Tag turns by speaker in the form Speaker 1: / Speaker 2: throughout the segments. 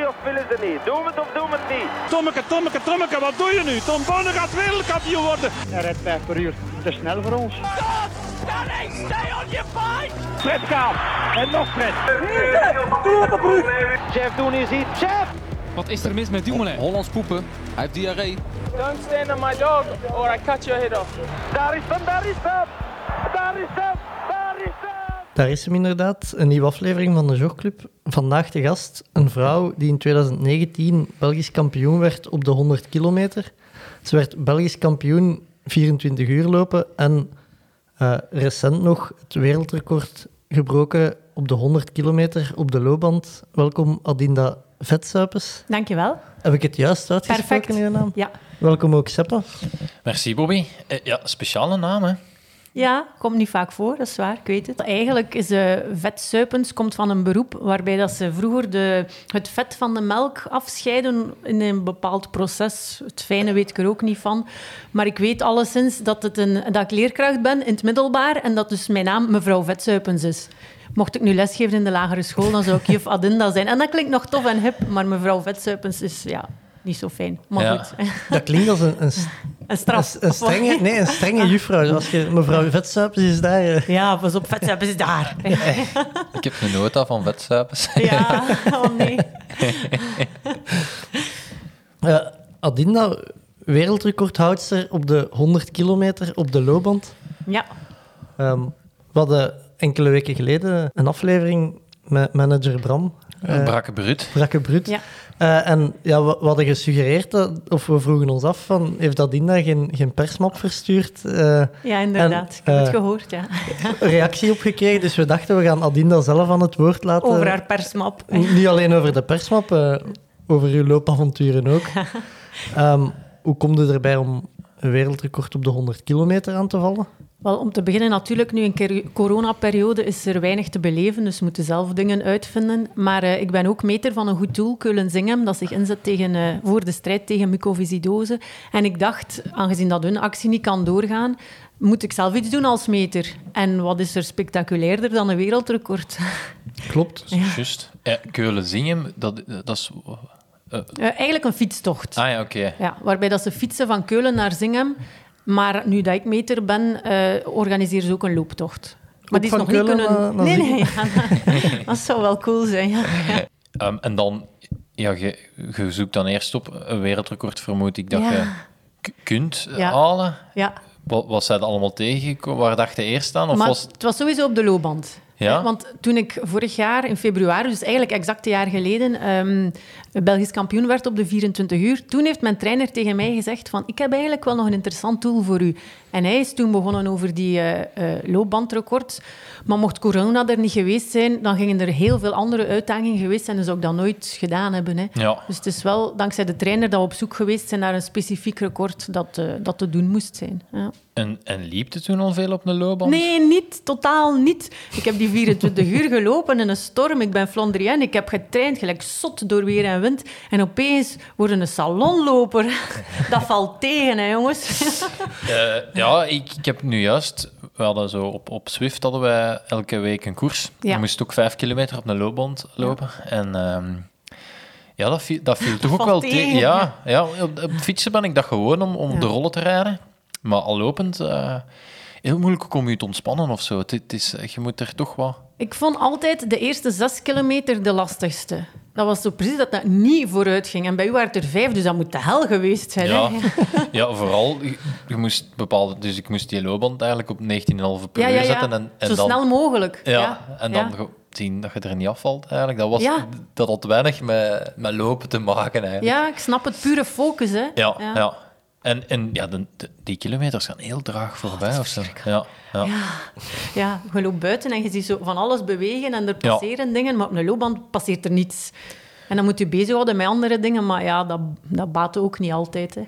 Speaker 1: het niet. Doe het of doe het niet.
Speaker 2: Tommeke, Tommeke, Tommeke, wat doe je nu? Tom Bonne gaat wereldkampioen worden.
Speaker 3: Hij rijdt 5 per uur. Te snel voor ons.
Speaker 2: Fred Kaap. En nog Fred.
Speaker 1: Jeff Doen is hier. Jeff!
Speaker 4: Wat is er mis met Dumoulin?
Speaker 5: Hollands poepen. Hij heeft diarree.
Speaker 6: Don't stand on my dog or I cut your head off.
Speaker 1: Daar is hem, daar is hem! Daar is hem, daar is hem!
Speaker 7: Daar is hem inderdaad, een nieuwe aflevering van de Jogclub. Vandaag de gast, een vrouw die in 2019 Belgisch kampioen werd op de 100 kilometer. Ze werd Belgisch kampioen 24 uur lopen en eh, recent nog het wereldrecord gebroken op de 100 kilometer op de loopband. Welkom Adinda Vetsuipers.
Speaker 8: Dankjewel.
Speaker 7: Heb ik het juist uitgesproken
Speaker 8: Perfect.
Speaker 7: in je naam?
Speaker 8: Ja.
Speaker 7: Welkom ook Seppa.
Speaker 9: Merci, Bobby. Eh, ja, speciale naam, hè?
Speaker 8: ja, komt niet vaak voor, dat is waar, ik weet het. Eigenlijk is eh vetsuipens komt van een beroep waarbij dat ze vroeger de, het vet van de melk afscheiden in een bepaald proces. Het fijne weet ik er ook niet van. Maar ik weet alleszins dat, het een, dat ik leerkracht ben in het middelbaar en dat dus mijn naam mevrouw Vetsuipens is. Mocht ik nu lesgeven in de lagere school, dan zou ik juf Adinda zijn. En dat klinkt nog tof en hip, maar mevrouw Vetsuipens is ja, niet zo fijn. Maar
Speaker 9: Ja.
Speaker 8: goed,
Speaker 7: Dat klinkt als een, een, st-
Speaker 8: een straf.
Speaker 7: een, strenge, nee, een strenge juffrouw. Zoals je, mevrouw Vetsuipers is daar. eh,
Speaker 8: Ja, pas op, vetsuipens is daar.
Speaker 9: Ik heb een nota van wetsuipers.
Speaker 8: Ja, oh nee.
Speaker 7: Eh, Adinda, wereldrecordhoudster op de 100 kilometer op de loopband.
Speaker 8: Ja,
Speaker 7: Ehm, we hadden enkele weken geleden een aflevering met manager Bram,
Speaker 9: Een brakke bruut.
Speaker 7: Brakke Brut.
Speaker 8: Ja.
Speaker 7: Eh, en ja, we, we hadden gesuggereerd, dat, of we vroegen ons af, van, heeft Adinda geen, geen persmap verstuurd? Eh,
Speaker 8: ja inderdaad.
Speaker 7: En,
Speaker 8: ik heb het
Speaker 7: eh,
Speaker 8: gehoord, ja.
Speaker 7: reactie opgekregen, dus we dachten we gaan Adinda zelf aan het woord laten.
Speaker 8: Over haar persmap.
Speaker 7: N- Niet alleen over de persmap, eh, over uw loopavonturen ook. Ehm, hoe komt het erbij om een wereldrecord op de 100 kilometer aan te vallen?
Speaker 8: Wel, om te beginnen natuurlijk, nu in keru- coronaperiode is er weinig te beleven, dus we moeten zelf dingen uitvinden. Maar eh, ik ben ook meter van een goed doel, Keulen-Zingem, dat zich inzet tegen, eh, voor de strijd tegen mucoviscidose. En ik dacht, aangezien dat hun actie niet kan doorgaan, moet ik zelf iets doen als meter. En wat is er spectaculairder dan een wereldrecord? Eh,
Speaker 7: Klopt.
Speaker 9: Juist. Eh, Keulen-Zingem, dat, dat is...
Speaker 8: Eh, eigenlijk een fietstocht.
Speaker 9: Ah ja, oké.
Speaker 8: Ja, waarbij dat ze fietsen van Keulen naar Zingem. Maar nu dat ik meter ben, eh organiseren ze ook een looptocht. Maar
Speaker 7: Ook
Speaker 8: die is
Speaker 7: van
Speaker 8: nog
Speaker 7: Keulen
Speaker 8: niet kunnen...
Speaker 7: naar- naar
Speaker 8: nee,
Speaker 7: Zingem?
Speaker 8: nee, ja, dat, dat zou wel cool zijn. Ja.
Speaker 9: Ehm, en dan, ja, je, je zoekt dan eerst op een wereldrecord, vermoed ik, dat
Speaker 8: Ja.
Speaker 9: je k- kunt eh,
Speaker 8: Ja.
Speaker 9: halen.
Speaker 8: Ja.
Speaker 9: Wat, wat zijn er allemaal tegengekomen? Waar dacht je eerst aan? Of
Speaker 8: maar
Speaker 9: was...
Speaker 8: het was sowieso op de loopband.
Speaker 9: Ja?
Speaker 8: Hè, Want toen ik vorig jaar in februari, dus eigenlijk exact een jaar geleden, ehm, Belgisch kampioen werd op de 24 uur, toen heeft mijn trainer tegen mij gezegd van ik heb eigenlijk wel nog een interessant doel voor u. En hij is toen begonnen over die eh, eh, loopbandrecord. Maar mocht corona er niet geweest zijn, dan gingen er heel veel andere uitdagingen geweest zijn, dus ook dat nooit gedaan hebben. Hè.
Speaker 9: Ja.
Speaker 8: Dus het is wel dankzij de trainer dat we op zoek geweest zijn naar een specifiek record dat, eh, dat te doen moest zijn. Ja.
Speaker 9: En, en liep het toen al veel op de loopband?
Speaker 8: Nee, niet. Totaal niet. Ik heb die 24 uur gelopen in een storm. Ik ben Flandrien. Ik heb getraind gelijk zot door weer en wind. En opeens word ik een salonloper. Dat valt tegen, hè, jongens.
Speaker 9: Eh, ja, ik, ik heb nu juist... We hadden zo op, op Zwift hadden wij elke week een koers.
Speaker 8: Ja.
Speaker 9: Je moest ook vijf kilometer op een loopband lopen. En ehm, ja, dat viel, dat viel toch ook
Speaker 8: valt
Speaker 9: wel tegen.
Speaker 8: tegen,
Speaker 9: Ja, ja, op, op fietsen ben ik dat gewoon om, om op de rollen te rijden. Maar al lopend, eh, heel moeilijk ook om je te ontspannen of zo. Het, het is, eh, je moet er toch wat...
Speaker 8: Ik vond altijd de eerste zes kilometer de lastigste. Dat was zo precies dat dat niet vooruit ging. En bij u waren het er vijf, dus dat moet de hel geweest zijn.
Speaker 9: Ja,
Speaker 8: Hè?
Speaker 9: ja vooral, je, je moest bepaalde... Dus ik moest die loopband eigenlijk op 19,5 per
Speaker 8: Ja,
Speaker 9: uur
Speaker 8: ja, ja.
Speaker 9: zetten. En, en
Speaker 8: zo
Speaker 9: dan,
Speaker 8: snel mogelijk.
Speaker 9: Ja, en dan
Speaker 8: ja.
Speaker 9: ge- zien dat je er niet afvalt eigenlijk. Dat, was,
Speaker 8: Ja.
Speaker 9: dat had weinig met, met lopen te maken eigenlijk.
Speaker 8: Ja, ik snap het. Pure focus, hè.
Speaker 9: Ja, ja. En, en ja, de, de- die kilometers gaan heel traag voorbij of zo. Ja, ja.
Speaker 8: Ja, je loopt buiten en je ziet zo van alles bewegen en er passeren dingen, maar op een loopband passeert er niets. En dan moet je bezighouden met andere dingen, maar ja, dat, dat baat ook niet altijd. Hè.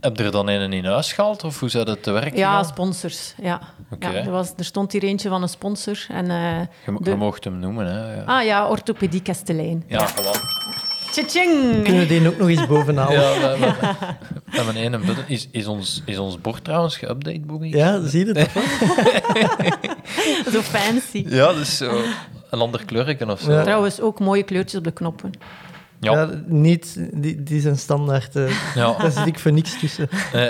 Speaker 9: Heb je er dan een in huis gehaald of hoe zou dat te werk
Speaker 8: Ja,
Speaker 9: gegaan?
Speaker 8: sponsors. Ja.
Speaker 9: Oké.
Speaker 8: Ja, er, was, er stond hier eentje van een sponsor. En, eh,
Speaker 9: Je, mo-
Speaker 8: de-
Speaker 9: je mocht hem noemen, hè. Ja,
Speaker 8: Ah ja, orthopedie Kastelein.
Speaker 9: ja voilà.
Speaker 8: Tjitjing!
Speaker 7: Kunnen we die ook nog eens bovenaan? Ja,
Speaker 9: Ja, we, we, we hebben één en button. Is, is, ons, is ons bord trouwens geüpdate, Bobby?
Speaker 7: zie je het?
Speaker 8: Zo fancy.
Speaker 9: Ja, dus zo een ander kleurken of zo.
Speaker 7: Ja.
Speaker 8: Trouwens, ook mooie kleurtjes op de knoppen.
Speaker 9: Ja.
Speaker 7: Ja, niet, die, die zijn standaard. eh,
Speaker 9: Ja.
Speaker 7: daar zit ik voor niks tussen.
Speaker 9: Eh,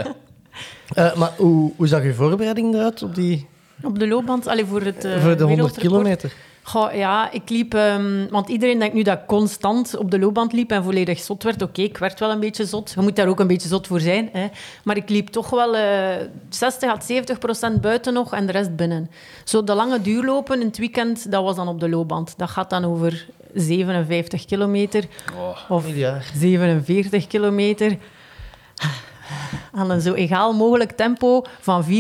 Speaker 7: Eh, maar hoe, hoe zag uw voorbereiding eruit op die,
Speaker 8: Op de loopband, allee, voor, het, eh,
Speaker 7: voor de 100
Speaker 8: wereldrecord.
Speaker 7: kilometer?
Speaker 8: Goh, ja, ik liep... ehm, want iedereen denkt nu dat ik constant op de loopband liep en volledig zot werd. Oké, ik werd wel een beetje zot. Je moet daar ook een beetje zot voor zijn. Hè. Maar ik liep toch wel eh 60 à 70 procent buiten nog en de rest binnen. Zo de lange duurlopen in het weekend, dat was dan op de loopband. Dat gaat dan over 57 kilometer
Speaker 9: oh.
Speaker 8: of
Speaker 7: Ieder jaar.
Speaker 8: 47 kilometer. Aan een zo egaal mogelijk tempo van 4,55.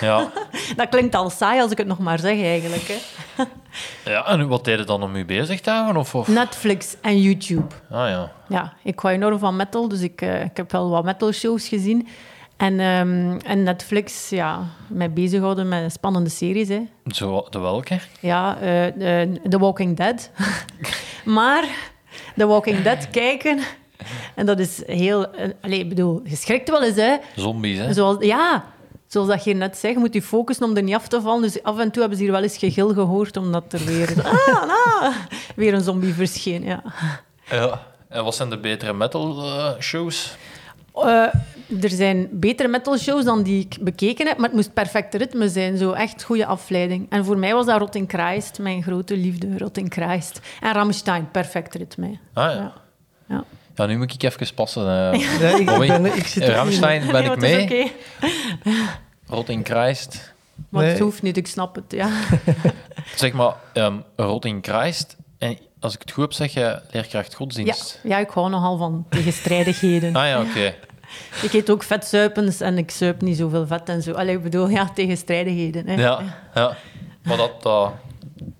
Speaker 9: ja.
Speaker 8: Dat klinkt al saai als ik het nog maar zeg eigenlijk. Hè.
Speaker 9: ja, en wat deed je dan om je bezig te houden? Of, of?
Speaker 8: Netflix en YouTube.
Speaker 9: Ah ja.
Speaker 8: Ja, ik hou enorm van metal, dus ik, eh, ik heb wel wat metal shows gezien. En, ehm, en Netflix, ja, mij bezighouden met spannende series. Hè.
Speaker 9: Zo, de welke?
Speaker 8: Ja, eh, eh, The Walking Dead. maar The Walking Dead kijken, en dat is heel... eh, allee, ik bedoel, je schrikt wel eens, hè.
Speaker 9: Zombies, hè?
Speaker 8: Zoals, ja, zoals dat je hier net zei, je moet je focussen om er niet af te vallen. Dus af en toe hebben ze hier wel eens gegil gehoord, omdat er weer, ah, ah, weer een zombie verscheen. Ja.
Speaker 9: Ja. En wat zijn de betere metal eh, shows?
Speaker 8: Eh, er zijn betere metal shows dan die ik bekeken heb, maar het moest perfect ritme zijn. Zo echt goede afleiding. En voor mij was dat Rotting Christ, mijn grote liefde, Rotting Christ. En Rammstein, perfect ritme.
Speaker 9: Ah ja.
Speaker 8: Ja. Ja.
Speaker 9: Ja, nu moet ik even passen. eh.
Speaker 7: Ja, ik,
Speaker 9: Oei.
Speaker 7: ik ben, ik zit
Speaker 9: Eh,
Speaker 7: er
Speaker 9: Ramstein ben
Speaker 8: Nee,
Speaker 9: ik
Speaker 8: maar het is
Speaker 9: mee.
Speaker 8: oké.
Speaker 9: Rot in Christ.
Speaker 8: Maar het
Speaker 7: Nee.
Speaker 8: hoeft niet, ik snap het. Ja.
Speaker 9: Zeg maar, ehm Rot in Christ. En als ik het goed heb, zeg je leerkracht
Speaker 8: Ja,
Speaker 9: godsdienst.
Speaker 8: ja, ik hou nogal van tegenstrijdigheden.
Speaker 9: Ah ja, oké.
Speaker 8: Ik eet ook vetzuipens en ik zuip niet zoveel vet en zo. Allee, ik bedoel, ja, tegenstrijdigheden. Hè.
Speaker 9: Ja, ja. Maar dat, dat,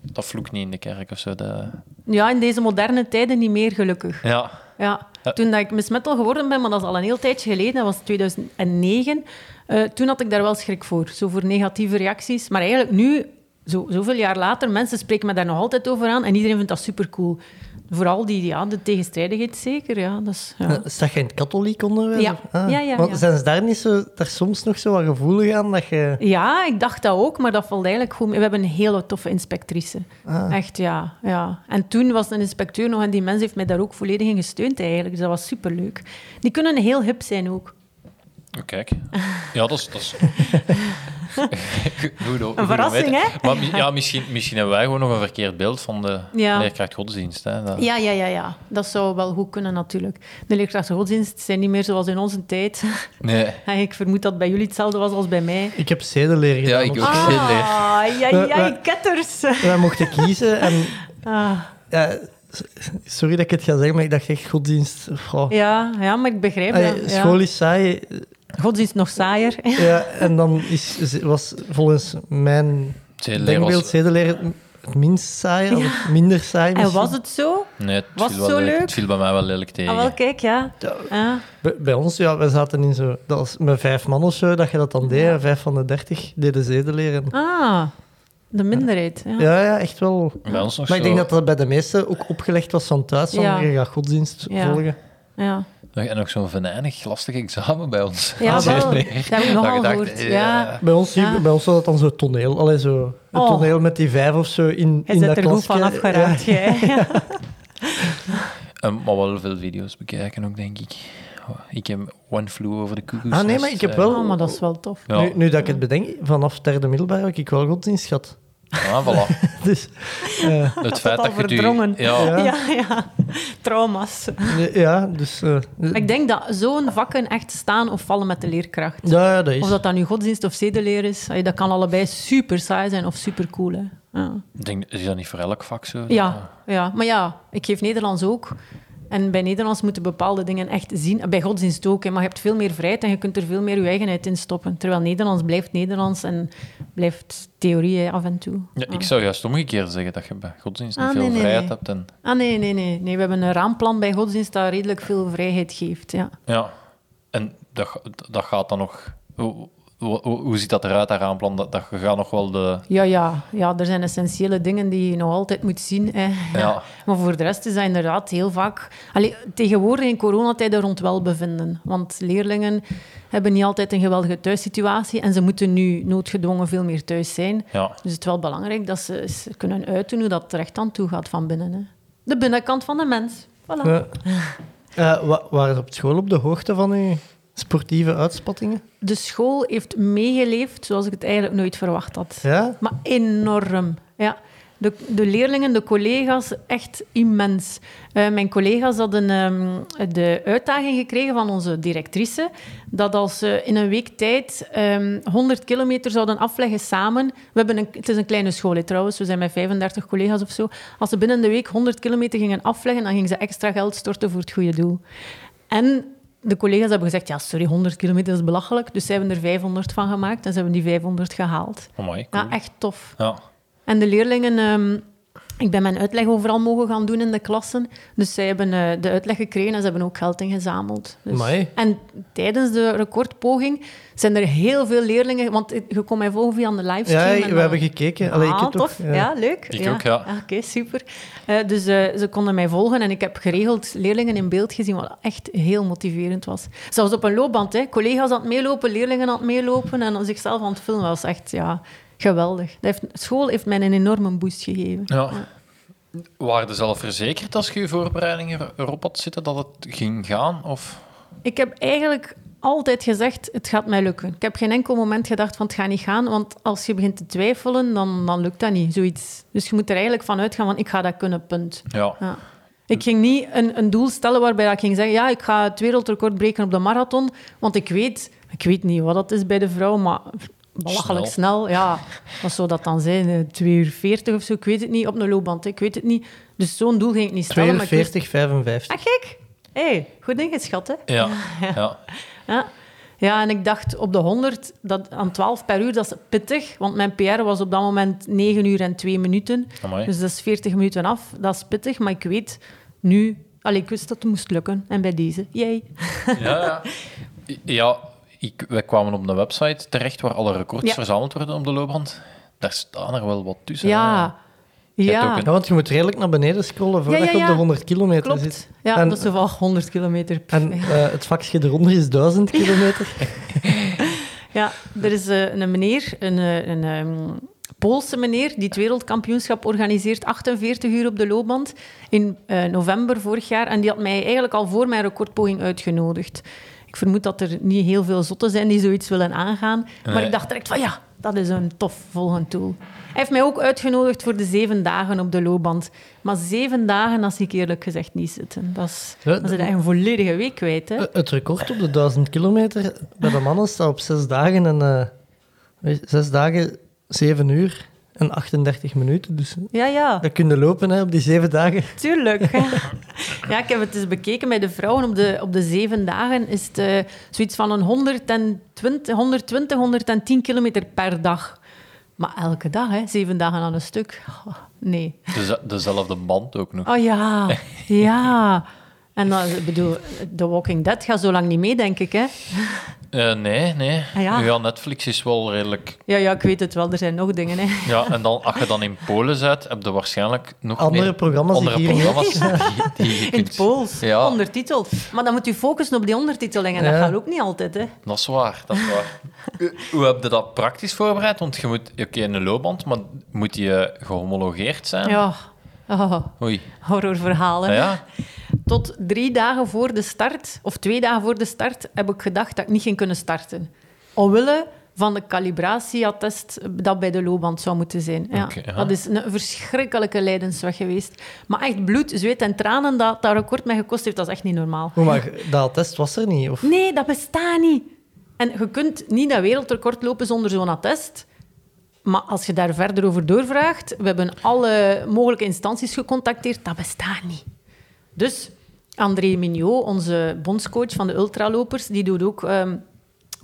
Speaker 9: dat vloekt niet in de kerk of zo. De...
Speaker 8: Ja, in deze moderne tijden niet meer, gelukkig.
Speaker 9: Ja.
Speaker 8: Ja.
Speaker 9: Ja.
Speaker 8: Toen dat ik Miss Metal geworden ben, maar dat is al een heel tijdje geleden, dat was 2009, eh, toen had ik daar wel schrik voor. Zo voor negatieve reacties. Maar eigenlijk nu, zo, zoveel jaar later, mensen spreken me daar nog altijd over aan en iedereen vindt dat supercool. Vooral die, ja, de tegenstrijdigheid zeker, ja. Dat is, ja.
Speaker 7: Eh, Is dat geen katholiek onderwijs?
Speaker 8: Ja.
Speaker 7: Of- ah,
Speaker 8: Ja, ja,
Speaker 7: Want
Speaker 8: ja.
Speaker 7: zijn ze daar niet zo, daar soms nog zo wat gevoelig aan dat je...
Speaker 8: Ja, ik dacht dat ook, maar dat valt eigenlijk goed mee. We hebben een hele toffe inspectrice. Echt, ja, ja. En toen was een inspecteur nog en die mens heeft mij daar ook volledig in gesteund eigenlijk. Dus dat was superleuk. Die kunnen heel hip zijn ook.
Speaker 9: Oh, Kijk. Ja, dat is... Dat is... Goed,
Speaker 8: Een verrassing, hè?
Speaker 9: Maar mi- ja, misschien, misschien hebben wij gewoon nog een verkeerd beeld van de
Speaker 8: Ja.
Speaker 9: leerkracht godsdienst. Hè? Dat-
Speaker 8: Ja, ja, ja, ja. Dat zou wel goed kunnen natuurlijk. De leerkrachten godsdienst zijn niet meer zoals in onze tijd.
Speaker 9: Nee.
Speaker 8: En ik vermoed dat het bij jullie hetzelfde was als bij mij.
Speaker 7: Ik heb zedenleer gedaan.
Speaker 5: ik
Speaker 7: op
Speaker 5: ook.
Speaker 7: school.
Speaker 8: Ah, ja,
Speaker 7: Eh,
Speaker 8: ja,
Speaker 7: maar-
Speaker 8: ketters.
Speaker 7: Wij mochten kiezen en...
Speaker 8: Ah.
Speaker 7: ja, s- sorry dat ik het ga zeggen, maar ik dacht echt godsdienst. goh.
Speaker 8: Ja, ja, maar ik begrijp
Speaker 7: Allee,
Speaker 8: dat.
Speaker 7: Eh, school
Speaker 8: Ja.
Speaker 7: is saai.
Speaker 8: Godsdienst nog saaier.
Speaker 7: Ja, en dan is, was volgens mijn
Speaker 9: Zedeleer was-
Speaker 7: denkbeeld zedenleer het- het minst saai, of het minder saai
Speaker 8: En
Speaker 7: misschien.
Speaker 8: was het zo?
Speaker 9: Nee, het
Speaker 8: Was het
Speaker 9: viel, wel
Speaker 8: zo
Speaker 9: lelijk-
Speaker 8: leuk?
Speaker 9: het viel bij mij wel lelijk tegen.
Speaker 8: Ah, wel, kijk, ja. Ah.
Speaker 7: Bij, bij ons, ja, wij zaten in zo... Dat was met vijf man of zo, dat je dat dan deed. en Vijf van de dertig deden zedenleer. en-
Speaker 8: Ah, de minderheid. Ja.
Speaker 7: Ja, ja, echt wel.
Speaker 9: Bij ons nog
Speaker 7: Maar ik
Speaker 9: zo.
Speaker 7: denk dat dat bij de meesten ook opgelegd was van thuis. Van,
Speaker 8: Ja.
Speaker 7: Je gaat godsdienst
Speaker 8: Ja.
Speaker 7: volgen.
Speaker 8: Ja.
Speaker 9: En nog zo'n venijnig, lastig examen bij ons.
Speaker 8: Ja,
Speaker 9: Als je-
Speaker 8: wel. Dat heb ik nogal
Speaker 9: je dacht,
Speaker 8: gehoord,
Speaker 9: eh,
Speaker 8: ja.
Speaker 7: Bij ons,
Speaker 8: Ja.
Speaker 7: bij ons was dat dan zo toneel. Allee, zo, een
Speaker 8: Ah. Oh.
Speaker 7: toneel met die vijf of zo in,
Speaker 8: Hij
Speaker 7: in
Speaker 8: zit
Speaker 7: dat
Speaker 8: er goed van
Speaker 7: klasje.
Speaker 8: afgeraakt,
Speaker 7: Ja.
Speaker 8: jij.
Speaker 9: En, eh, maar wel veel video's bekijken ook, denk ik. Oh, Ik heb One Flew over de Cuckoo's
Speaker 7: Ah, nee,
Speaker 9: Nest,
Speaker 7: maar ik heb
Speaker 9: eh,
Speaker 7: wel...
Speaker 8: Oh, maar dat is wel tof.
Speaker 9: Ja,
Speaker 7: Nu, nu dat ik het bedenk, vanaf derde middelbaar heb ik wel godsdienst gehad.
Speaker 9: ah, voilà.
Speaker 7: Dus eh,
Speaker 9: Het feit
Speaker 8: al
Speaker 9: dat je het u-
Speaker 8: verdrongen.
Speaker 9: Ja,
Speaker 7: Ja.
Speaker 8: Ja, ja. Trauma's.
Speaker 7: ja, dus... eh,
Speaker 8: Ik denk dat zo'n vakken echt staan of vallen met de leerkracht.
Speaker 7: ja, ja, dat is...
Speaker 8: Of dat dan nu godsdienst of zedeleer is, hey, dat kan allebei super saai zijn of super cool. Hè. Ja.
Speaker 9: ik denk, is dat niet voor elk vak zo?
Speaker 8: Ja, ja, maar ja, ik geef Nederlands ook. En bij Nederlands moeten bepaalde dingen echt zien. Bij godsdienst ook, hè, maar je hebt veel meer vrijheid en je kunt er veel meer je eigenheid in stoppen. Terwijl Nederlands blijft Nederlands en blijft theorie hè, af en toe.
Speaker 9: Ja, ik zou juist omgekeerd zeggen dat je bij godsdienst niet
Speaker 8: Ah,
Speaker 9: veel
Speaker 8: nee, nee,
Speaker 9: vrijheid
Speaker 8: nee.
Speaker 9: hebt. En,
Speaker 8: Ah nee, nee, nee, nee. We hebben een raamplan bij godsdienst dat redelijk veel vrijheid geeft. Ja.
Speaker 9: ja. en dat, ga- dat gaat dan nog... Hoe, hoe, hoe ziet dat eruit, dat raamplan? Dat, dat je gaat nog wel de...
Speaker 8: Ja, ja, ja, er zijn essentiële dingen die je nog altijd moet zien. Hè.
Speaker 9: Ja.
Speaker 8: Maar voor de rest is dat inderdaad heel vaak... Allee, tegenwoordig in coronatijden rond welbevinden. Want leerlingen hebben niet altijd een geweldige thuissituatie en ze moeten nu noodgedwongen veel meer thuis zijn.
Speaker 9: Ja.
Speaker 8: Dus het is wel belangrijk dat ze eens kunnen uiten hoe dat terecht aan toe gaat van binnen. Hè. De binnenkant van de mens. Voilà.
Speaker 7: Ja. Eh, wa- waren ze op school op de hoogte van uw sportieve uitspattingen?
Speaker 8: De school heeft meegeleefd zoals ik het eigenlijk nooit verwacht had.
Speaker 7: Ja?
Speaker 8: Maar enorm, ja. De, de leerlingen, de collega's, echt immens. Eh, mijn collega's hadden ehm, de uitdaging gekregen van onze directrice dat als ze in een week tijd ehm, 100 kilometer zouden afleggen samen... We hebben een, het is een kleine school hè, trouwens, we zijn met 35 collega's of zo. Als ze binnen de week 100 kilometer gingen afleggen, dan gingen ze extra geld storten voor het goede doel. En de collega's hebben gezegd, ja, sorry, 100 kilometer is belachelijk. Dus ze hebben er 500 van gemaakt en ze hebben die 500 gehaald.
Speaker 9: Oh mooi.
Speaker 8: Ja, echt tof.
Speaker 9: Ja.
Speaker 8: En de leerlingen, ehm, ik ben mijn uitleg overal mogen gaan doen in de klassen. Dus zij hebben eh, de uitleg gekregen en ze hebben ook geld ingezameld. Dus.
Speaker 7: Amai.
Speaker 8: En tijdens de recordpoging zijn er heel veel leerlingen, want je kon mij volgen via de livestream.
Speaker 7: Ja,
Speaker 8: en eh,
Speaker 7: we
Speaker 8: dan-
Speaker 7: hebben gekeken. Allee, ik
Speaker 8: ah,
Speaker 7: heb toch-
Speaker 8: tof. Ja. leuk.
Speaker 9: Ik ook, ja.
Speaker 8: Oké, super. Eh, dus eh, ze konden mij volgen en ik heb geregeld leerlingen in beeld gezien, wat echt heel motiverend was. Zelfs op een loopband, hè. collega's aan het meelopen, leerlingen aan het meelopen en zichzelf aan het filmen was echt ja, geweldig. Dat heeft, school heeft mij een enorme boost gegeven.
Speaker 9: Ja. Waren ze zelf verzekerd als je je voorbereidingen er- erop had zitten dat het ging gaan? Of...
Speaker 8: Ik heb eigenlijk altijd gezegd, het gaat mij lukken. Ik heb geen enkel moment gedacht van, het gaat niet gaan. Want als je begint te twijfelen, dan, dan lukt dat niet, zoiets. Dus je moet er eigenlijk van uitgaan van, ik ga dat kunnen, punt.
Speaker 9: Ja.
Speaker 8: Ja. Ik ging niet een, een doel stellen waarbij dat ik ging zeggen, ja, ik ga het wereldrecord breken op de marathon. Want ik weet, ik weet niet wat dat is bij de vrouw, maar belachelijk snel. ja, wat zou dat dan zijn? Eh, 2 uur 40 of zo, ik weet het niet, op een loopband, hè, ik weet het niet. Dus zo'n doel ging ik niet stellen. maar ik wist-
Speaker 7: 42, 55.
Speaker 8: Ah, gek! Hé, hey, goed ingeschat, hè?
Speaker 9: Ja. ja.
Speaker 8: Ja. ja, en ik dacht op de 100, dat, aan 12 per uur, dat is pittig. Want mijn PR was op dat moment 9 uur en 2 minuten.
Speaker 9: Amai.
Speaker 8: Dus dat is 40 minuten af. Dat is pittig, maar ik weet nu... Allee, ik wist dat het moest lukken. En bij deze, jij.
Speaker 9: Ja, ja. ja ik, wij kwamen op een website terecht waar alle records
Speaker 8: Ja.
Speaker 9: verzameld worden op de loopband. Daar staan er wel wat tussen.
Speaker 8: Ja.
Speaker 9: hebt
Speaker 8: Ja,
Speaker 9: ook een-
Speaker 7: Ja, want je moet redelijk naar beneden scrollen voordat
Speaker 8: Ja, ja,
Speaker 7: je op
Speaker 8: ja.
Speaker 7: de 100 kilometer
Speaker 8: klopt.
Speaker 7: zit.
Speaker 8: Ja,
Speaker 7: En-
Speaker 8: dat is wel 100 kilometer.
Speaker 7: En eh, het vakje eronder is 1000 kilometer.
Speaker 8: Ja, er is eh, een meneer, een, eh, een ehm, Poolse meneer, die het wereldkampioenschap organiseert, 48 uur op de loopband, in eh, november vorig jaar. En die had mij eigenlijk al voor mijn recordpoging uitgenodigd. Ik vermoed dat er niet heel veel zotten zijn die zoiets willen aangaan. Maar
Speaker 9: Nee.
Speaker 8: ik dacht direct van ja, dat is een tof volgend doel. Hij heeft mij ook uitgenodigd voor de zeven dagen op de loopband. Maar zeven dagen, dat zie ik eerlijk gezegd niet zitten. Dat is,
Speaker 7: Ja,
Speaker 8: dat is een volledige week kwijt. Hè?
Speaker 7: Eh, Het record op de 1000 kilometer bij de mannen staat op 6 dagen en eh, weet je, zes dagen, 7 uur en 38 minuten. Dus
Speaker 8: Ja, ja.
Speaker 7: dat kun je lopen hè, op die 7 dagen.
Speaker 8: Tuurlijk. ja, ik heb het eens bekeken bij de vrouwen op de, op de zeven dagen. Is het eh, zoiets van een 120, 120, 110 kilometer per dag. Maar elke dag, hè? zeven dagen aan een stuk. Oh, nee.
Speaker 9: Deze- dezelfde band ook nog.
Speaker 8: Oh ja, ja. En dan, ik bedoel, The Walking Dead gaat zo lang niet mee, denk ik. Hè?
Speaker 9: Eh, nee, nee.
Speaker 8: Ah, ja.
Speaker 9: Netflix is wel redelijk...
Speaker 8: Ja, ja, ik weet het wel. Er zijn nog dingen. Hè?
Speaker 9: Ja, en dan, als je dan in Polen zit, heb je waarschijnlijk nog
Speaker 7: Andere
Speaker 9: meer
Speaker 7: programma's die
Speaker 9: andere
Speaker 7: hier niet-
Speaker 9: programma's die, die je
Speaker 8: In het
Speaker 9: kunt-
Speaker 8: Pools,
Speaker 9: Ja.
Speaker 8: ondertiteld. Maar dan moet u focussen op die ondertiteling. En dat
Speaker 7: Ja.
Speaker 8: gaat ook niet altijd. Hè?
Speaker 9: Dat is waar, dat is waar. Hoe heb je dat praktisch voorbereid? Want je moet... Oké, in een loopband, maar moet die eh, gehomologeerd zijn?
Speaker 8: Ja, oh,
Speaker 9: Oei.
Speaker 8: horrorverhalen.
Speaker 9: Ah, ja?
Speaker 8: Tot drie dagen voor de start, of twee dagen voor de start, heb ik gedacht dat ik niet ging kunnen starten. Omwille van de calibratieattest dat bij de loopband zou moeten zijn. Ja.
Speaker 9: Oké, ja.
Speaker 8: Dat is een verschrikkelijke lijdensweg geweest. Maar echt bloed, zweet en tranen dat dat record mij gekost heeft, dat is echt niet normaal.
Speaker 7: Hoe maar dat test was er niet? Of?
Speaker 8: Nee, dat bestaat niet. En je kunt niet dat wereldrecord lopen zonder zo'n attest. Maar als je daar verder over doorvraagt, we hebben alle mogelijke instanties gecontacteerd, dat bestaat niet. Dus André Mignot, onze bondscoach van de ultralopers, die doet ook ehm,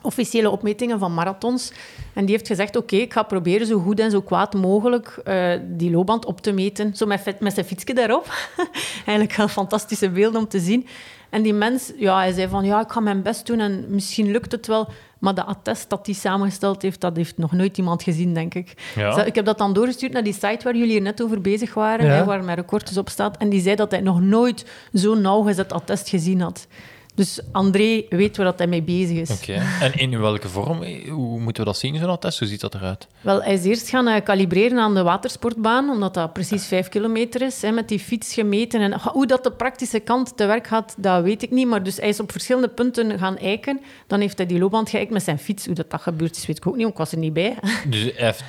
Speaker 8: officiële opmetingen van marathons. En die heeft gezegd, oké, ik ga proberen zo goed en zo kwaad mogelijk eh, die loopband op te meten. Zo met, fit- met zijn fietsje daarop. Eigenlijk wel fantastische beelden om te zien. En die mens, ja, hij zei van, ja, ik ga mijn best doen en misschien lukt het wel. Maar de attest dat hij samengesteld heeft, dat heeft nog nooit iemand gezien, denk ik.
Speaker 9: Ja.
Speaker 8: Dus ik heb dat dan doorgestuurd naar die site waar jullie hier net over bezig waren,
Speaker 7: Ja.
Speaker 8: hè, waar mijn record dus op staat. En die zei dat hij nog nooit zo'n nauwgezet attest gezien had. Dus André weet waar dat hij mee bezig is.
Speaker 9: Oké. En in welke vorm? Eh, Hoe moeten we dat zien, zo'n test? Hoe ziet dat eruit?
Speaker 8: Wel, hij is eerst gaan eh, kalibreren aan de watersportbaan, omdat dat precies vijf kilometer is, hè, met die fiets gemeten. En ho- hoe dat de praktische kant te werk gaat, dat weet ik niet. Maar dus hij is op verschillende punten gaan eiken. Dan heeft hij die loopband geëikt met zijn fiets. Hoe dat, dat gebeurd is, weet ik ook niet, want ik was er niet bij.
Speaker 9: Dus hij heeft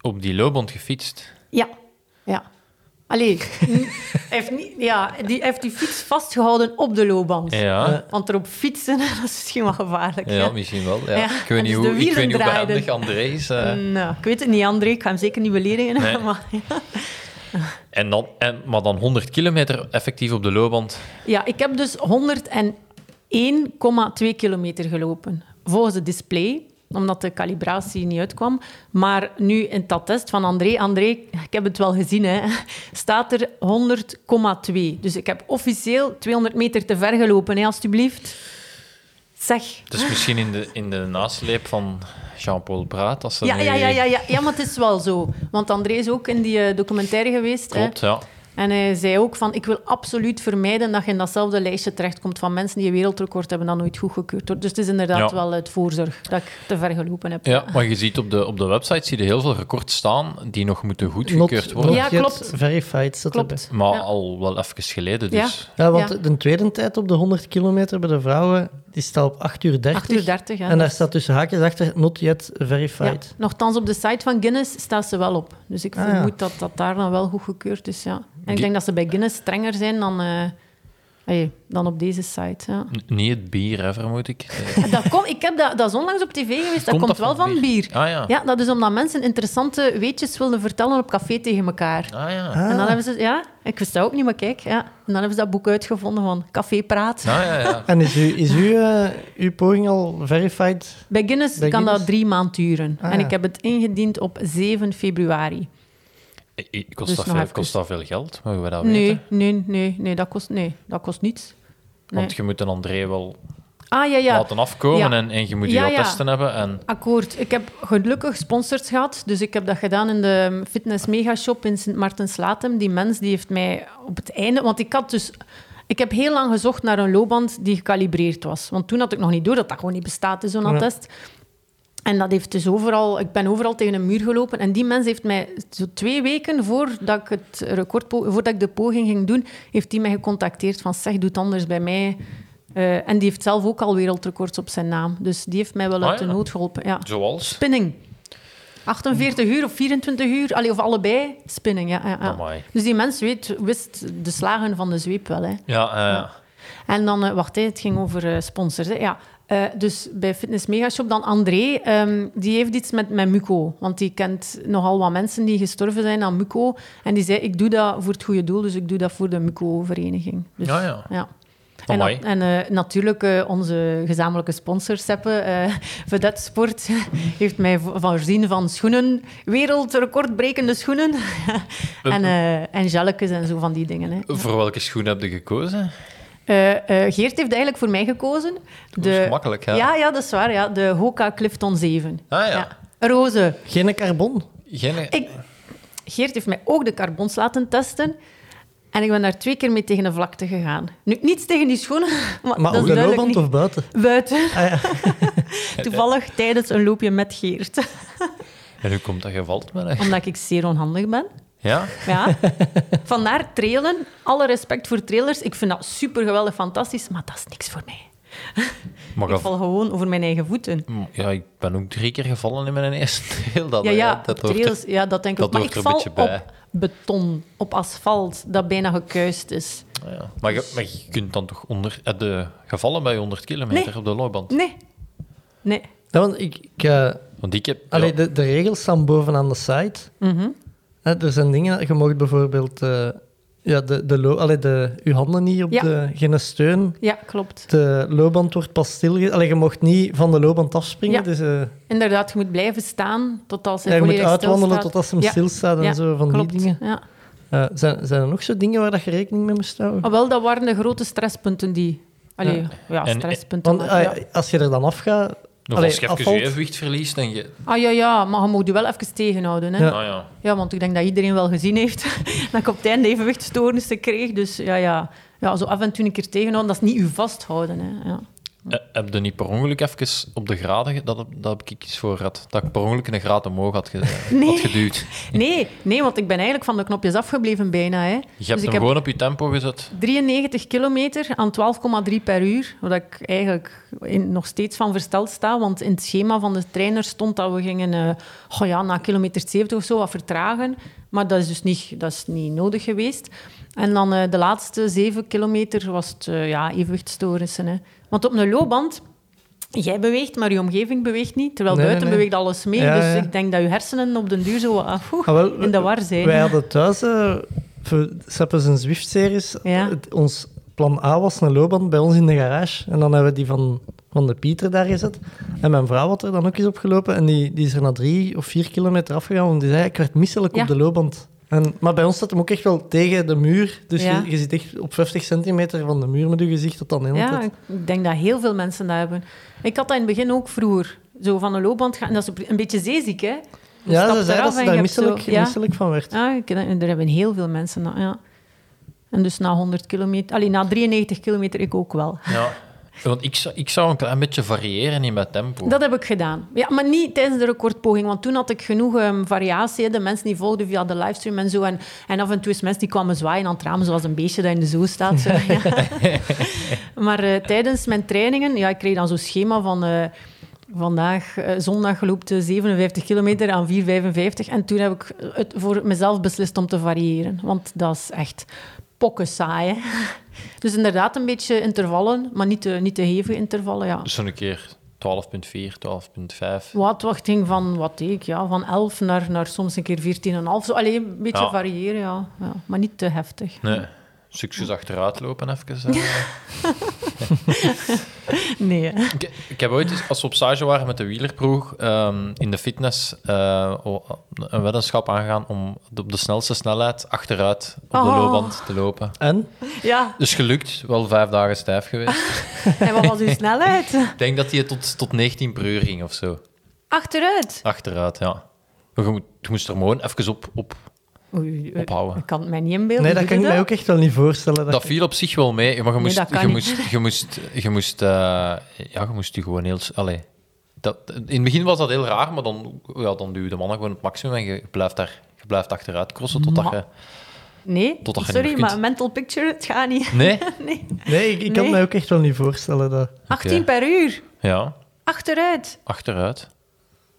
Speaker 9: op die loopband gefietst.
Speaker 8: Ja, ja. Allee, n- hij heeft, niet, ja, die, hij heeft die fiets vastgehouden op de loopband.
Speaker 9: Ja.
Speaker 8: Want erop fietsen, dat is misschien wel gevaarlijk. hè.
Speaker 9: Ja, misschien wel. Ja.
Speaker 8: Eh, Ja,
Speaker 9: Ik
Speaker 8: en
Speaker 9: weet niet
Speaker 8: dus
Speaker 9: hoe,
Speaker 8: de
Speaker 9: ik weet
Speaker 8: wielen
Speaker 9: niet hoe
Speaker 8: draaiden.
Speaker 9: behendig André is. eh.
Speaker 8: Nou, ik weet het niet, André. Ik ga hem zeker niet beledigen.
Speaker 9: Nee.
Speaker 8: Maar,
Speaker 9: En dan, en, maar dan 100 kilometer effectief op de loopband.
Speaker 8: Ja, ik heb dus 101,2 kilometer gelopen. Volgens het display, omdat de calibratie niet uitkwam. Maar nu in dat test van André... André, ik heb het wel gezien, hè. Staat er 100,2. Dus ik heb officieel 200 meter te ver gelopen, hè, alstublieft. Zeg.
Speaker 9: Het is Dus misschien in de, in de nasleep van Jean-Paul Braat. Als ze
Speaker 8: Ja,
Speaker 9: nu-
Speaker 8: ja, ja, ja, ja, ja, maar het is wel zo. Want André is ook in die eh, documentaire geweest. hè.
Speaker 9: Klopt, ja.
Speaker 8: En hij zei ook van, ik wil absoluut vermijden dat je in datzelfde lijstje terechtkomt van mensen die een wereldrecord hebben dat nooit goedgekeurd wordt. Dus het is inderdaad
Speaker 9: Ja.
Speaker 8: wel het voorzorg dat ik te ver gelopen heb.
Speaker 9: Ja, maar je ziet op de, op de website zie je heel veel records staan die nog moeten
Speaker 7: Not,
Speaker 9: goedgekeurd
Speaker 7: not
Speaker 9: worden.
Speaker 8: Ja,
Speaker 7: yet
Speaker 8: klopt.
Speaker 7: verified. staat erbij.
Speaker 8: Klopt.
Speaker 9: Maar
Speaker 8: Ja.
Speaker 9: al wel even geleden,
Speaker 8: Ja.
Speaker 9: dus...
Speaker 7: Ja, want
Speaker 8: Ja.
Speaker 7: de tweede tijd op de 100 kilometer bij de vrouwen, die staat op 8 uur 30.
Speaker 8: 8 uur 30, ja.
Speaker 7: En daar staat tussen haakjes achter, not yet verified.
Speaker 8: Nochtans, op de site van Guinness staat ze wel op. Dus ik
Speaker 7: Ah, ja.
Speaker 8: vermoed dat dat daar dan wel goedgekeurd is, ja. En ik
Speaker 9: Gui-
Speaker 8: denk dat ze bij Guinness strenger zijn dan, eh, allee, dan op deze site, ja.
Speaker 9: N- Niet het bier, hè, vermoed ik. Eh,
Speaker 8: Dat, kom, ik heb dat, dat is onlangs op tv geweest, dat komt, wel van bier.
Speaker 9: Ah ja.
Speaker 8: Ja, dat is omdat mensen interessante weetjes wilden vertellen op café tegen elkaar.
Speaker 9: Ah ja.
Speaker 8: En dan hebben ze, ja, ik wist dat ook niet, maar kijk, ja. En dan hebben ze dat boek uitgevonden van Café Praat.
Speaker 9: Ah, ja, ja.
Speaker 7: En is, u, is uw, eh, uw poging al verified?
Speaker 8: Bij Guinness
Speaker 7: Bij
Speaker 8: kan dat
Speaker 7: Guinness?
Speaker 8: drie maanden duren.
Speaker 7: Ah,
Speaker 8: en
Speaker 7: ja.
Speaker 8: ik heb het ingediend op 7 februari.
Speaker 9: Eh, eh, Kost,
Speaker 8: Dus
Speaker 9: dat
Speaker 8: nog
Speaker 9: veel,
Speaker 8: even.
Speaker 9: kost dat veel geld? Mogen we dat
Speaker 8: Nee,
Speaker 9: weten?
Speaker 8: nee, nee, nee, dat kost, nee, dat kost niets. nee.
Speaker 9: Want je moet een André wel
Speaker 8: Ah, ja, ja.
Speaker 9: laten afkomen
Speaker 8: Ja.
Speaker 9: en, en je moet je
Speaker 8: Ja,
Speaker 9: al
Speaker 8: ja.
Speaker 9: testen hebben. En
Speaker 8: Akkoord. Ik heb gelukkig sponsors gehad. Dus ik heb dat gedaan in de um, Fitness Megashop in sint Maartens-Latem. Die mens die heeft mij op het einde... Want ik had dus... Ik heb heel lang gezocht naar een loopband die gekalibreerd was. Want toen had ik nog niet door dat dat gewoon niet bestaat, hè, zo'n
Speaker 7: Ja.
Speaker 8: attest. En dat heeft dus overal... Ik ben overal tegen een muur gelopen. En die mens heeft mij zo twee weken voordat ik, het record, voordat ik de poging ging doen... heeft die mij gecontacteerd van... Zeg, doe het anders bij mij. Eh, en die heeft zelf ook al wereldrecords op zijn naam. Dus die heeft mij wel
Speaker 9: Ah,
Speaker 8: uit
Speaker 9: ja.
Speaker 8: de nood geholpen. Ja.
Speaker 9: zoals?
Speaker 8: Spinning. 48 uur of 24 uur, allee, of allebei spinning. Ja, ja, ja.
Speaker 9: Amai.
Speaker 8: Dus die mens weet, wist de slagen van de zweep wel. Hè.
Speaker 9: Ja, eh,
Speaker 8: En dan, eh, wacht, hè, het ging over eh, sponsors. Hè. Ja. Eh, dus bij Fitness Megashop dan André, ehm, die heeft iets met, met muco. Want die kent nogal wat mensen die gestorven zijn aan muco. En die zei, ik doe dat voor het goede doel, dus ik doe dat voor de muco-vereniging. Dus,
Speaker 9: Ja, ja.
Speaker 8: En,
Speaker 9: Amai.
Speaker 8: dat- en eh, natuurlijk eh, onze gezamenlijke sponsor, Seppe, eh Vedette Sport, heeft mij vo- voorzien van schoenen, wereldrecordbrekende schoenen. en, eh en jelletjes en zo van die dingen. Hè.
Speaker 9: Voor welke schoen heb je gekozen?
Speaker 8: Eh, eh, Geert heeft eigenlijk voor mij gekozen.
Speaker 9: Dat is gemakkelijk, hè?
Speaker 8: Ja, ja, dat is waar. Ja. De Hoka Clifton 7.
Speaker 9: Ah, ja.
Speaker 8: Roze.
Speaker 7: Geen carbon?
Speaker 9: Geen...
Speaker 8: Ik, Geert heeft mij ook de carbons laten testen. En ik ben daar twee keer mee tegen een vlakte gegaan. Nu, niets tegen die schoenen, maar,
Speaker 7: Maar
Speaker 8: dat
Speaker 7: op de
Speaker 8: is duidelijk
Speaker 7: loopband
Speaker 8: niet-
Speaker 7: of buiten?
Speaker 8: Buiten.
Speaker 7: Ah, ja.
Speaker 8: Toevallig tijdens een loopje met Geert.
Speaker 9: En hoe komt dat gevalt met hè?
Speaker 8: Omdat ik zeer onhandig ben.
Speaker 9: Ja?
Speaker 8: Ja. Vandaar trailen. Alle respect voor trailers. Ik vind dat super geweldig, fantastisch. Maar dat is niks voor mij.
Speaker 9: Maar
Speaker 8: Ik
Speaker 9: gev-
Speaker 8: val gewoon over mijn eigen voeten.
Speaker 9: Ja, ik ben ook drie keer gevallen in mijn eerste deel. Dat,
Speaker 8: Ja,
Speaker 9: hè.
Speaker 8: ja,
Speaker 9: dat
Speaker 8: dat
Speaker 9: hoort er-
Speaker 8: trails, ja, dat denk ik.
Speaker 9: dat
Speaker 8: ook. Maar ik
Speaker 9: hoort er
Speaker 8: val
Speaker 9: een beetje bij.
Speaker 8: op beton, op asfalt, dat bijna gekuist is.
Speaker 9: Ja. Maar, je, maar je kunt dan toch onder... heb je gevallen bij 100 kilometer
Speaker 8: Nee.
Speaker 9: op de loopband?
Speaker 8: Nee. Nee.
Speaker 7: Ja, want ik... ik eh,
Speaker 9: Want ik heb...
Speaker 7: allee,
Speaker 9: ja.
Speaker 7: de, de regels staan bovenaan de site. Hè, er zijn dingen... Je mag bijvoorbeeld... eh, ja, de, de, lo- allee, de, uw handen niet op
Speaker 8: Ja.
Speaker 7: de... Geen steun.
Speaker 8: Ja, klopt.
Speaker 7: De loopband wordt pas stilge... Allee, je mocht niet van de loopband afspringen.
Speaker 8: Ja.
Speaker 7: Dus eh,
Speaker 8: Inderdaad, je moet blijven staan totdat ze
Speaker 7: ja, je moet
Speaker 8: volledig
Speaker 7: uitwandelen
Speaker 8: stilstaat.
Speaker 7: totdat ze hem
Speaker 8: Ja.
Speaker 7: stilstaat en
Speaker 8: Ja,
Speaker 7: zo, van
Speaker 8: klopt.
Speaker 7: die dingen.
Speaker 8: Ja.
Speaker 7: Eh, zijn, zijn er nog zo dingen waar dat je rekening mee moest houden?
Speaker 8: Ah, wel, dat waren de grote stresspunten die... Allee, ja,
Speaker 9: En-
Speaker 8: stresspunten.
Speaker 7: Want
Speaker 8: maar,
Speaker 7: ah,
Speaker 8: ja.
Speaker 7: als je er dan afgaat...
Speaker 9: Of
Speaker 7: allee,
Speaker 9: als je even
Speaker 7: afvalt-
Speaker 9: je evenwicht verliest en je...
Speaker 8: Ah ja, ja, maar je moet je wel even tegenhouden. Hè?
Speaker 7: Ja.
Speaker 8: Ja.
Speaker 9: Nou ja.
Speaker 8: want ik denk dat iedereen wel gezien heeft dat ik op het einde evenwichtstoornissen kreeg. Dus ja, ja. ja, zo af en toe een keer tegenhouden. Dat is niet u vasthouden. Hè. Ja.
Speaker 9: Eh, heb je niet per ongeluk even op de graden... ge- Dat, heb- dat heb ik iets voor gehad. Dat ik per ongeluk een graad omhoog had, ge-
Speaker 8: Nee.
Speaker 9: had geduwd.
Speaker 8: Nee, nee, want ik ben eigenlijk van de knopjes afgebleven bijna. Hè.
Speaker 9: Je hebt
Speaker 8: dus
Speaker 9: hem
Speaker 8: ik heb
Speaker 9: gewoon op je tempo gezet.
Speaker 8: 93 kilometer aan 12,3 per uur. Waar ik eigenlijk in, nog steeds van versteld sta. Want in het schema van de trainer stond dat we gingen eh, oh ja, na kilometer 70 of zo wat vertragen. Maar dat is dus niet, dat is niet nodig geweest. En dan eh, de laatste 7 kilometer was het eh, ja, evenwichtstoornissen. Hè. Want op een loopband, jij beweegt, maar je omgeving beweegt niet. Terwijl
Speaker 7: Nee, nee,
Speaker 8: buiten
Speaker 7: nee.
Speaker 8: beweegt alles mee.
Speaker 7: Ja,
Speaker 8: dus
Speaker 7: ja.
Speaker 8: ik denk dat je hersenen op den duur zo wat, ah, oeh,
Speaker 7: Ah, wel,
Speaker 8: in de war zijn.
Speaker 7: Wij hadden thuis, eh, voor Seppes en Zwift-series,
Speaker 8: Ja.
Speaker 7: het- ons plan A was een loopband bij ons in de garage. En dan hebben we die van, van de Pieter daar gezet. En mijn vrouw had er dan ook eens opgelopen. En die, die is er na drie of vier kilometer afgegaan. Want die zei, ik werd misselijk
Speaker 8: Ja.
Speaker 7: op de loopband. En, maar bij ons zat hem ook echt wel tegen de muur. Dus
Speaker 8: Ja.
Speaker 7: je, je zit echt op 50 centimeter van de muur met je gezicht tot aan de hele
Speaker 8: Ja,
Speaker 7: tijd.
Speaker 8: ik ik denk dat heel veel mensen dat hebben. Ik had dat in het begin ook vroeger. Zo van een loopband gaan. En dat is een beetje zeeziek, hè? Je
Speaker 7: Ja,
Speaker 8: stapt
Speaker 7: ze zei
Speaker 8: eraf
Speaker 7: dat ze
Speaker 8: en je
Speaker 7: daar
Speaker 8: hebt zo-
Speaker 7: misselijk,
Speaker 8: ja.
Speaker 7: misselijk van werd.
Speaker 8: Ja, ik, en er hebben heel veel mensen dat, ja. En dus na 100 kilometer... Allee, na 93 kilometer ik ook wel.
Speaker 9: Ja. Want ik, zou- ik zou een klein beetje variëren in mijn tempo.
Speaker 8: Dat heb ik gedaan. Ja, maar niet tijdens de recordpoging, want toen had ik genoeg ehm, variatie. hè. De mensen die volgden via de livestream en zo. En, en af en toe is mensen die kwamen zwaaien aan het raam, zoals een beestje dat in de zoo staat. Zo, ja. maar eh, tijdens mijn trainingen, ja, ik kreeg dan zo'n schema van... eh, Vandaag, eh, zondag, loopt de 57 kilometer aan 4,55. En toen heb ik het voor mezelf beslist om te variëren. Want dat is echt pokken saai. hè. Dus inderdaad een beetje intervallen, maar niet te, niet te hevige intervallen. Ja.
Speaker 9: Dus zo'n keer 12,4, 12,5.
Speaker 8: Wat, wat ging van, wat deed ik, ja, van 11 naar, naar soms een keer 14,5. Zo, alleen een beetje
Speaker 9: Ja.
Speaker 8: variëren, ja. ja. Maar niet te heftig.
Speaker 9: Nee. Succes achteruit lopen even. eh.
Speaker 8: Nee. hè.
Speaker 9: Ik, ik heb ooit, eens, als we op stage waren met de wielerploeg, ehm, in de fitness eh, o- een weddenschap aangegaan om de- op de snelste snelheid achteruit op de
Speaker 8: Oh.
Speaker 9: loopband te lopen.
Speaker 7: En?
Speaker 8: Ja,
Speaker 9: Dus gelukt, wel vijf dagen stijf geweest.
Speaker 8: en wat was uw snelheid?
Speaker 9: ik denk dat hij tot, tot 19 per uur ging of zo.
Speaker 8: Achteruit.
Speaker 9: Achteruit, ja. Maar je, moet, je moest er gewoon even op, op.
Speaker 8: Oei, eh,
Speaker 9: Ophouden.
Speaker 8: Ik kan het mij niet inbeelden.
Speaker 7: Nee, dat
Speaker 8: Doe
Speaker 7: kan ik
Speaker 8: je
Speaker 7: mij ook echt wel niet voorstellen. Dat
Speaker 9: Dat viel op zich wel mee, maar je moest,
Speaker 8: dat kan
Speaker 9: je
Speaker 8: niet.
Speaker 9: moest, je moest, je moest, eh, ja, je moest je gewoon heel, s- allee, dat, in het begin was dat heel raar, maar dan, ja, dan duwde de mannen gewoon het maximum en je blijft daar, je blijft achteruit crossen totdat
Speaker 8: Maar-
Speaker 9: je,
Speaker 8: Nee,
Speaker 9: Totdat je niet
Speaker 8: sorry,
Speaker 9: meer kunt.
Speaker 8: maar mental picture, het gaat niet.
Speaker 9: nee,
Speaker 8: Nee.
Speaker 7: Nee, ik, ik kan
Speaker 8: Nee.
Speaker 7: mij ook echt wel niet voorstellen dat...
Speaker 8: 18 per uur.
Speaker 9: ja,
Speaker 8: Achteruit.
Speaker 9: achteruit.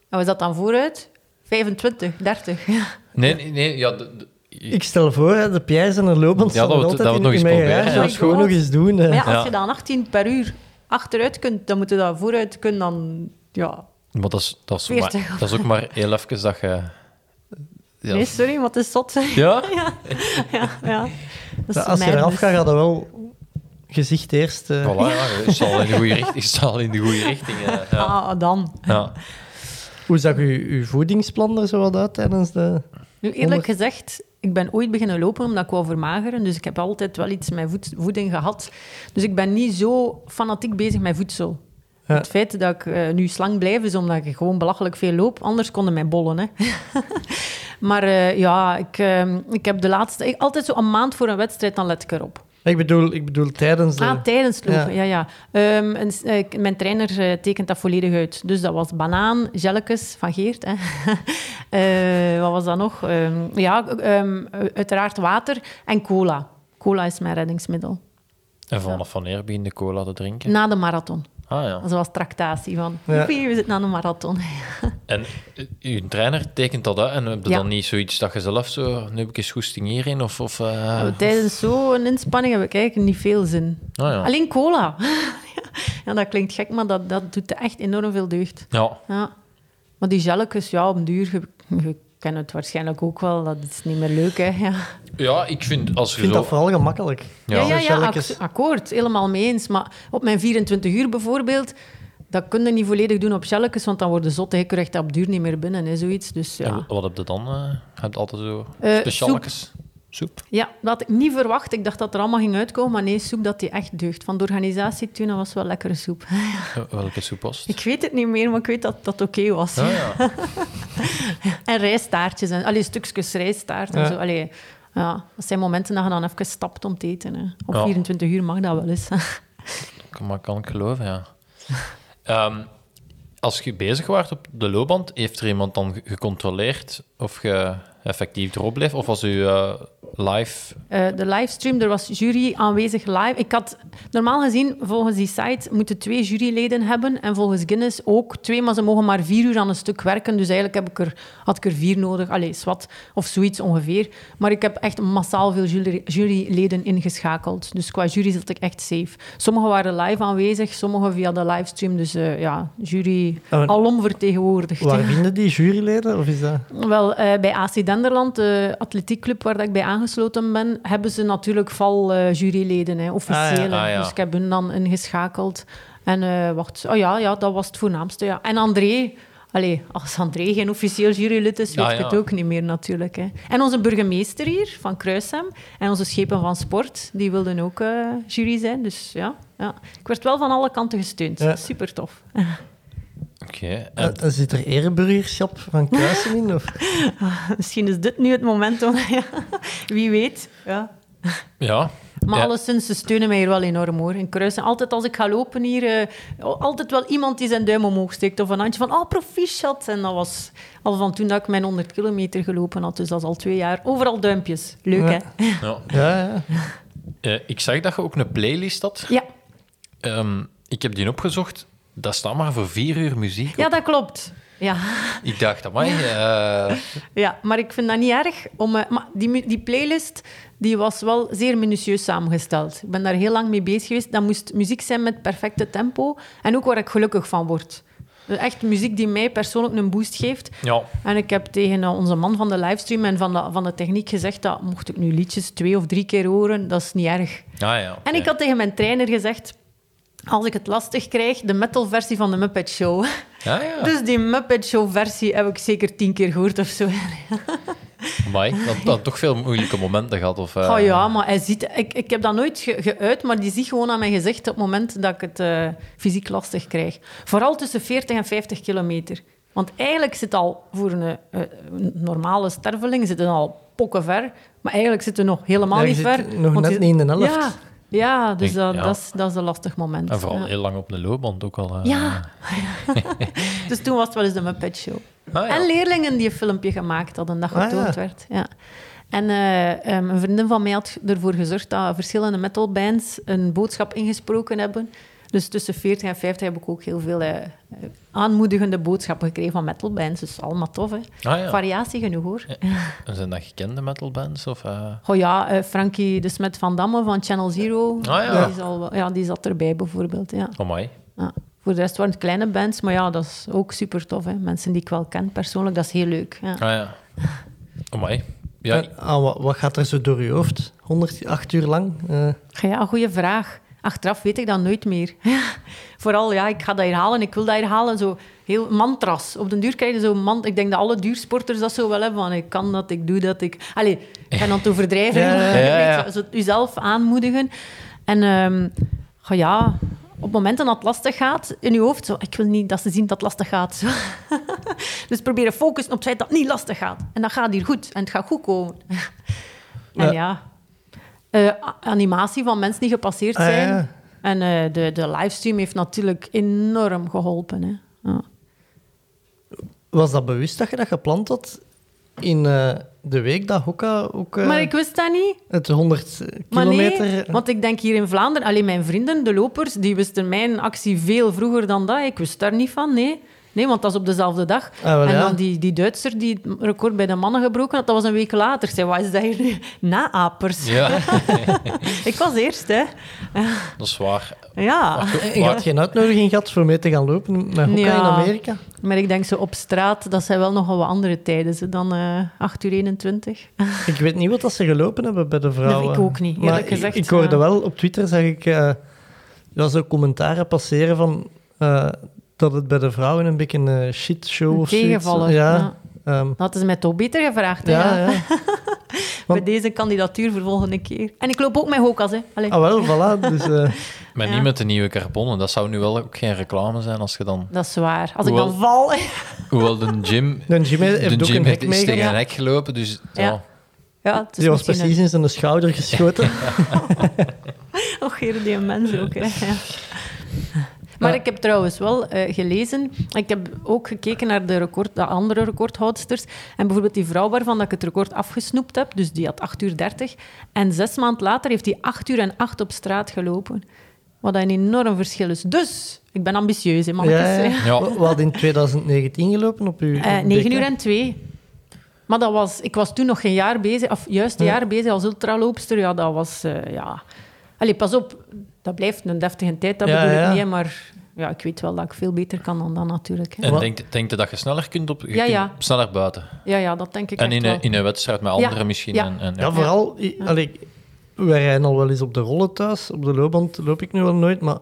Speaker 8: En was dat dan vooruit? 25, 30. Ja.
Speaker 9: Nee, nee, nee, ja, de- de-
Speaker 7: Ik stel voor, hè, de Piers en de loopband
Speaker 9: Ja, dat
Speaker 7: staan
Speaker 9: we het-
Speaker 7: altijd
Speaker 9: dat we het
Speaker 7: in,
Speaker 9: nog
Speaker 7: in
Speaker 9: eens
Speaker 7: mijn
Speaker 9: proberen,
Speaker 7: garage.
Speaker 8: ja.
Speaker 7: Dat is gewoon
Speaker 8: Oh my
Speaker 7: nog eens doen. hè.
Speaker 8: Maar ja, als
Speaker 9: Ja.
Speaker 8: je dan 18 per uur achteruit kunt, dan moet je dat vooruit kunnen, dan... Ja.
Speaker 9: maar dat is, dat, is maar,
Speaker 8: Veertig.
Speaker 9: dat is ook maar heel even dat je... Ja,
Speaker 8: Nee, sorry, wat is zot, zeg.
Speaker 9: ja?
Speaker 8: ja, ja. Dat is
Speaker 7: als je
Speaker 8: madness.
Speaker 7: eraf gaat, gaat dat wel gezicht eerst... eh,
Speaker 9: Voilà, ja, je zal in de goede richting, je zal in de goede richting, eh, ja.
Speaker 8: Ah, dan.
Speaker 9: ja.
Speaker 7: Hoe zag je uw voedingsplan er zo wat uit tijdens de...
Speaker 8: Nu, eerlijk gezegd, ik ben ooit beginnen lopen omdat ik wou vermageren. Dus ik heb altijd wel iets met voed- voeding gehad. Dus ik ben niet zo fanatiek bezig met voedsel.
Speaker 7: Ja.
Speaker 8: Het feit dat ik eh, nu slang blijf is omdat ik gewoon belachelijk veel loop. Anders konden mij bollen, hè. maar eh, ja, ik, eh, ik heb de laatste... ik- altijd zo een maand voor een wedstrijd, dan let ik erop.
Speaker 7: Ik bedoel, ik bedoel tijdens de...
Speaker 8: Ah, tijdens het lopen,
Speaker 7: Ja.
Speaker 8: ja, ja. Ehm, en, s- eh, k- mijn trainer eh, tekent dat volledig uit. Dus dat was banaan, gelletjes van Geert. Hè. Eh, wat was dat nog? Ehm, ja, ehm, uiteraard water en cola. Cola is mijn reddingsmiddel.
Speaker 9: En vanaf wanneer begin je cola te drinken?
Speaker 8: Na de marathon.
Speaker 9: Ah ja.
Speaker 8: Dat was tractatie van...
Speaker 7: Ja.
Speaker 8: Oepie, we zitten aan de marathon.
Speaker 9: En eh, uw trainer tekent dat uit en heb je
Speaker 8: Ja.
Speaker 9: dan niet zoiets dat je zelf zo... Nu heb ik eens goesting hierin of... of eh,
Speaker 8: Tijdens zo'n inspanning heb ik eigenlijk niet veel zin.
Speaker 9: nou ja.
Speaker 8: Alleen cola. ja, dat klinkt gek, maar dat, dat doet echt enorm veel deugd.
Speaker 9: ja.
Speaker 8: Ja. Maar die jelletjes, ja, op den duur, je, je kent het waarschijnlijk ook wel, dat is niet meer leuk, hè. Ja,
Speaker 9: Ja, ik vind als
Speaker 7: Ik
Speaker 9: je
Speaker 7: vind
Speaker 9: zo...
Speaker 7: dat vooral gemakkelijk.
Speaker 8: ja, ja, ja,
Speaker 7: Jelletjes.
Speaker 8: ak- akkoord, helemaal mee eens. Maar op mijn 24 uur bijvoorbeeld, dat kun je niet volledig doen op jelletjes, want dan worden zotte hikker echt op duur niet meer binnen, hè, zoiets. Dus ja.
Speaker 9: En wat heb je dan? eh? heb je altijd zo
Speaker 8: Eh,
Speaker 9: specialetjes? Soep.
Speaker 8: ja, dat had ik niet verwacht. Ik dacht dat er allemaal ging uitkomen, maar nee, soep dat die echt deugt. Van de organisatie toen, dat was wel lekkere soep.
Speaker 9: Eh, Welke soep was het?
Speaker 8: Ik weet het niet meer, maar ik weet dat dat oké was.
Speaker 9: Ah, ja.
Speaker 8: En rijstaartjes, en, allee, stukjes rijstaart en
Speaker 7: Ja.
Speaker 8: zo. Allee, Ja, dat zijn momenten dat je dan even stapt om te eten. Hè. Op
Speaker 9: Ja.
Speaker 8: 24 uur mag dat wel eens.
Speaker 9: Kan, maar kan ik geloven, ja. Ehm, als je bezig was op de loopband, heeft er iemand dan ge- gecontroleerd of je effectief erop bleef? Of was u eh, live...
Speaker 8: Eh, de livestream, er was jury aanwezig live. Ik had normaal gezien, volgens die site, moeten twee juryleden hebben. En volgens Guinness ook twee, maar ze mogen maar vier uur aan een stuk werken. Dus eigenlijk heb ik er, had ik er vier nodig. Allee, zwart, of zoiets ongeveer. Maar ik heb echt massaal veel jury- juryleden ingeschakeld. Dus qua jury zat ik echt safe. Sommigen waren live aanwezig, sommigen via de livestream. Dus eh, ja, jury
Speaker 7: Oh, en-
Speaker 8: alom vertegenwoordigd.
Speaker 7: Waar
Speaker 8: ja.
Speaker 7: vinden die juryleden? Of is dat...
Speaker 8: Wel, eh, bij AC Denderland, de atletiekclub waar dat ik bij aangesloten ben, hebben ze natuurlijk val eh, juryleden, hè, officiële.
Speaker 9: Ah, ja.
Speaker 8: Dus ik heb hun dan ingeschakeld. En eh, wacht, oh ja, ja, dat was het voornaamste. Ja. En André, allee, als André geen officieel jurylid is, weet
Speaker 9: Ah,
Speaker 8: ik
Speaker 9: ja.
Speaker 8: het ook niet meer natuurlijk. Hè. En onze burgemeester hier, van Kruisem, en onze schepen van sport, die wilden ook eh, jury zijn. Dus ja, ja, ik werd wel van alle kanten gesteund.
Speaker 7: Ja.
Speaker 8: Super tof.
Speaker 9: Oké.
Speaker 7: Eh,
Speaker 9: En,
Speaker 7: zit er ereburgerschap van Kruisen in? Of?
Speaker 8: Misschien is dit nu het moment om... ja, Wie weet, ja.
Speaker 9: ja.
Speaker 8: Maar
Speaker 9: Ja.
Speaker 8: alleszins, ze steunen mij hier wel enorm hoor. In Kruisen, altijd als ik ga lopen hier, eh, altijd wel iemand die zijn duim omhoog steekt of een handje van, oh, proficiat. En dat was al van toen dat ik mijn 100 kilometer gelopen had, dus dat is al twee jaar. Overal duimpjes. Leuk,
Speaker 7: Ja.
Speaker 8: hè?
Speaker 9: ja.
Speaker 7: Ja, ja.
Speaker 9: Eh, ik zag dat je ook een playlist had.
Speaker 8: Ja.
Speaker 9: Ehm, ik heb die opgezocht. Dat staat maar voor vier uur muziek.
Speaker 8: ja,
Speaker 9: op.
Speaker 8: dat klopt. Ja.
Speaker 9: Ik dacht, amai, eh
Speaker 8: ja, maar ik vind dat niet erg. Om, eh, maar die, mu- die playlist die was wel zeer minutieus samengesteld. Ik ben daar heel lang mee bezig geweest. Dat moest muziek zijn met perfecte tempo en ook waar ik gelukkig van word. Dus echt muziek die mij persoonlijk een boost geeft.
Speaker 9: ja,
Speaker 8: En ik heb tegen eh, onze man van de livestream en van de, van de techniek gezegd dat mocht ik nu liedjes twee of drie keer horen, dat is niet erg.
Speaker 9: ja, ja.
Speaker 8: En ik had tegen mijn trainer gezegd, als ik het lastig krijg, de metalversie van de Muppet Show.
Speaker 9: Ja, ja.
Speaker 8: Dus die Muppet Show-versie heb ik zeker tien keer gehoord of zo.
Speaker 9: Amai, dat, dat toch veel moeilijke momenten gehad. Of, eh,
Speaker 8: Oh ja, maar hij ziet... Ik, ik heb dat nooit ge- geuit, maar die ziet gewoon aan mijn gezicht op het moment dat ik het eh, fysiek lastig krijg. Vooral tussen 40 en 50 kilometer. Want eigenlijk zit al voor een, eh, een normale sterveling zit het al pokken ver. Maar eigenlijk zit het nog helemaal
Speaker 7: Ja, je
Speaker 8: niet
Speaker 7: zit
Speaker 8: ver.
Speaker 7: nog
Speaker 8: want
Speaker 7: net
Speaker 8: je-
Speaker 7: niet in de helft.
Speaker 8: Ja, ja dus
Speaker 9: Ik-
Speaker 8: dat,
Speaker 9: ja.
Speaker 8: Dat, is, dat is een lastig moment.
Speaker 9: En vooral
Speaker 8: ja.
Speaker 9: heel lang op de loopband ook al. eh.
Speaker 8: Ja. Dus toen was het wel eens de Muppet Show.
Speaker 9: Ah, ja.
Speaker 8: En leerlingen die een filmpje gemaakt hadden dat
Speaker 7: Ah,
Speaker 8: getoond
Speaker 7: ja.
Speaker 8: werd. Ja. En eh, ehm, een vriendin van mij had ervoor gezorgd dat verschillende metalbands een boodschap ingesproken hebben. Dus tussen 40 en 50 heb ik ook heel veel eh, aanmoedigende boodschappen gekregen van metalbands. Dus allemaal tof, hè?
Speaker 9: Ah, ja.
Speaker 8: Variatie genoeg, hoor.
Speaker 9: En zijn dat gekende metalbands? Of, eh?
Speaker 8: Oh ja, eh, Frankie de Smet van Damme van Channel Zero.
Speaker 9: ja.
Speaker 8: Die, is al wel- ja, die zat erbij, bijvoorbeeld. Ja.
Speaker 9: Amai.
Speaker 8: Ja. Voor de rest waren het kleine bands, maar ja, dat is ook super tof. Hè? Mensen die ik wel ken persoonlijk, dat is heel leuk. Ja.
Speaker 9: Ah ja. Amai. Ja,
Speaker 7: Eh, ah, wat, wat gaat er zo door je hoofd? 108 uur lang? Eh,
Speaker 8: Ja, goede vraag. Achteraf weet ik dat nooit meer. Vooral, ja, ik ga dat herhalen, ik wil dat herhalen. Zo heel mantras. Op den duur krijg je zo'n man. Ik denk dat alle duursporters dat zo wel hebben. Van, ik kan dat, ik doe dat, ik... Allee, ik ben aan het overdrijven.
Speaker 7: Ja, ja,
Speaker 9: ja.
Speaker 8: Je weet,
Speaker 9: Ja, ja.
Speaker 8: Zo, zo uzelf aanmoedigen. En ehm, goh, ja, op momenten dat het lastig gaat, in je hoofd... Zo, ik wil niet dat ze zien dat het lastig gaat. Zo. dus proberen focussen op het feit dat het niet lastig gaat. En dat gaat hier goed. En het gaat goed komen. en ja eh, a- animatie van mensen die gepasseerd
Speaker 7: Ah,
Speaker 8: zijn.
Speaker 7: ja.
Speaker 8: En eh, de, de livestream heeft natuurlijk enorm geholpen. Hè. Ja.
Speaker 7: was dat bewust dat je dat gepland had in eh, de week dat Hoka ook eh,
Speaker 8: Maar ik wist dat niet.
Speaker 7: het 100
Speaker 8: Maar
Speaker 7: kilometer... eh.
Speaker 8: nee, want ik denk hier in Vlaanderen... Alleen mijn vrienden, de lopers, die wisten mijn actie veel vroeger dan dat. Ik wist daar niet van, nee. Nee, want dat is op dezelfde dag.
Speaker 7: wel,
Speaker 8: en
Speaker 7: ja.
Speaker 8: dan die, die Duitser die het record bij de mannen gebroken had, dat was een week later. Ik zei, wat is dat hier nu? Naapers.
Speaker 9: ja
Speaker 8: Ik was eerst, hè.
Speaker 9: dat is waar.
Speaker 8: Ah, Ja.
Speaker 9: Maar,
Speaker 7: Je had geen uitnodiging gehad voor mee te gaan lopen met Hoka
Speaker 8: Ja.
Speaker 7: in Amerika?
Speaker 8: Maar ik denk zo op straat, dat zijn wel nogal wat andere tijden ze, dan eh 8 uur 21.
Speaker 7: Ik weet niet wat dat ze gelopen hebben bij de vrouwen.
Speaker 8: Nee, ik ook niet, eerlijk
Speaker 7: Maar ik-
Speaker 8: gezegd,
Speaker 7: Ik, hoorde
Speaker 8: ja.
Speaker 7: wel op Twitter, zag ik, eh ja, zo commentaren passeren van eh, dat het bij de vrouwen een beetje een Oh, shit show
Speaker 8: Een
Speaker 7: of zoiets.
Speaker 8: tegenvaller,
Speaker 7: Ja, ehm,
Speaker 8: Dat is mij toch beter gevraagd. hè,
Speaker 7: ja,
Speaker 8: ja.
Speaker 7: ja. want-
Speaker 8: Bij deze kandidatuur voor volgende keer. En ik loop ook met hokas, hè. Allee.
Speaker 7: Ah, wel, voilà. Dus, eh,
Speaker 9: maar niet met de nieuwe carbonnen. Dat zou nu wel ook geen reclame zijn als je dan...
Speaker 8: Dat is waar. Als
Speaker 9: Hoewel-
Speaker 8: ik dan val...
Speaker 9: Hoewel de gym...
Speaker 7: de Jimmy heeft
Speaker 9: de
Speaker 7: ook
Speaker 9: gym
Speaker 7: een hek
Speaker 9: heeft is tegen
Speaker 7: meegedaan.
Speaker 9: een hek gelopen, dus... Ja.
Speaker 8: Ja. Ja, het is
Speaker 7: Die was
Speaker 8: misschien
Speaker 7: precies in zijn schouder geschoten.
Speaker 8: een- Och, hier die mensen ook. Hè. Ja. Maar ik heb trouwens wel eh, gelezen, ik heb ook gekeken naar de, record, de andere recordhoudsters. En bijvoorbeeld die vrouw waarvan dat ik het record afgesnoept heb, dus die had 8 uur 30. En zes maand later heeft die 8 uur en 8 op straat gelopen. Wat een enorm verschil is. Dus, ik ben ambitieus, hè, mannetjes.
Speaker 7: ja,
Speaker 8: hè.
Speaker 7: ja.
Speaker 9: Ja.
Speaker 7: We, we hadden in 2019 gelopen op uw... op
Speaker 8: Eh,
Speaker 7: uw
Speaker 8: 9
Speaker 7: BK.
Speaker 8: uur en 2. Maar dat was, ik was toen nog geen jaar bezig, of juist een
Speaker 7: Ja.
Speaker 8: jaar bezig als ultraloopster. Ja, dat was, eh, ja... Allee, pas op, dat blijft een deftige tijd, dat
Speaker 7: Ja,
Speaker 8: bedoel
Speaker 7: ja.
Speaker 8: ik niet. hè, Maar ja, ik weet wel dat ik veel beter kan dan dat natuurlijk. Hè.
Speaker 9: En
Speaker 7: Wat-
Speaker 9: denk, denk je dat je sneller kunt op je
Speaker 8: Ja,
Speaker 9: kunt
Speaker 8: ja.
Speaker 9: sneller buiten?
Speaker 8: Ja, ja, dat denk ik
Speaker 9: en
Speaker 8: echt
Speaker 9: in
Speaker 8: wel.
Speaker 9: een, in een wedstrijd met
Speaker 8: Ja,
Speaker 9: anderen misschien.
Speaker 8: ja.
Speaker 9: En, en,
Speaker 7: Ja, vooral... i- Allee, ik- wij rijden al wel eens op de rollen thuis. Op de loopband loop ik nu wel nooit, maar...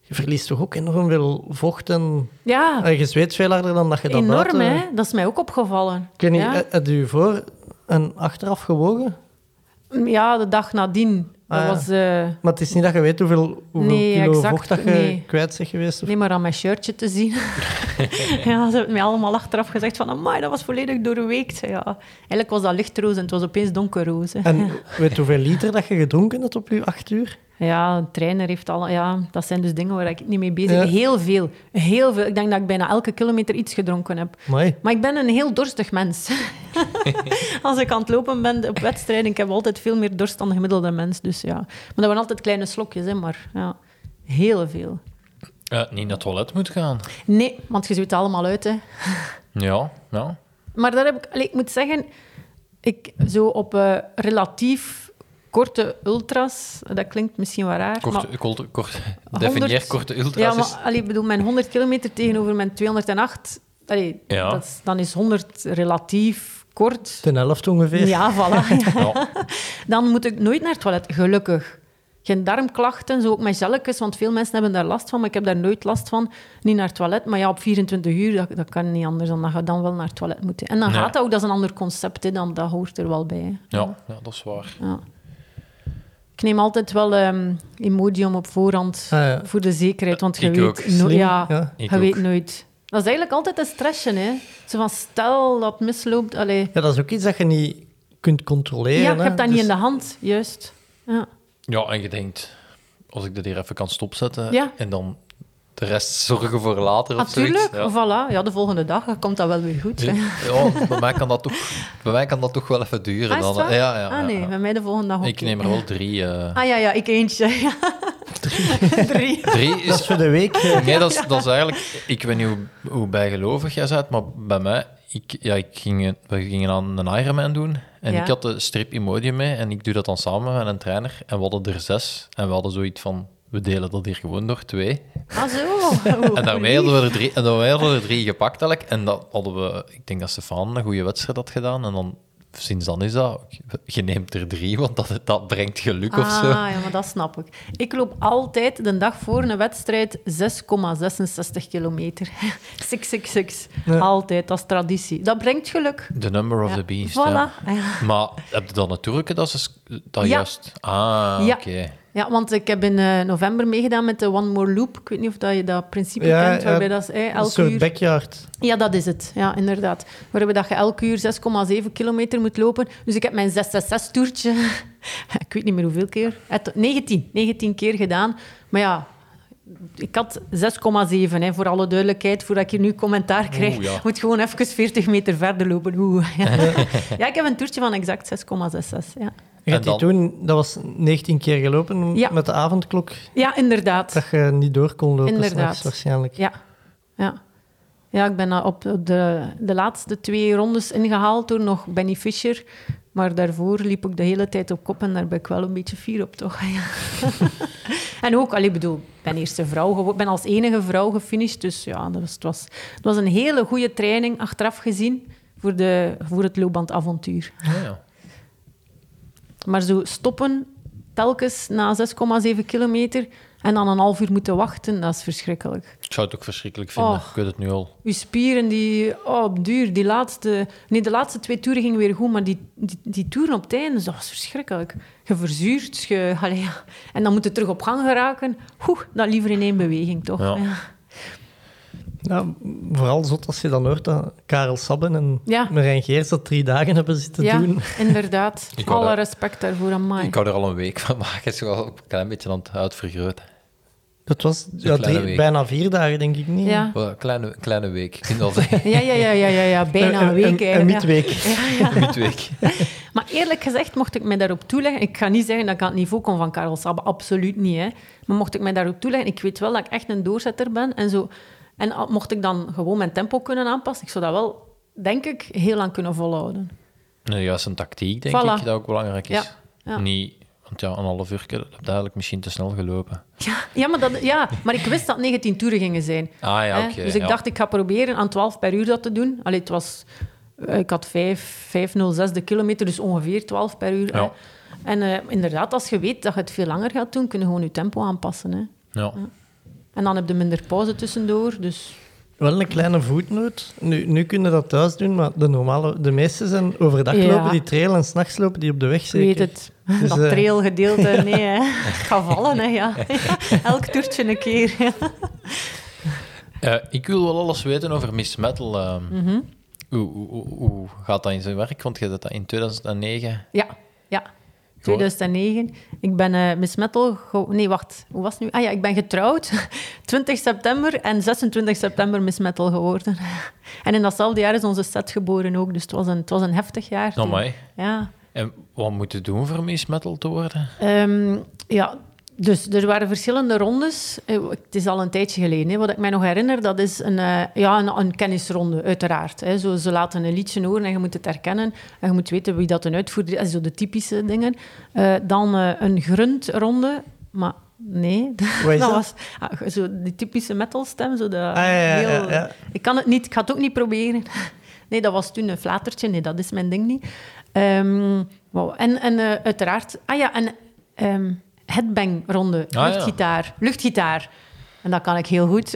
Speaker 7: Je verliest toch ook enorm veel vocht en...
Speaker 8: Ja,
Speaker 7: en je zweet veel harder dan Ah, dat je dat
Speaker 8: enorm,
Speaker 7: buiten...
Speaker 8: hè. Dat is mij ook opgevallen.
Speaker 7: Ik weet niet,
Speaker 8: ja.
Speaker 7: heb- heb je voor en achteraf gewogen?
Speaker 8: ja, de dag nadien. Dat
Speaker 7: eh- Ah, ja.
Speaker 8: was... eh,
Speaker 7: Maar het is niet dat je weet hoeveel, hoeveel
Speaker 8: Nee,
Speaker 7: kilo
Speaker 8: exact,
Speaker 7: vocht dat je
Speaker 8: nee.
Speaker 7: kwijt bent geweest. Of...
Speaker 8: Nee, maar aan mijn shirtje te zien. ja, ze hebben mij allemaal achteraf gezegd van... Amai, dat was volledig doorweekt. Ja. Eigenlijk was dat lichtroos en het was opeens donkerroos. hè.
Speaker 7: En weet je hoeveel liter dat je gedronken hebt op je acht uur?
Speaker 8: Ja, een trainer heeft al... Ja, dat zijn dus dingen waar ik niet mee bezig
Speaker 7: Ja.
Speaker 8: ben. Heel veel. Heel veel. Ik denk dat ik bijna elke kilometer iets gedronken heb.
Speaker 7: Mooi.
Speaker 8: Maar ik ben een heel dorstig mens. Als ik aan het lopen ben op wedstrijden, ik heb altijd veel meer dorst dan de gemiddelde mens. Dus ja. Maar dat waren altijd kleine slokjes, hè. Maar ja, heel veel.
Speaker 9: Eh, niet naar het toilet moet gaan.
Speaker 8: Nee, want je zweet allemaal uit, hè.
Speaker 9: Ja, ja.
Speaker 8: Maar daar heb ik, allee, ik moet zeggen, ik zo op eh, relatief korte ultras, dat klinkt misschien wel raar. maar,
Speaker 9: Korte, korte, korte,
Speaker 8: 100
Speaker 9: definieer korte
Speaker 8: ja,
Speaker 9: ultra's.
Speaker 8: maar allee, ik bedoel, mijn 100 kilometer tegenover mijn 208, allee,
Speaker 9: Ja.
Speaker 8: dat is- dan is 100 relatief kort.
Speaker 7: Ten helft ongeveer.
Speaker 8: Ja, voilà.
Speaker 9: is, ja.
Speaker 8: Dan moet ik nooit naar het toilet, gelukkig. Geen darmklachten, zo ook met jelletjes, want veel mensen hebben daar last van, maar ik heb daar nooit last van. Niet naar het toilet, maar ja, op 24 uur, dat, dat kan niet anders dan dat je dan wel naar het toilet moet. hè. En dan
Speaker 9: Nee.
Speaker 8: gaat dat ook, dat is een ander concept, hè, dan, dat hoort er wel bij. hè.
Speaker 9: Ja, ja, dat is waar.
Speaker 8: Ja. Ik neem altijd wel ehm Imodium op voorhand
Speaker 7: Ah, ja.
Speaker 8: voor de zekerheid, want je
Speaker 9: Ik
Speaker 8: weet,
Speaker 9: ook.
Speaker 8: no-
Speaker 7: Slim,
Speaker 8: ja,
Speaker 7: ja.
Speaker 9: Ik
Speaker 8: je
Speaker 9: ook.
Speaker 8: weet nooit. Dat is eigenlijk altijd een stressje, hè. Zo van, stel dat het misloopt, allee.
Speaker 7: Ja, dat is ook iets dat je niet kunt controleren.
Speaker 8: Ja, je
Speaker 7: hè.
Speaker 8: hebt dat niet
Speaker 7: Dus
Speaker 8: in de hand, juist. Ja.
Speaker 9: Ja, en je denkt, als ik dit hier even kan stopzetten
Speaker 8: Ja.
Speaker 9: en dan de rest zorgen voor later of
Speaker 8: Natuurlijk,
Speaker 9: zoiets. Ja.
Speaker 8: voilà. Ja, de volgende dag komt dat wel weer goed. hè.
Speaker 9: Ja, bij mij, kan dat toch, bij mij kan dat toch wel even duren.
Speaker 8: Ah, is het
Speaker 9: dan,
Speaker 8: waar?
Speaker 9: Ja, ja,
Speaker 8: ah
Speaker 9: ja,
Speaker 8: nee,
Speaker 9: ja.
Speaker 8: bij mij de volgende dag ook.
Speaker 9: Ik neem er wel drie. eh.
Speaker 8: Ah ja, ja, ik eentje. Ja. Drie.
Speaker 9: Drie
Speaker 7: Dat is
Speaker 9: is...
Speaker 7: voor de week. eh,
Speaker 9: Nee, dat is, dat is eigenlijk... Ik weet niet hoe, hoe bijgelovig jij bent, maar bij mij... Ik, ja, ik ging, een- we gingen aan een Ironman doen en
Speaker 8: Ja.
Speaker 9: ik had de strip Imodium mee en ik doe dat dan samen met een trainer en we hadden er zes en we hadden zoiets van... We delen dat hier gewoon door twee.
Speaker 8: Ah zo. Oeh,
Speaker 9: En daarmee hadden we er drie, en daarmee hadden we er drie gepakt eigenlijk. En dat hadden we, ik denk dat Stefan een goede wedstrijd had gedaan. En dan, sinds dan is dat, je neemt er drie, want dat, dat brengt geluk
Speaker 8: Ah,
Speaker 9: of zo.
Speaker 8: ja, maar dat snap ik. Ik loop altijd de dag voor een wedstrijd 6,66 kilometer. 666. Altijd, dat is traditie. Dat brengt geluk.
Speaker 9: The number of
Speaker 8: Ja.
Speaker 9: the beast. ja.
Speaker 8: Voilà. Ja.
Speaker 9: Maar heb je dan een Turken? Dat is dat
Speaker 8: Ja.
Speaker 9: juist. Ah,
Speaker 8: Ja.
Speaker 9: oké.
Speaker 8: Ja, want ik heb in eh, november meegedaan met de One More Loop. Ik weet niet of dat je dat principe
Speaker 7: Ja,
Speaker 8: kent, waarbij
Speaker 7: ja.
Speaker 8: dat is eh,
Speaker 7: Een
Speaker 8: elk
Speaker 7: soort
Speaker 8: uur...
Speaker 7: backyard.
Speaker 8: Ja, dat is het. Ja, inderdaad. Waarbij dat je elke uur 6,7 kilometer moet lopen. Dus ik heb mijn 666-toertje, ik weet niet meer hoeveel keer, Het- 19, 19 keer gedaan. Maar ja, ik had 6,7, hè, voor alle duidelijkheid, voordat ik hier nu commentaar krijg.
Speaker 9: Oeh, ja.
Speaker 8: Moet gewoon even 40 meter verder lopen. Oeh, ja. ja, ik heb een toertje van exact 6,66. Ja.
Speaker 7: Je
Speaker 9: En
Speaker 7: hebt die
Speaker 9: dan?
Speaker 7: toen, dat was 19 keer gelopen
Speaker 8: Ja.
Speaker 7: met de avondklok,
Speaker 8: ja, inderdaad.
Speaker 7: dat je niet door kon lopen
Speaker 8: Inderdaad.
Speaker 7: s'nachts waarschijnlijk.
Speaker 8: Ja, ja. Ja, ik ben op de, de laatste twee rondes ingehaald door nog Benny Fischer. Maar daarvoor liep ik de hele tijd op kop en daar ben ik wel een beetje fier op, toch? Ja. en ook, allee, ik bedoel, ik ben eerste vrouw gewo- Ik ben als enige vrouw gefinished. Dus ja, dat was, het, was, het was een hele goede training, achteraf gezien, voor, de, voor het loopbandavontuur.
Speaker 9: Ah, ja.
Speaker 8: Maar zo stoppen, telkens na 6,7 kilometer en dan een half uur moeten wachten, dat is verschrikkelijk.
Speaker 9: Ik zou het ook verschrikkelijk vinden.
Speaker 8: Oh.
Speaker 9: Ik weet het nu al.
Speaker 8: Uw spieren, die, oh, op duur, die laatste... Nee, de laatste twee toeren gingen weer goed, maar die, die, die toeren op het einde, dat was verschrikkelijk. Je verzuurt, je, allee, ja. en dan moet je terug op gang geraken. Oeh, dan liever in één beweging, toch?
Speaker 9: Ja.
Speaker 7: Ja, Nou, vooral zot als je dan hoort dat Karel Sabben en
Speaker 8: Ja.
Speaker 7: Marijn Geers dat drie dagen hebben zitten
Speaker 8: ja,
Speaker 7: doen.
Speaker 8: inderdaad.
Speaker 9: Ik wou
Speaker 8: Alle
Speaker 9: dat-
Speaker 8: respect daarvoor aan mij.
Speaker 9: Ik hou er al een week van, maar het is wel een klein beetje aan het uitvergroten.
Speaker 7: Dat was ja,
Speaker 9: kleine
Speaker 7: drie-
Speaker 9: week.
Speaker 7: bijna vier dagen, denk ik niet.
Speaker 8: Ja.
Speaker 9: Wel, Een kleine, een kleine week, ik kan al zeggen.
Speaker 8: Ja, ja, ja, ja, ja, ja, bijna een week
Speaker 7: Een, een
Speaker 8: eigenlijk. ja.
Speaker 7: midweek.
Speaker 9: Midweek.
Speaker 8: Maar eerlijk gezegd mocht ik mij daarop toeleggen. Ik ga niet zeggen dat ik aan het niveau kom van Karel Sabbe, absoluut niet. Hè. Maar mocht ik mij daarop toeleggen, ik weet wel dat ik echt een doorzetter ben. En, zo. en al- mocht ik dan gewoon mijn tempo kunnen aanpassen, ik zou dat wel, denk ik, heel lang kunnen volhouden.
Speaker 9: Nou, juist een tactiek, denk
Speaker 8: Voilà.
Speaker 9: ik, dat ook belangrijk is.
Speaker 8: Ja, ja.
Speaker 9: Niet, want ja, een half uur heb je duidelijk misschien te snel gelopen.
Speaker 8: Ja, maar, dat, ja, maar ik wist dat 19 toeren gingen zijn.
Speaker 9: Ah ja,
Speaker 8: Hè?
Speaker 9: oké.
Speaker 8: dus ik
Speaker 9: ja.
Speaker 8: dacht, ik ga proberen aan 12 per uur dat te doen. Allee, het was, eh, ik had 5, 5,06 de kilometer, dus ongeveer 12 per uur. hè.
Speaker 9: Ja.
Speaker 8: En eh, inderdaad, als je weet dat je het veel langer gaat doen, kun je gewoon je tempo aanpassen. Hè.
Speaker 9: Ja.
Speaker 8: En dan heb je minder pauze tussendoor. Dus
Speaker 7: Wel een kleine voetnoot. Nu, nu kunnen dat thuis doen, maar de, normale, de meeste zijn overdag
Speaker 8: Ja.
Speaker 7: lopen die trail en s'nachts lopen die op de weg
Speaker 8: ik
Speaker 7: zeker.
Speaker 8: weet het.
Speaker 7: Dus,
Speaker 8: dat
Speaker 7: eh,
Speaker 8: trailgedeelte, nee. Hè. Het gaat vallen, hè, ja. Elk toertje een keer. ja.
Speaker 9: Eh, ik wil wel alles weten over Miss Metal. ehm.
Speaker 8: Mhm.
Speaker 9: hoe, hoe, hoe- hoe gaat dat in zijn werk? Want je deed dat in 2009.
Speaker 8: Ja, ja. 2009. Ik ben eh Miss Metal... ge- Nee, wacht. Hoe was het nu? Ah ja, ik ben getrouwd. 20 september en 26 september Miss Metal geworden. En in datzelfde jaar is onze set geboren ook. Dus het was een, het was een heftig jaar. toen.
Speaker 9: Nou, mij.
Speaker 8: Ja.
Speaker 9: En wat moet je doen voor Miss Metal te worden?
Speaker 8: Ehm, ja, dus er waren verschillende rondes. Eh, Het is al een tijdje geleden. Hè. Wat ik mij nog herinner, dat is een, eh, ja, een, een kennisronde, uiteraard. Hè. Zo, ze laten een liedje horen en je moet het herkennen. En je moet weten wie dat een uitvoerder is. Dat zijn Zo de typische dingen. Eh, dan eh, een grundronde, maar nee.
Speaker 7: Wat is
Speaker 8: dat
Speaker 7: dat?
Speaker 8: was ah, zo die typische metalstem. Zo de,
Speaker 7: Ah, ja, ja, ja,
Speaker 8: heel-
Speaker 7: ja.
Speaker 8: Ik kan het niet, ik ga het ook niet proberen. Nee, dat was toen een flatertje. Nee, dat is mijn ding niet. Ehm, wauw. En, en eh, uiteraard... Ah ja, en ehm headbang-ronde.
Speaker 9: Ah, ja.
Speaker 8: luchtgitaar. Luchtgitaar. En dat kan ik heel goed.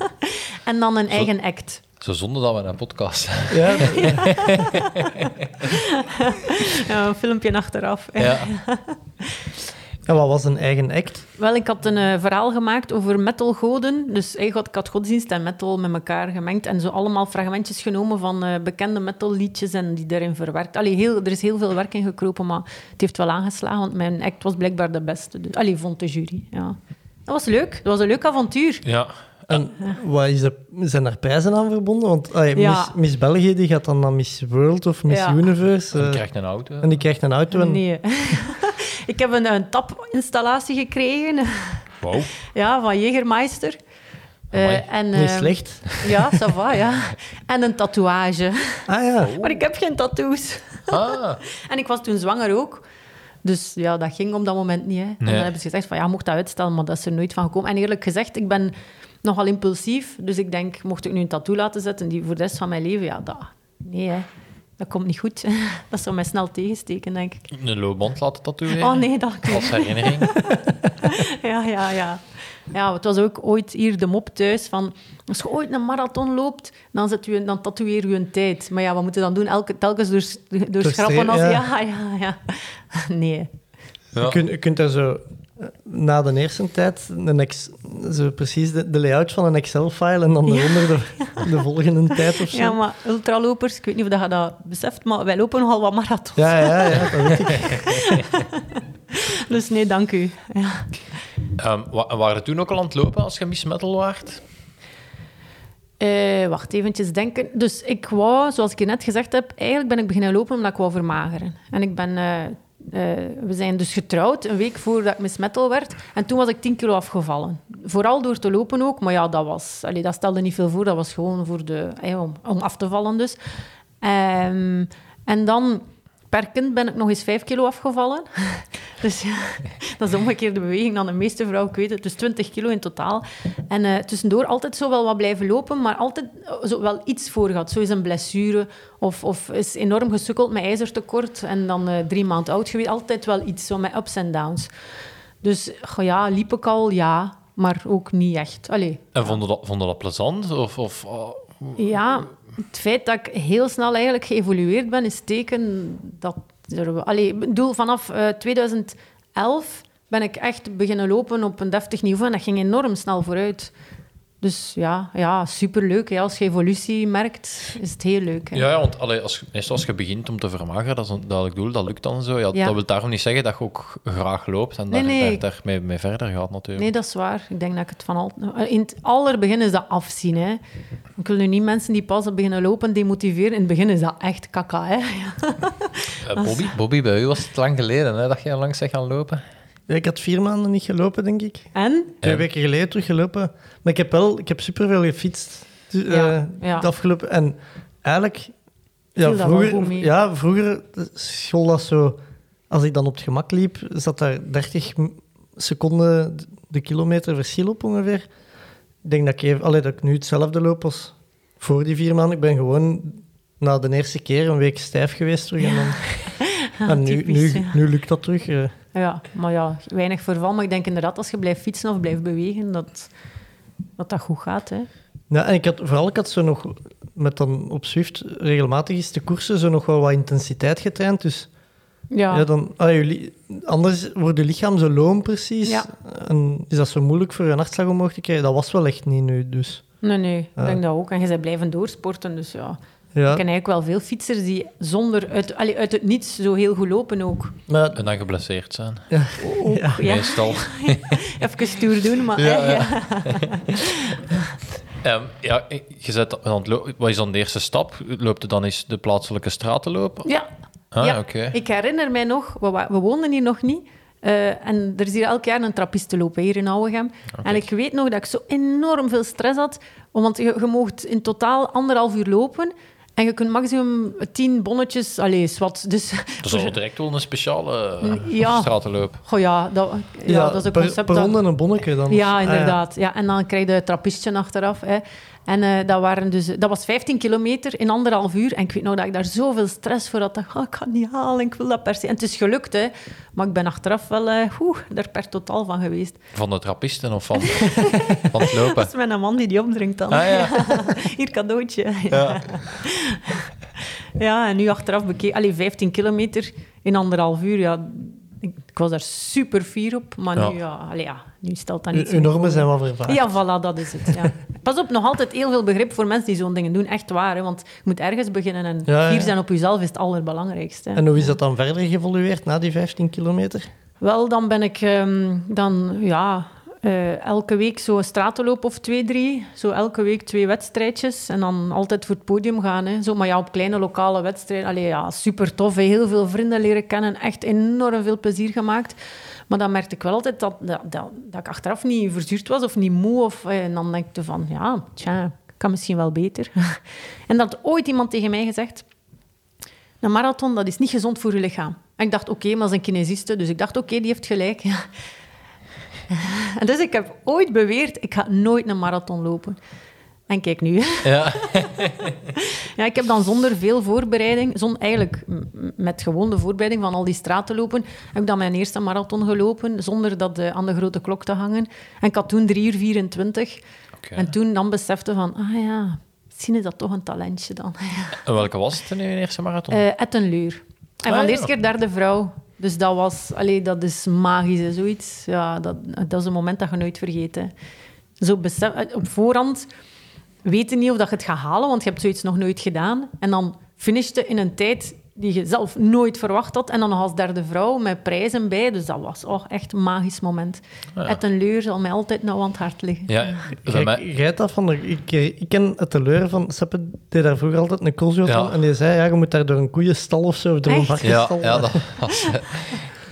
Speaker 8: en dan een eigen act.
Speaker 9: Zo zonder dat we een podcast hebben.
Speaker 7: Ja,
Speaker 8: Ja, een filmpje achteraf.
Speaker 9: Ja.
Speaker 7: en wat was een eigen act?
Speaker 8: Wel, ik had een eh, verhaal gemaakt over metalgoden. Dus eh, god- ik had godsdienst en metal met elkaar gemengd. En zo allemaal fragmentjes genomen van eh, bekende metalliedjes en die daarin verwerkt. Allee, heel, er is heel veel werk in gekropen, maar het heeft wel aangeslagen. Want mijn act was blijkbaar de beste. Dus, allee, vond de jury. Ja. Dat was leuk. Dat was een leuk avontuur.
Speaker 9: ja.
Speaker 7: En wat is de, zijn daar prijzen aan verbonden? Want allee,
Speaker 8: Ja.
Speaker 7: Miss, Miss België die gaat dan naar Miss World of Miss
Speaker 8: Ja.
Speaker 7: Universe.
Speaker 9: Je
Speaker 7: eh,
Speaker 9: krijgt een auto.
Speaker 7: en die krijgt een auto. En,
Speaker 8: Nee. ik heb een, een tapinstallatie gekregen.
Speaker 9: Wauw.
Speaker 8: Ja, van Jägermeister. Eh,
Speaker 9: Amai.
Speaker 8: en,
Speaker 7: Niet
Speaker 8: eh,
Speaker 7: slecht.
Speaker 8: Ja, ça va, ja. En een tatoeage.
Speaker 7: Ah ja,
Speaker 8: Maar ik heb geen tattoos.
Speaker 9: Ah,
Speaker 8: En ik was toen zwanger ook. Dus ja, dat ging op dat moment niet. Hè. En
Speaker 9: Nee.
Speaker 8: dan hebben ze gezegd van, ja, mocht dat uitstellen, maar dat is er nooit van gekomen. En eerlijk gezegd, ik ben nogal impulsief. Dus ik denk, mocht ik nu een tattoo laten zetten die voor de rest van mijn leven, ja, dat... Nee, hè. Dat komt niet goed. Dat zou mij snel tegensteken, denk ik.
Speaker 9: een loopband laten tatoeëren.
Speaker 8: Oh nee, dat
Speaker 9: Als herinnering.
Speaker 8: Ja, ja, ja. Ja, het was ook ooit hier de mop thuis van... Als je ooit een marathon loopt, dan, zet u, dan tatoeëer u een tijd. Maar ja, wat moet je dan doen? Elke, telkens door, door
Speaker 7: Door
Speaker 8: schrappen als...
Speaker 7: streep,
Speaker 8: Ja.
Speaker 7: ja.
Speaker 8: ja, ja, Nee.
Speaker 7: Je,
Speaker 9: Ja.
Speaker 7: kunt, je kunt daar zo eh, na de eerste tijd een ex, zo precies de, de layout van een Excel-file en dan eronder de, de volgende tijd of zo.
Speaker 8: Ja, maar ultralopers, ik weet niet of dat je dat beseft, maar wij lopen nogal wat marathons.
Speaker 7: Ja, ja, ja, dat weet ik.
Speaker 8: Dus nee, dank u. Ja.
Speaker 9: Ehm, wa- waren we toen ook al aan het lopen als je Miss Metal waart?
Speaker 8: Eh, wacht, eventjes denken. Dus ik wou, zoals ik je net gezegd heb, eigenlijk ben ik beginnen lopen omdat ik wou vermageren. En ik ben, eh, eh, we zijn dus getrouwd een week voordat ik Miss Metal werd. En toen was ik 10 kilo afgevallen. Vooral door te lopen ook, maar ja, dat, was, allee, dat stelde niet veel voor. Dat was gewoon voor de, eh, om, om af te vallen dus. Ehm, en dan, per kind ben ik nog eens 5 kilo afgevallen. Dus ja, dat is de omgekeerde beweging dan de meeste vrouwen, ik weet het. Dus 20 kilo in totaal. En eh, tussendoor altijd zo wel wat blijven lopen, maar altijd eh, zo wel iets voor gehad. Zo is een blessure of, of is enorm gesukkeld met ijzertekort en dan eh, drie maanden oud geweest. Altijd wel iets, zo met ups en downs. Dus goh, ja, liep ik al, ja, maar ook niet echt. Allee,
Speaker 9: En vonden dat, vonden dat plezant? Of, of oh,
Speaker 8: ja, het feit dat ik heel snel eigenlijk geëvolueerd ben, is teken dat... Er, wel- allee, ik bedoel, vanaf eh, 2011 ben ik echt beginnen lopen op een deftig niveau en dat ging enorm snel vooruit. Dus ja, ja superleuk. Hè. Als je evolutie merkt, is het heel leuk. Hè.
Speaker 9: Ja, ja, want allee, als, meestal als je begint om te vermageren, dat is een duidelijk doel, dat lukt dan zo. Ja,
Speaker 8: Ja.
Speaker 9: Dat wil daarom niet zeggen dat je ook graag loopt en
Speaker 8: Nee,
Speaker 9: daar,
Speaker 8: nee.
Speaker 9: daar, daar mee, mee verder gaat natuurlijk.
Speaker 8: Nee, dat is waar. Ik denk dat ik het van al... In het allerbegin is dat afzien. Hè. Ik wil nu niet mensen die pas beginnen lopen demotiveren. In het begin is dat echt kaka. Hè. Ja.
Speaker 9: Eh, Bobby, Bobby, bij u was het lang geleden hè, dat jij langs bent gaan lopen.
Speaker 7: Ja, ik had vier maanden niet gelopen, denk ik.
Speaker 8: En?
Speaker 7: Twee
Speaker 9: En?
Speaker 7: weken geleden teruggelopen. Maar ik heb wel, ik heb superveel gefietst dus,
Speaker 8: Ja,
Speaker 7: eh,
Speaker 8: ja.
Speaker 7: het afgelopen. En eigenlijk, ja,
Speaker 8: dat wel goed
Speaker 7: vroeger,
Speaker 8: mee.
Speaker 7: ja, vroeger school dat zo, als ik dan op het gemak liep, zat daar 30 m- seconden de kilometer verschil op ongeveer. Ik denk dat ik, even, allee, dat ik nu hetzelfde loop als voor die vier maanden. Ik ben gewoon na de eerste keer een week stijf geweest terug. En, dan, en nu,
Speaker 8: typisch,
Speaker 7: nu,
Speaker 8: ja.
Speaker 7: nu lukt dat terug. eh.
Speaker 8: Ja, maar ja, weinig verval. Maar ik denk inderdaad, als je blijft fietsen of blijft bewegen, dat dat, dat goed gaat. Hè.
Speaker 7: Ja, en ik had, vooral ik had zo nog, met dan op Zwift, regelmatig is de koersen zo nog wel wat intensiteit getraind. Dus ja.
Speaker 8: Ja,
Speaker 7: dan, ah, je li- anders wordt je lichaam zo loom precies.
Speaker 8: Ja.
Speaker 7: En is dat zo moeilijk voor je hartslag omhoog te krijgen? Dat was wel echt niet nu, dus.
Speaker 8: nee, nee, ik
Speaker 7: Ja.
Speaker 8: denk dat ook. En je bent blijven doorsporten, dus ja.
Speaker 7: Ja,
Speaker 8: Ik ken eigenlijk wel veel fietsers die zonder, uit, allee, uit het niets zo heel goed lopen ook.
Speaker 7: maar
Speaker 9: En dan geblesseerd zijn.
Speaker 8: ook ja.
Speaker 9: Meestal.
Speaker 8: Even stoer doen, maar...
Speaker 9: Ja,
Speaker 8: eh, ja.
Speaker 9: Ehm, ja, ik- je zet aan het lo- Wat is dan de eerste stap? Loopt het dan eens de plaatselijke straten lopen?
Speaker 8: Ja,
Speaker 9: Ah,
Speaker 8: ja.
Speaker 9: oké.
Speaker 8: ik herinner mij nog, we, wa- we woonden hier nog niet. eh, en er is hier elk jaar een trappiste lopen, hier in Ouwegem.
Speaker 9: Ah,
Speaker 8: En ik weet nog dat ik zo enorm veel stress had. om- Want je, je moogt in totaal anderhalf uur lopen. En je kunt maximum tien bonnetjes... Allee, wat. Dus,
Speaker 9: Dat is al direct wel een speciale eh,
Speaker 8: Mm, Ja.
Speaker 9: stratenloop.
Speaker 8: goh, ja, dat, ja, dat is een
Speaker 7: per-
Speaker 8: concept
Speaker 7: Per,
Speaker 8: dat-
Speaker 7: ronde een bonnetje dan.
Speaker 8: Ja,
Speaker 7: Ah,
Speaker 8: inderdaad. ja. en dan krijg je het trappistje achteraf. Hè. En eh, dat, waren dus, dat was 15 kilometer in anderhalf uur. En ik weet nog dat ik daar zoveel stress voor had. Dat, ik kan niet halen, ik wil dat per se. En het is gelukt, hè. Maar ik ben achteraf wel eh oeh, er per totaal van geweest.
Speaker 9: Van de trappisten of van, van het
Speaker 8: Dat
Speaker 9: lopen?
Speaker 8: is met een man die die omdringt dan.
Speaker 9: Ah, ja.
Speaker 8: Hier, cadeautje. Ja. ja, en nu achteraf bekeken... Allee, 15 kilometer in anderhalf uur, ja... Ik, ik was daar super fier op, maar
Speaker 9: Ja.
Speaker 8: nu, ja, allee, ja, nu stelt dat
Speaker 7: eh,
Speaker 8: niet
Speaker 7: uw- uw normen zijn wel vervaagd.
Speaker 8: Ja, voilà, dat is het. Ja. Pas op, nog altijd heel veel begrip voor mensen die zo'n dingen doen. Echt waar, hè, want je moet ergens beginnen en
Speaker 7: Ja, ja.
Speaker 8: fier zijn op jezelf is het allerbelangrijkste. hè.
Speaker 7: En hoe is dat dan verder geëvolueerd na die 15 kilometer?
Speaker 8: Wel, dan ben ik ehm, dan, ja, eh, elke week zo'n stratenloop of twee, drie. Zo elke week twee wedstrijdjes en dan altijd voor het podium gaan. Hè. Zo, maar ja, op kleine lokale wedstrijden. Allee, ja, super tof. hè. Heel veel vrienden leren kennen. Echt enorm veel plezier gemaakt. Maar dan merkte ik wel altijd dat, dat, dat, dat ik achteraf niet verzuurd was of niet moe. Of, eh, en dan denk ik van, ja, tja, ik kan misschien wel beter. en dat had ooit iemand tegen mij gezegd, een marathon, dat is niet gezond voor je lichaam. En ik dacht, oké, maar dat is een kinesiste, dus ik dacht, oké, die heeft gelijk. en dus ik heb ooit beweerd, ik ga nooit een marathon lopen. En kijk nu.
Speaker 9: Ja.
Speaker 8: Ja, ik heb dan zonder veel voorbereiding, zon, eigenlijk m- m- met gewoon de voorbereiding van al die straten lopen, heb ik dan mijn eerste marathon gelopen, zonder dat eh, aan de grote klok te hangen. En ik had toen 3 uur 24.
Speaker 9: Oké.
Speaker 8: En toen dan besefte van, ah ja, misschien is dat toch een talentje dan.
Speaker 9: En welke was het in uw eerste marathon?
Speaker 8: Eh Ettenluur. En
Speaker 9: Ah,
Speaker 8: van
Speaker 9: ja.
Speaker 8: de eerste keer derde vrouw. Dus dat was, allee, dat is magisch en zoiets. Ja, dat, dat is een moment dat je nooit vergeet. Hè. Zo besef, eh, op voorhand weten niet of dat je het gaat halen, want je hebt zoiets nog nooit gedaan. En dan finishte in een tijd die je zelf nooit verwacht had. En dan nog als derde vrouw met prijzen bij. Dus dat was oh, echt een magisch moment.
Speaker 9: Ah, ja.
Speaker 8: Ettenluur zal mij altijd nou aan het hart liggen.
Speaker 9: ja, bij
Speaker 7: Kijk,
Speaker 9: mij,
Speaker 7: rijdt dat van de, ik, eh, ik ken het teleur van Seppe deed daar vroeger altijd een koolzuur
Speaker 9: Ja.
Speaker 7: van en die zei ja je moet daar door een koeienstal of zo of door een
Speaker 8: Echt?
Speaker 9: ja,
Speaker 7: varkensstal.
Speaker 9: ja, dat was, eh,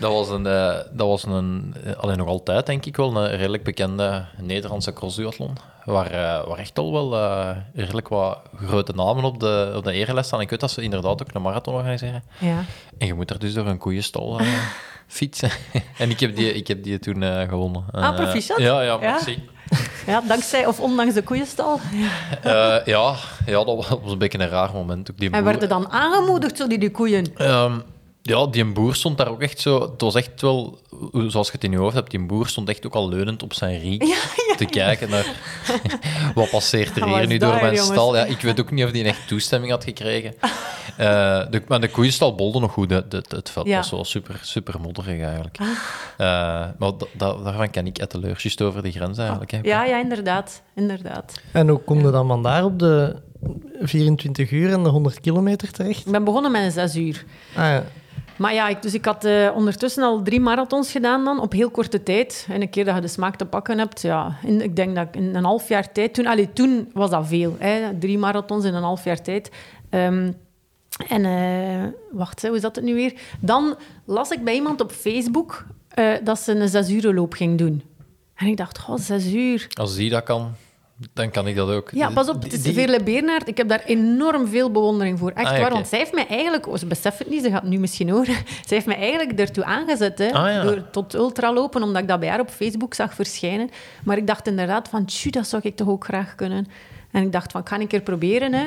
Speaker 9: dat was een, eh, dat was een eh, alleen nog altijd denk ik wel, een redelijk bekende Nederlandse crossduathlon, waar, eh, waar echt al wel eh, redelijk wat grote namen op de, op de erenlijst staan. Ik weet dat ze inderdaad ook een marathon organiseren.
Speaker 8: Ja.
Speaker 9: En je moet daar dus door een koeienstal eh, fietsen. en ik heb die, ik heb die toen eh, gewonnen. En, eh,
Speaker 8: Ah, proficiat.
Speaker 9: ja, ja,
Speaker 8: Ja.
Speaker 9: merci.
Speaker 8: ja, dankzij of ondanks de koeienstal.
Speaker 9: Eh, ja, ja, dat was een beetje een raar moment. Ook die
Speaker 8: En
Speaker 9: boer-
Speaker 8: werden dan aangemoedigd, zo die, die koeien.
Speaker 9: Ehm, ja, die boer stond daar ook echt zo... Het was echt wel, zoals je het in je hoofd hebt, die boer stond echt ook al leunend op zijn riek te kijken naar... wat passeert er
Speaker 8: Wat
Speaker 9: hier
Speaker 8: is
Speaker 9: nu
Speaker 8: dat
Speaker 9: door
Speaker 8: hier,
Speaker 9: mijn
Speaker 8: jongens?
Speaker 9: stal? Ja, ik weet ook niet of die echt toestemming had gekregen. Eh, de, maar de koeienstal bolde nog goed. hè. Het, het veld
Speaker 8: Ja. Ah.
Speaker 9: was wel super, super modderig eigenlijk. Eh, maar da- da- daarvan ken ik etteleurs, juist over de grens eigenlijk. hè.
Speaker 8: Ah, Ja, ja, inderdaad. inderdaad.
Speaker 7: En hoe kom je dan vandaar op de 24 uur en de 100 kilometer terecht?
Speaker 8: Ik ben begonnen met een zes uur.
Speaker 7: Ah, ja.
Speaker 8: Maar ja, ik, dus ik had eh, ondertussen al drie marathons gedaan dan, op heel korte tijd. En een keer dat je de smaak te pakken hebt, ja, in, ik denk dat ik in een half jaar tijd... Toen, allee, toen was dat veel, hè, drie marathons in een half jaar tijd. Ehm, en, eh, wacht, hè, hoe zat het nu weer? Dan las ik bij iemand op Facebook eh, dat ze een zes uur loop ging doen. En ik dacht, goh, zes uur.
Speaker 9: Als die dat kan, dan kan ik dat ook.
Speaker 8: Ja, pas op, het is
Speaker 9: Eh, Die-
Speaker 8: Veerle Beernaert. Ik heb daar enorm veel bewondering voor. Echt
Speaker 9: Ah, ja,
Speaker 8: waar,
Speaker 9: oké.
Speaker 8: want zij heeft mij eigenlijk... Oh, ze beseft het niet, ze gaat het nu misschien horen. Zij heeft mij eigenlijk ertoe aangezet, hè,
Speaker 9: Ah, ja.
Speaker 8: door tot ultra lopen, omdat ik dat bij haar op Facebook zag verschijnen. Maar ik dacht inderdaad van, tjoe, dat zou ik toch ook graag kunnen. En ik dacht van, ik ga een keer proberen, hè.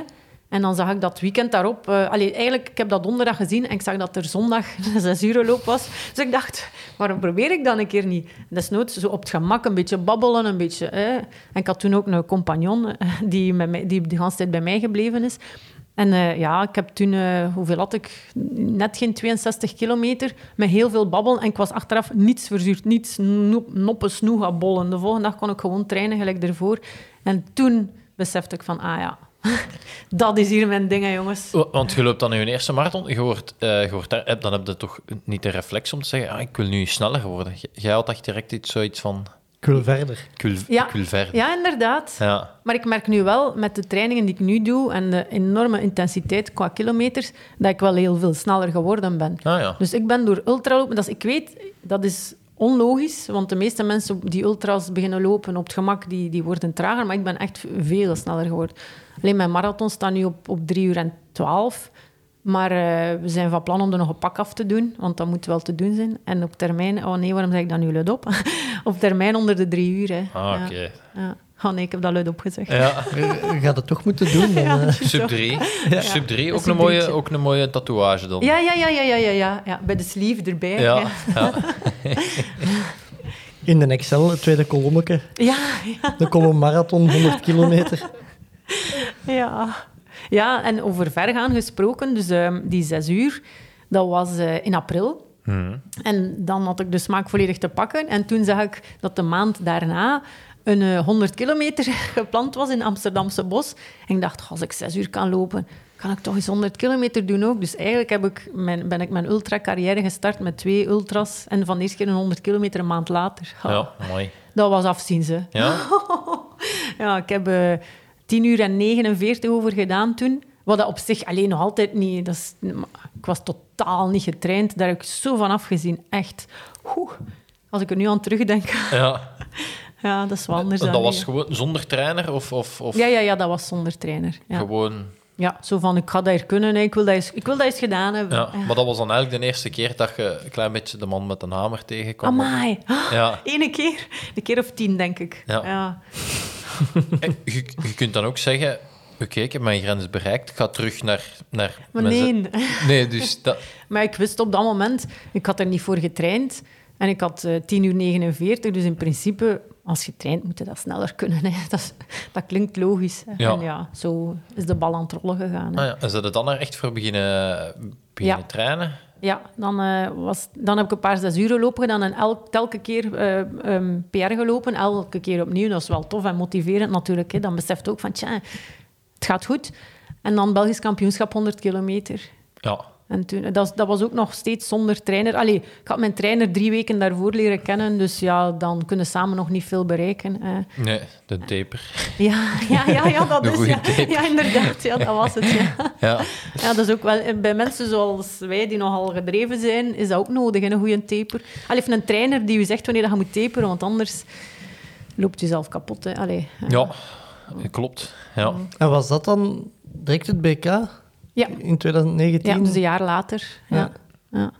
Speaker 8: En dan zag ik dat weekend daarop... eh allee, eigenlijk, ik heb dat donderdag gezien en ik zag dat er zondag een zes uur loop was. Dus ik dacht, waarom probeer ik dan een keer niet? Desnoods zo op het gemak, een beetje babbelen, een beetje... Hè. En ik had toen ook een compagnon eh, die, met mij, die de hele tijd bij mij gebleven is. En eh, ja, ik heb toen... eh, hoeveel had ik? Net geen 62 kilometer, met heel veel babbel. En ik was achteraf niets verzuurd, niets noep- noppen, snoega, bollen. De volgende dag kon ik gewoon trainen gelijk ervoor. En toen besefte ik van, ah ja... Dat is hier mijn ding, hè, jongens.
Speaker 9: Wa- Want je loopt dan in je eerste marathon, je wordt, eh, je wordt daar, eh, dan heb je toch niet de reflex om te zeggen, ah, ik wil nu sneller worden. J- Jij had echt direct iets, zoiets van,
Speaker 7: Ik wil verder.
Speaker 9: ik wil,
Speaker 8: Ja.
Speaker 9: ik wil verder.
Speaker 8: Ja, inderdaad.
Speaker 9: Ja.
Speaker 8: Maar ik merk nu wel, met de trainingen die ik nu doe en de enorme intensiteit qua kilometers, dat ik wel heel veel sneller geworden ben.
Speaker 9: Ah, ja.
Speaker 8: Dus ik ben door ultralopen... Dat is, ik weet, dat is onlogisch, want de meeste mensen die ultras beginnen lopen op het gemak, die, die worden trager. Maar ik ben echt veel sneller geworden. Alleen mijn marathon staat nu op, op 3 uur en 12. Maar eh, we zijn van plan om er nog een pak af te doen, want dat moet wel te doen zijn. En op termijn... Oh nee, waarom zeg ik dat nu luid op? op termijn onder de drie uur, hè.
Speaker 9: Ah,
Speaker 8: Ja.
Speaker 9: oké.
Speaker 8: Ja. Oh nee, ik heb dat luid opgezegd.
Speaker 9: Ja.
Speaker 7: Je gaat het toch moeten doen. Dan, eh.
Speaker 9: Sub 3. Sub 3, ook,
Speaker 8: Sub
Speaker 9: een mooie,
Speaker 8: drietje.
Speaker 9: ook een mooie tatoeage dan.
Speaker 8: Ja, ja, ja, ja, ja, ja, ja, ja. Bij de sleeve erbij.
Speaker 9: Ja.
Speaker 8: Ja,
Speaker 9: Ja.
Speaker 7: In de Excel, het tweede kolommetje.
Speaker 8: ja, ja.
Speaker 7: De kolom marathon, 100 kilometer.
Speaker 8: ja. Ja, en over vergaan gesproken, dus ehm, die zes uur, dat was eh, in april. En dan had ik de smaak volledig te pakken. En toen zag ik dat de maand daarna een eh, 100 kilometer gepland was in Amsterdamse bos. En ik dacht, "Goh, als ik zes uur kan lopen, kan ik toch eens 100 kilometer doen ook. Dus eigenlijk heb ik mijn, ben ik mijn ultra-carrière gestart met twee ultras. En van de eerste keer een 100 kilometer een maand later. Ha.
Speaker 9: ja, mooi.
Speaker 8: Dat was afzien, ze.
Speaker 9: Ja.
Speaker 8: Ja, ik heb eh 10 uur en 49 over gedaan toen. Wat dat op zich alleen nog altijd niet... Dat is, maar ik was totaal niet getraind. Daar heb ik zo van afgezien. Echt. Oeh, als ik er nu aan terugdenk...
Speaker 9: ja.
Speaker 8: Ja, dat is wel anders
Speaker 9: En
Speaker 8: dan
Speaker 9: dat was
Speaker 8: nu.
Speaker 9: gewoon zonder trainer of, of, of
Speaker 8: Ja, ja, ja, dat was zonder trainer. Ja.
Speaker 9: gewoon...
Speaker 8: ja, zo van, ik ga daar kunnen. hè. Ik wil dat eens, ik wil dat eens gedaan hebben. Eh,
Speaker 9: Ja. Maar dat was dan eigenlijk de eerste keer dat je een klein beetje de man met een hamer tegenkwam.
Speaker 8: Amai.
Speaker 9: Ja.
Speaker 8: Eén keer. Een keer of tien, denk ik.
Speaker 9: Ja.
Speaker 8: ja.
Speaker 9: En Je, je kunt dan ook zeggen... Oké, ik heb mijn grens bereikt. Ik ga terug naar... naar
Speaker 8: Maar
Speaker 9: mijn ze-
Speaker 8: nee.
Speaker 9: Nee, dus dat...
Speaker 8: Maar ik wist op dat moment, ik had er niet voor getraind. En ik had eh 10 uur 49, dus in principe, als je traint, moet je dat sneller kunnen. Hè. Dat, is- dat klinkt logisch. hè.
Speaker 9: Ja.
Speaker 8: En ja, zo is de bal aan het rollen gegaan. hè.
Speaker 9: Ah, ja. En ze er dan er echt voor beginnen, beginnen
Speaker 8: Ja.
Speaker 9: trainen?
Speaker 8: Ja, dan, eh, was, dan heb ik een paar zes uur lopen gedaan en elk, telke keer eh, ehm, PR gelopen. Elke keer opnieuw. Dat is wel tof en motiverend natuurlijk. Hè. Dan beseft je ook van, tja, het gaat goed. En dan Belgisch kampioenschap 100 kilometer.
Speaker 9: Ja.
Speaker 8: En toen, dat, dat was ook nog steeds zonder trainer. Allee, ik had mijn trainer drie weken daarvoor leren kennen, dus ja, dan kunnen we samen nog niet veel bereiken. eh.
Speaker 9: Nee, de taper.
Speaker 8: Ja, ja, ja, ja, dat
Speaker 9: Een
Speaker 8: is...
Speaker 9: goeie
Speaker 8: Ja,
Speaker 9: tip.
Speaker 8: ja, inderdaad, ja, dat was het. Ja.
Speaker 9: Ja.
Speaker 8: ja, dat is ook wel... eh, Bij mensen zoals wij, die nogal gedreven zijn, is dat ook nodig, hè, een goede taper. Allee, even een trainer die u zegt wanneer dat je moet taperen, want anders loopt u zelf kapot. Hè. Allee, eh.
Speaker 9: Ja, klopt. Ja.
Speaker 7: En was dat dan direct het BK
Speaker 8: ja.
Speaker 7: in 2019?
Speaker 8: ja, dus een jaar later.
Speaker 7: Ja.
Speaker 8: Ja. Ja.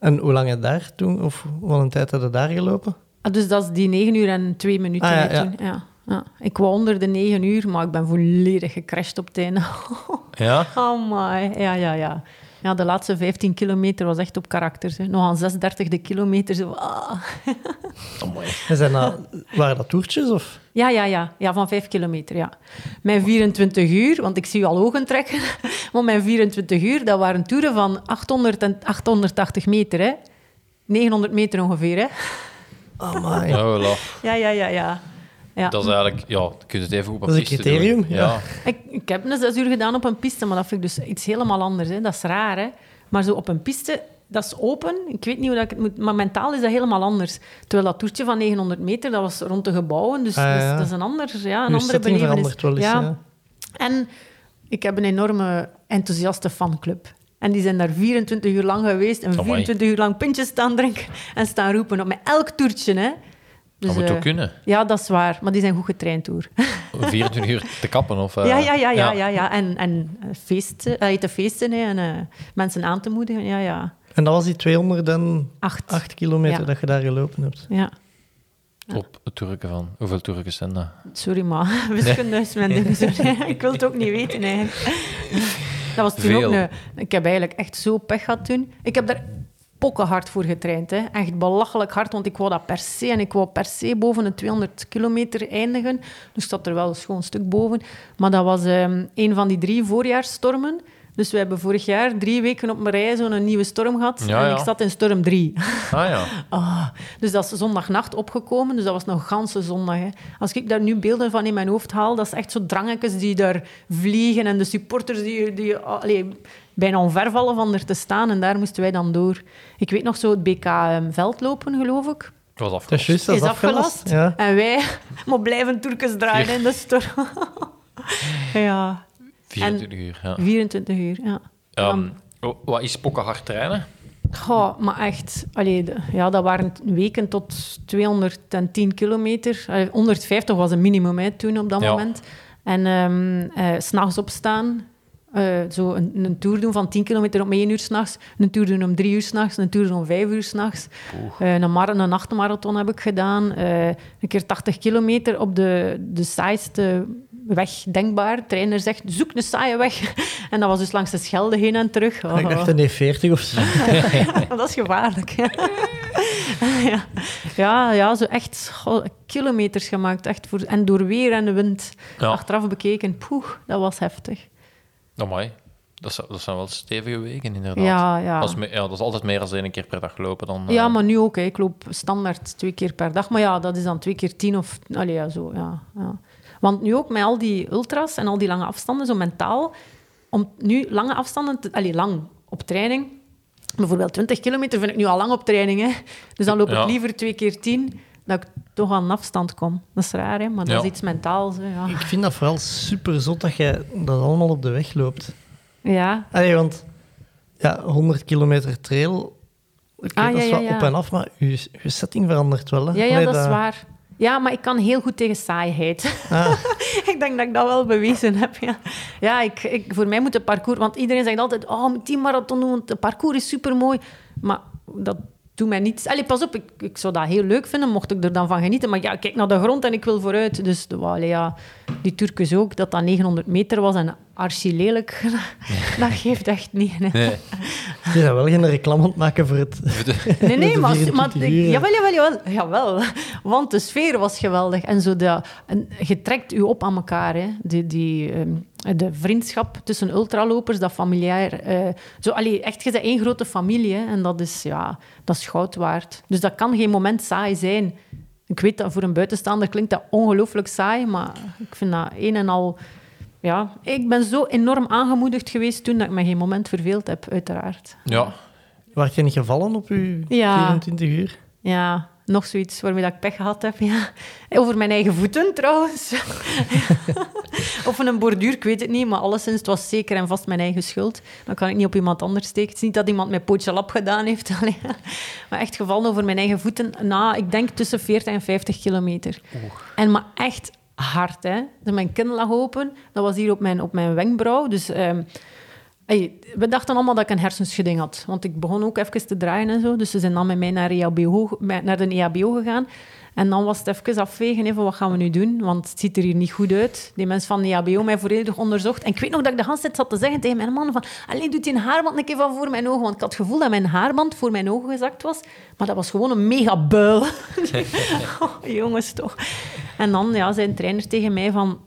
Speaker 7: En hoe lang heb je daar toen, of wat een tijd had je daar gelopen?
Speaker 8: Ah, dus dat is die 9 uur en 2 minuten.
Speaker 7: Ah, ja,
Speaker 8: hè, toen. Ja, ja. Ik wou onder de 9 uur, maar ik ben volledig gecrashed op het einde.
Speaker 9: Ja?
Speaker 8: oh my, ja, ja, ja. Ja, de laatste 15 kilometer was echt op karakters. Hè. Nog aan 36 de kilometer. Zo, ah.
Speaker 9: Amai.
Speaker 7: En zijn dat, waren dat toertjes? Of?
Speaker 8: Ja, ja, ja. Ja, van vijf kilometer, ja. Mijn 24 uur, want ik zie u al ogen trekken. Maar mijn 24 uur, dat waren toeren van 800 en 880 meter, hè. 900 meter ongeveer, hè.
Speaker 7: Amai.
Speaker 9: Ja, voilà.
Speaker 8: Ja, ja, ja, ja. ja.
Speaker 9: Dat is eigenlijk, ja, dan kun je het even goed op
Speaker 7: Dat is een
Speaker 9: piste doen.
Speaker 7: criterium, ja.
Speaker 9: Ja.
Speaker 8: Ik, ik heb een zes uur gedaan op een piste, maar dat vind ik dus iets helemaal anders. Hè. Dat is raar, hè. Maar zo op een piste, dat is open. Ik weet niet hoe dat ik het moet... Maar mentaal is dat helemaal anders. Terwijl dat toertje van 900 meter, dat was rond de gebouwen. Dus
Speaker 7: Ah,
Speaker 8: dat, is,
Speaker 7: ja.
Speaker 8: dat is een, ander, ja, een
Speaker 7: Uw
Speaker 8: andere
Speaker 7: setting
Speaker 8: belevenis.
Speaker 7: verandert wel eens.
Speaker 8: Ja.
Speaker 7: ja.
Speaker 8: En ik heb een enorme enthousiaste fanclub. En die zijn daar 24 uur lang geweest en
Speaker 9: Amai.
Speaker 8: 24 uur lang pintjes staan drinken en staan roepen op met elk toertje. Hè.
Speaker 9: Dat moet
Speaker 8: eh,
Speaker 9: ook kunnen.
Speaker 8: Ja, dat is waar. Maar die zijn goed getraind, hoor.
Speaker 9: 24 uur te kappen of... eh,
Speaker 8: Ja, ja, ja, ja, ja, ja. En, en eh, feesten, eh, te feesten hè, en eh, mensen aan te moedigen. Ja, ja.
Speaker 7: En dat was die 208
Speaker 8: Acht.
Speaker 7: kilometer
Speaker 8: Ja.
Speaker 7: dat je daar gelopen hebt.
Speaker 8: Ja.
Speaker 9: Op het Turken van. Hoeveel Turken zijn dat?
Speaker 8: Sorry, maar wiskunde is mijn ding. sorry. ik wil het ook niet weten, eigenlijk. Dat was toen
Speaker 9: Veel.
Speaker 8: ook een... Ik heb eigenlijk echt zo pech gehad toen. Ik heb daar pokkenhard voor getraind. Hè. Echt belachelijk hard, want ik wou dat per se. En ik wou per se boven de 200 kilometer eindigen. Dus ik zat er wel een schoon stuk boven. Maar dat was ehm, een van die drie voorjaarsstormen. Dus we hebben vorig jaar drie weken op mijn rij zo'n nieuwe storm gehad.
Speaker 9: Ja,
Speaker 8: en
Speaker 9: ja.
Speaker 8: ik zat in storm drie.
Speaker 9: Ah ja.
Speaker 8: Ah, dus dat is zondagnacht opgekomen, dus dat was nog ganse zondag. Hè. Als ik daar nu beelden van in mijn hoofd haal, dat is echt zo drangetjes die daar vliegen en de supporters die, die allee, bijna onvervallen van er te staan. En daar moesten wij dan door. Ik weet nog zo het BK ehm, veldlopen, geloof ik.
Speaker 9: Dat was
Speaker 7: Dat is
Speaker 9: afgelopen.
Speaker 7: juist, dat is, afgelast. Ja.
Speaker 8: En wij maar blijven Turkens draaien in de storm. ja,
Speaker 9: 24 uur, ja.
Speaker 8: 24 uur, ja.
Speaker 9: Ehm, wa- wat is pokkenhard trainen?
Speaker 8: Goh, maar echt, allee, de- ja, dat waren t- weken tot 210 kilometer. Allee, 150 was een minimum hè, toen op dat
Speaker 9: Ja.
Speaker 8: moment. En ehm eh, 's s'nachts opstaan, eh, zo een, een tour doen van 10 kilometer om 1 uur s'nachts, een tour doen om 3 uur s'nachts, een tour doen om 5 uur s'nachts. Eh een, mar- een nachtmarathon heb ik gedaan, eh, een keer 80 kilometer op de, de saaiste weg denkbaar. De trainer zegt, zoek een saaie weg. En dat was dus langs de Schelde heen en terug.
Speaker 7: Ik
Speaker 8: Oh.
Speaker 7: dacht een E40 of zo.
Speaker 8: Ja, dat is gevaarlijk. ja. Ja, ja, zo echt goh, kilometers gemaakt. Echt voor, en door weer en wind.
Speaker 9: Ja.
Speaker 8: Achteraf bekeken, poeh, dat was heftig.
Speaker 9: Amai. Dat zijn, dat zijn wel stevige weken, inderdaad.
Speaker 8: Ja, ja.
Speaker 9: Dat, is me- ja, dat is altijd meer dan één keer per dag lopen. Dan, eh,
Speaker 8: Ja, maar nu ook. Hè. Ik loop standaard twee keer per dag. Maar ja, dat is dan twee keer tien of... Allee, ja, zo, ja, ja. Want nu ook met al die ultras en al die lange afstanden, zo mentaal... Om nu lange afstanden... Te, allee, lang op training. Bijvoorbeeld 20 kilometer vind ik nu al lang op training. Hè. Dus dan loop
Speaker 9: Ja.
Speaker 8: ik liever twee keer tien dat ik toch aan een afstand kom. Dat is raar, hè? maar dat
Speaker 9: Ja.
Speaker 8: is iets mentaals. Hè? Ja.
Speaker 7: Ik vind dat vooral super zot dat je dat allemaal op de weg loopt.
Speaker 8: ja.
Speaker 7: Allee, want ja, 100 kilometer trail, oké,
Speaker 8: Ah,
Speaker 7: dat
Speaker 8: ja,
Speaker 7: is
Speaker 8: ja,
Speaker 7: wel
Speaker 8: ja.
Speaker 7: op en af, maar je, je setting verandert wel. Hè?
Speaker 8: Ja, ja,
Speaker 7: Allee,
Speaker 8: dat is waar. Ja, maar ik kan heel goed tegen saaiheid. ik denk dat ik dat wel bewezen heb. Ja, ja ik, ik, voor mij moet het parcours... Want iedereen zegt altijd, oh, moet die marathon doen, want het parcours is supermooi. Maar dat doet mij niets. Allee, pas op, ik, ik zou dat heel leuk vinden, mocht ik er dan van genieten. Maar ja, ik kijk naar de grond en ik wil vooruit. Dus de- allee, ja, die Turkus ook, dat dat 900 meter was en archi lelijk. dat geeft echt niet. hè.
Speaker 9: Nee,
Speaker 7: Je bent wel geen reclame aan het maken voor het...
Speaker 8: Nee, nee,
Speaker 7: De
Speaker 8: maar...
Speaker 7: 24
Speaker 8: maar
Speaker 7: uur, hè.
Speaker 8: jawel, jawel, jawel, jawel. Want de sfeer was geweldig. En, zo de, en je trekt je op aan elkaar. Hè. Die, die, ehm, de vriendschap tussen ultralopers, dat familiair. eh, zo, allee, echt, je bent één grote familie. Hè. En dat is, ja, dat is goud waard. Dus dat kan geen moment saai zijn. Ik weet dat voor een buitenstaander klinkt dat ongelooflijk saai. Maar ik vind dat een en al... Ja, ik ben zo enorm aangemoedigd geweest toen dat ik me geen moment verveeld heb, uiteraard.
Speaker 9: ja.
Speaker 7: Waar je niet gevallen op je
Speaker 8: Ja.
Speaker 7: 24 uur?
Speaker 8: Ja, nog zoiets waarmee dat ik pech gehad heb. Ja. Over mijn eigen voeten trouwens. of een borduur, ik weet het niet. Maar alleszins, het was zeker en vast mijn eigen schuld. Dan kan ik niet op iemand anders steken. Het is niet dat iemand mijn pootje lap gedaan heeft. allee. maar echt gevallen over mijn eigen voeten. Na, ik denk tussen 40 en 50 kilometer. En maar echt hard, hè. Dus mijn kin lag open. Dat was hier op mijn, op mijn wenkbrauw. Dus... ehm, eh, Hey, we dachten allemaal dat ik een hersenschudding had. Want ik begon ook even te draaien en zo. Dus ze zijn dan met mij naar, EHBO, ge- met- naar de E EHBO gegaan. En dan was het even afwegen, even wat gaan we nu doen? Want het ziet er hier niet goed uit. Die mensen van E de EHBO mij volledig onderzocht. En ik weet nog dat ik de hele tijd zat te zeggen tegen mijn man van... Allee, doet die een haarband een keer van voor mijn ogen. Want ik had het gevoel dat mijn haarband voor mijn ogen gezakt was. Maar dat was gewoon een mega buil. Oh, jongens, toch. En dan ja, zei een trainer tegen mij van...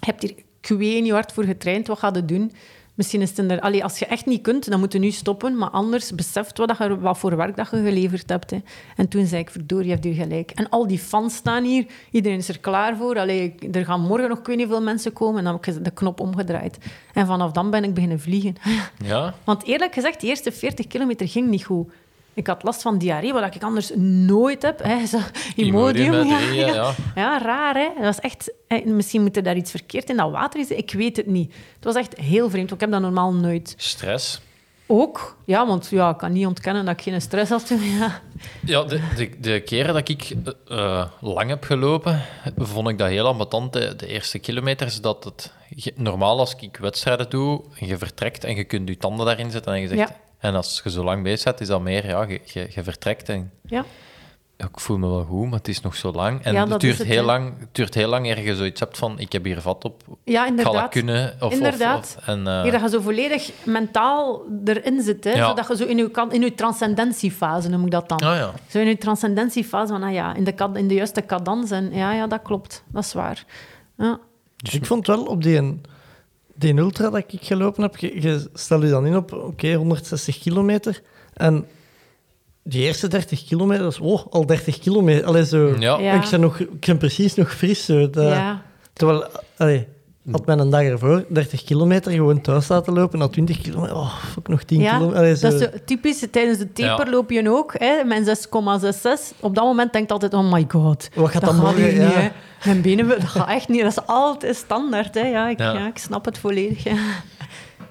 Speaker 8: Je hebt hier, ik weet niet hard voor getraind, wat ga je doen? Misschien is het er... Allee, als je echt niet kunt, dan moet je nu stoppen. Maar anders beseft wat, dat je, wat voor werk dat je geleverd hebt. Hè. En toen zei ik, verdorie, je hebt hier gelijk. En al die fans staan hier. Iedereen is er klaar voor. Allee, ik- er gaan morgen nog ik weet niet hoeveel mensen komen. En dan heb ik de knop omgedraaid. En vanaf dan ben ik beginnen vliegen.
Speaker 9: Ja?
Speaker 8: Want eerlijk gezegd, de eerste 40 kilometer ging niet goed. Ik had last van diarree, wat ik anders nooit heb. Hè. Zo, Imodium.
Speaker 9: Imodium,
Speaker 8: ja,
Speaker 9: hè, ja, ja.
Speaker 8: Ja, raar, hè? Dat was echt... eh, Misschien moet er daar iets verkeerd in dat water is. Ik weet het niet. Het was echt heel vreemd, want ik heb dat normaal nooit.
Speaker 9: Stress.
Speaker 8: Ook, ja, want ja, ik kan niet ontkennen dat ik geen stress had toen. Ja.
Speaker 9: Ja, de, de, de keren dat ik eh, eh, lang heb gelopen, vond ik dat heel ambetant. De, de eerste kilometers, dat het... je- normaal als ik wedstrijden doe, en je vertrekt en je kunt je tanden daarin zetten en je zegt...
Speaker 8: Ja.
Speaker 9: En als je zo lang bezig bent, is dat meer, ja, je, je, je vertrekt en...
Speaker 8: ja.
Speaker 9: Ik voel me wel goed, maar het is nog zo lang. En
Speaker 8: Ja,
Speaker 9: het,
Speaker 8: dat
Speaker 9: duurt
Speaker 8: is het,
Speaker 9: heel
Speaker 8: hè.
Speaker 9: lang, het duurt heel lang eer je zoiets hebt van, ik heb hier vat op.
Speaker 8: Ja,
Speaker 9: Ik ga dat
Speaker 8: inderdaad.
Speaker 9: kunnen. Of, of-
Speaker 8: Inderdaad.
Speaker 9: of- en, eh,
Speaker 8: Hier dat je zo volledig mentaal erin zit, hè?
Speaker 9: Ja.
Speaker 8: Zodat je zo in je, kan, in je transcendentiefase, noem ik dat dan.
Speaker 9: Ah, ja.
Speaker 8: Zo in je transcendentiefase, van, ah ja, in de, kad- in de juiste cadans. En ja, ja, dat klopt. Dat is waar. Ja.
Speaker 7: Dus Ik vond wel op die, die ultra dat ik gelopen heb, je, je stel je dan in op oké, 160 kilometer. En die eerste 30 kilometer, dat is oh, al 30 kilometer. Allee, zo,
Speaker 9: Ja.
Speaker 8: Ja.
Speaker 7: Ik, ben nog, ik ben precies nog fris. Zo, dat,
Speaker 8: ja.
Speaker 7: Terwijl, allee, had men een dag ervoor 30 kilometer gewoon thuis laten lopen, na 20 kilometer, oh, fuck, nog 10
Speaker 8: Ja,
Speaker 7: kilometer. Allee, zo.
Speaker 8: dat is zo typisch. Tijdens de taper
Speaker 9: Ja.
Speaker 8: loop je ook. Hè, mijn 6,66. Op dat moment denkt altijd, oh my god.
Speaker 7: Wat gaat
Speaker 8: dat
Speaker 7: dat
Speaker 8: gaat
Speaker 7: morgen,
Speaker 8: hier
Speaker 7: ja.
Speaker 8: niet, hè. Mijn benen, dat gaat echt niet. Dat is altijd standaard. Hè. Ja, ik,
Speaker 9: Ja.
Speaker 8: ja. ik snap het volledig. Ja.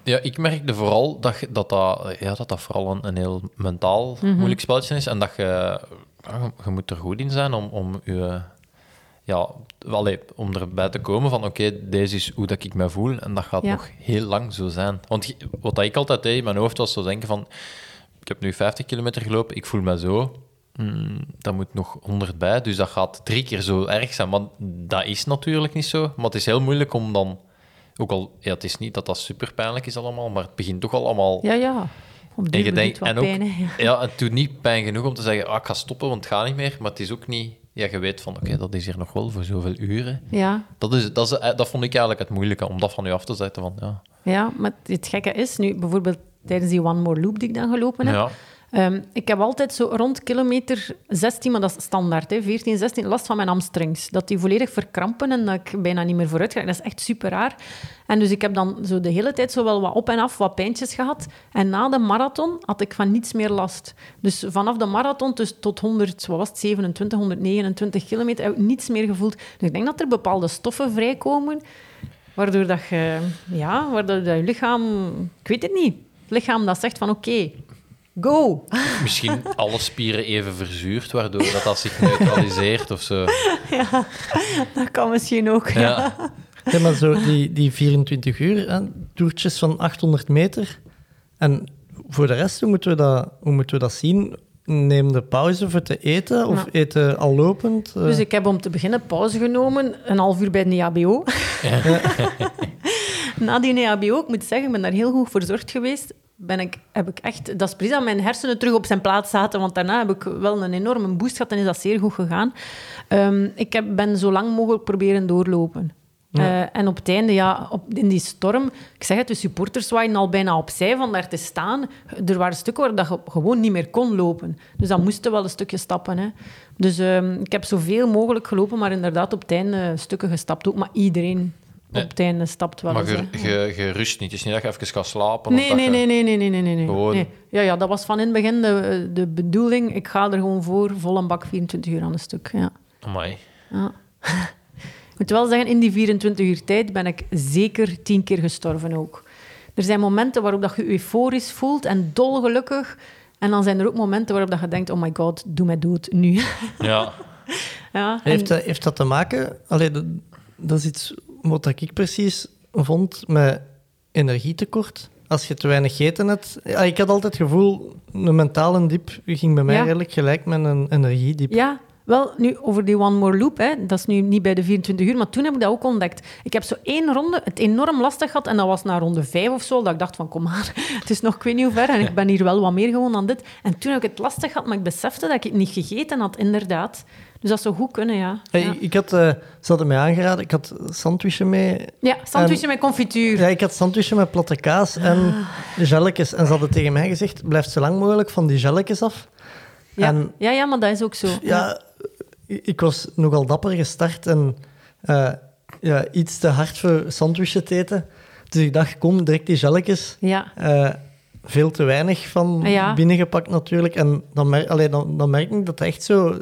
Speaker 9: Ja, ik merkte vooral dat je- dat, dat, ja, dat, dat vooral een, een heel mentaal moeilijk spelletje is. En dat je, ja, je- je moet er goed in zijn om, om, je, ja, allee, om erbij te komen van oké, deze is hoe dat ik me voel. En dat gaat
Speaker 8: Ja.
Speaker 9: nog heel lang zo zijn. Want je- wat dat ik altijd deed in mijn hoofd was zo denken van... Ik heb nu 50 kilometer gelopen, ik voel me zo. Hmm, dat moet nog 100 bij, dus dat gaat drie keer zo erg zijn. Want dat is natuurlijk niet zo. Maar het is heel moeilijk om dan... Ook al, ja, het is niet dat dat super pijnlijk is allemaal, maar het begint toch al allemaal...
Speaker 8: ja, ja. Op
Speaker 9: en
Speaker 8: die minuut wat
Speaker 9: en ook,
Speaker 8: pijn. hè. Ja.
Speaker 9: ja, het doet niet pijn genoeg om te zeggen, ah, ik ga stoppen, want het gaat niet meer. Maar het is ook niet... Ja, je weet van, oké, dat is hier nog wel voor zoveel uren.
Speaker 8: Ja.
Speaker 9: Dat, is, dat, is, eh, dat vond ik eigenlijk het moeilijke, om dat van u af te zetten. Van, ja.
Speaker 8: ja, maar het gekke is nu, bijvoorbeeld tijdens die One More Loop die ik dan gelopen heb,
Speaker 9: Ja.
Speaker 8: Ehm, ik heb altijd zo rond kilometer 16, maar dat is standaard, hè, 14, 16, last van mijn hamstrings. Dat die volledig verkrampen en dat ik bijna niet meer vooruit ga. Dat is echt super raar. En dus ik heb dan zo de hele tijd zo wel wat op en af, wat pijntjes gehad. En na de marathon had ik van niets meer last. Dus vanaf de marathon dus tot 100, wat was het, 27, 129 kilometer, heb ik niets meer gevoeld. Dus ik denk dat er bepaalde stoffen vrijkomen, waardoor dat je, ja, waardoor dat je lichaam, ik weet het niet, het lichaam dat zegt van oké, go.
Speaker 9: Misschien alle spieren even verzuurd, waardoor dat, dat zich neutraliseert of zo.
Speaker 8: Dat kan misschien ook. Ja.
Speaker 9: Ja.
Speaker 7: Ja, maar zo die, die 24 uur, hè, toertjes van 800 meter. En voor de rest, hoe moeten we dat, hoe moeten we dat zien? Neem de pauze voor te eten of
Speaker 8: Ja.
Speaker 7: eten al lopend? eh?
Speaker 8: Dus ik heb om te beginnen pauze genomen, een half uur bij de EHBO. Na die E EHBO, ik moet zeggen, ik ben daar heel goed voor zorgd geweest. Ben ik, heb ik echt, dat is precies dat mijn hersenen terug op zijn plaats zaten, want daarna heb ik wel een enorme boost gehad en is dat zeer goed gegaan. Ehm, ik heb, ben zo lang mogelijk proberen doorlopen. Eh, en op het einde, ja, op, in die storm, ik zeg het, de supporters waren al bijna opzij van daar te staan. Er waren stukken waar dat je gewoon niet meer kon lopen. Dus dan moesten wel een stukje stappen. Hè. Dus ehm, ik heb zoveel mogelijk gelopen, maar inderdaad op het einde stukken gestapt ook. Maar iedereen
Speaker 9: Nee.
Speaker 8: op het einde stapt wel
Speaker 9: Maar
Speaker 8: eens.
Speaker 9: je,
Speaker 8: hè.
Speaker 9: je, je rust niet. Het is niet dat je even gaat slapen. of
Speaker 8: Nee,
Speaker 9: dat
Speaker 8: nee,
Speaker 9: je-
Speaker 8: nee, nee, nee, nee, nee, nee, nee.
Speaker 9: Gewoon-
Speaker 8: Nee. Ja, ja, dat was van in het begin de, de bedoeling. Ik ga er gewoon voor, vol een bak 24 uur aan een stuk. Ja.
Speaker 9: Amai.
Speaker 8: Ja. ik moet wel zeggen, in die 24 uur tijd ben ik zeker tien keer gestorven ook. Er zijn momenten waarop dat je euforisch voelt en dolgelukkig. En dan zijn er ook momenten waarop dat je denkt, oh my god, doe mij dood, nu.
Speaker 9: Ja.
Speaker 8: ja, en-
Speaker 7: Heeft, dat, heeft dat te maken? Allee, dat, dat is iets wat ik precies vond met energietekort. als je te weinig gegeten hebt. Ja, ik had altijd het gevoel, een mentale diep ging bij mij
Speaker 8: Ja.
Speaker 7: eigenlijk gelijk met een energiediep.
Speaker 8: Ja, wel, nu over die One More Loop, hè, dat is nu niet bij de 24 uur, maar toen heb ik dat ook ontdekt. Ik heb zo één ronde het enorm lastig gehad en dat was na ronde vijf of zo, dat ik dacht van kom maar, het is nog ik weet niet hoe ver en ik ben hier wel wat meer gewoon dan dit. En toen heb ik het lastig gehad, maar ik besefte dat ik het niet gegeten had, inderdaad. Dus dat zou goed kunnen, ja.
Speaker 7: Hey,
Speaker 8: ja.
Speaker 7: Ik had, eh ze hadden mij aangeraden, ik had sandwichen mee.
Speaker 8: Ja, sandwichje met confituur.
Speaker 7: Ja, ik had sandwichen met platte kaas en gelletjes. En ze hadden tegen mij gezegd, blijf zo lang mogelijk van die gelletjes af.
Speaker 8: Ja.
Speaker 7: En-
Speaker 8: ja, ja, maar dat is ook zo.
Speaker 7: Ja, i- ik was nogal dapper gestart en eh, ja, iets te hard voor sandwichen te eten. Dus ik dacht, kom, direct die gelletjes.
Speaker 8: Ja.
Speaker 7: Eh, veel te weinig van
Speaker 8: Ah, ja.
Speaker 7: binnengepakt natuurlijk. En dan, mer allee, dan, dan merk ik dat het echt zo...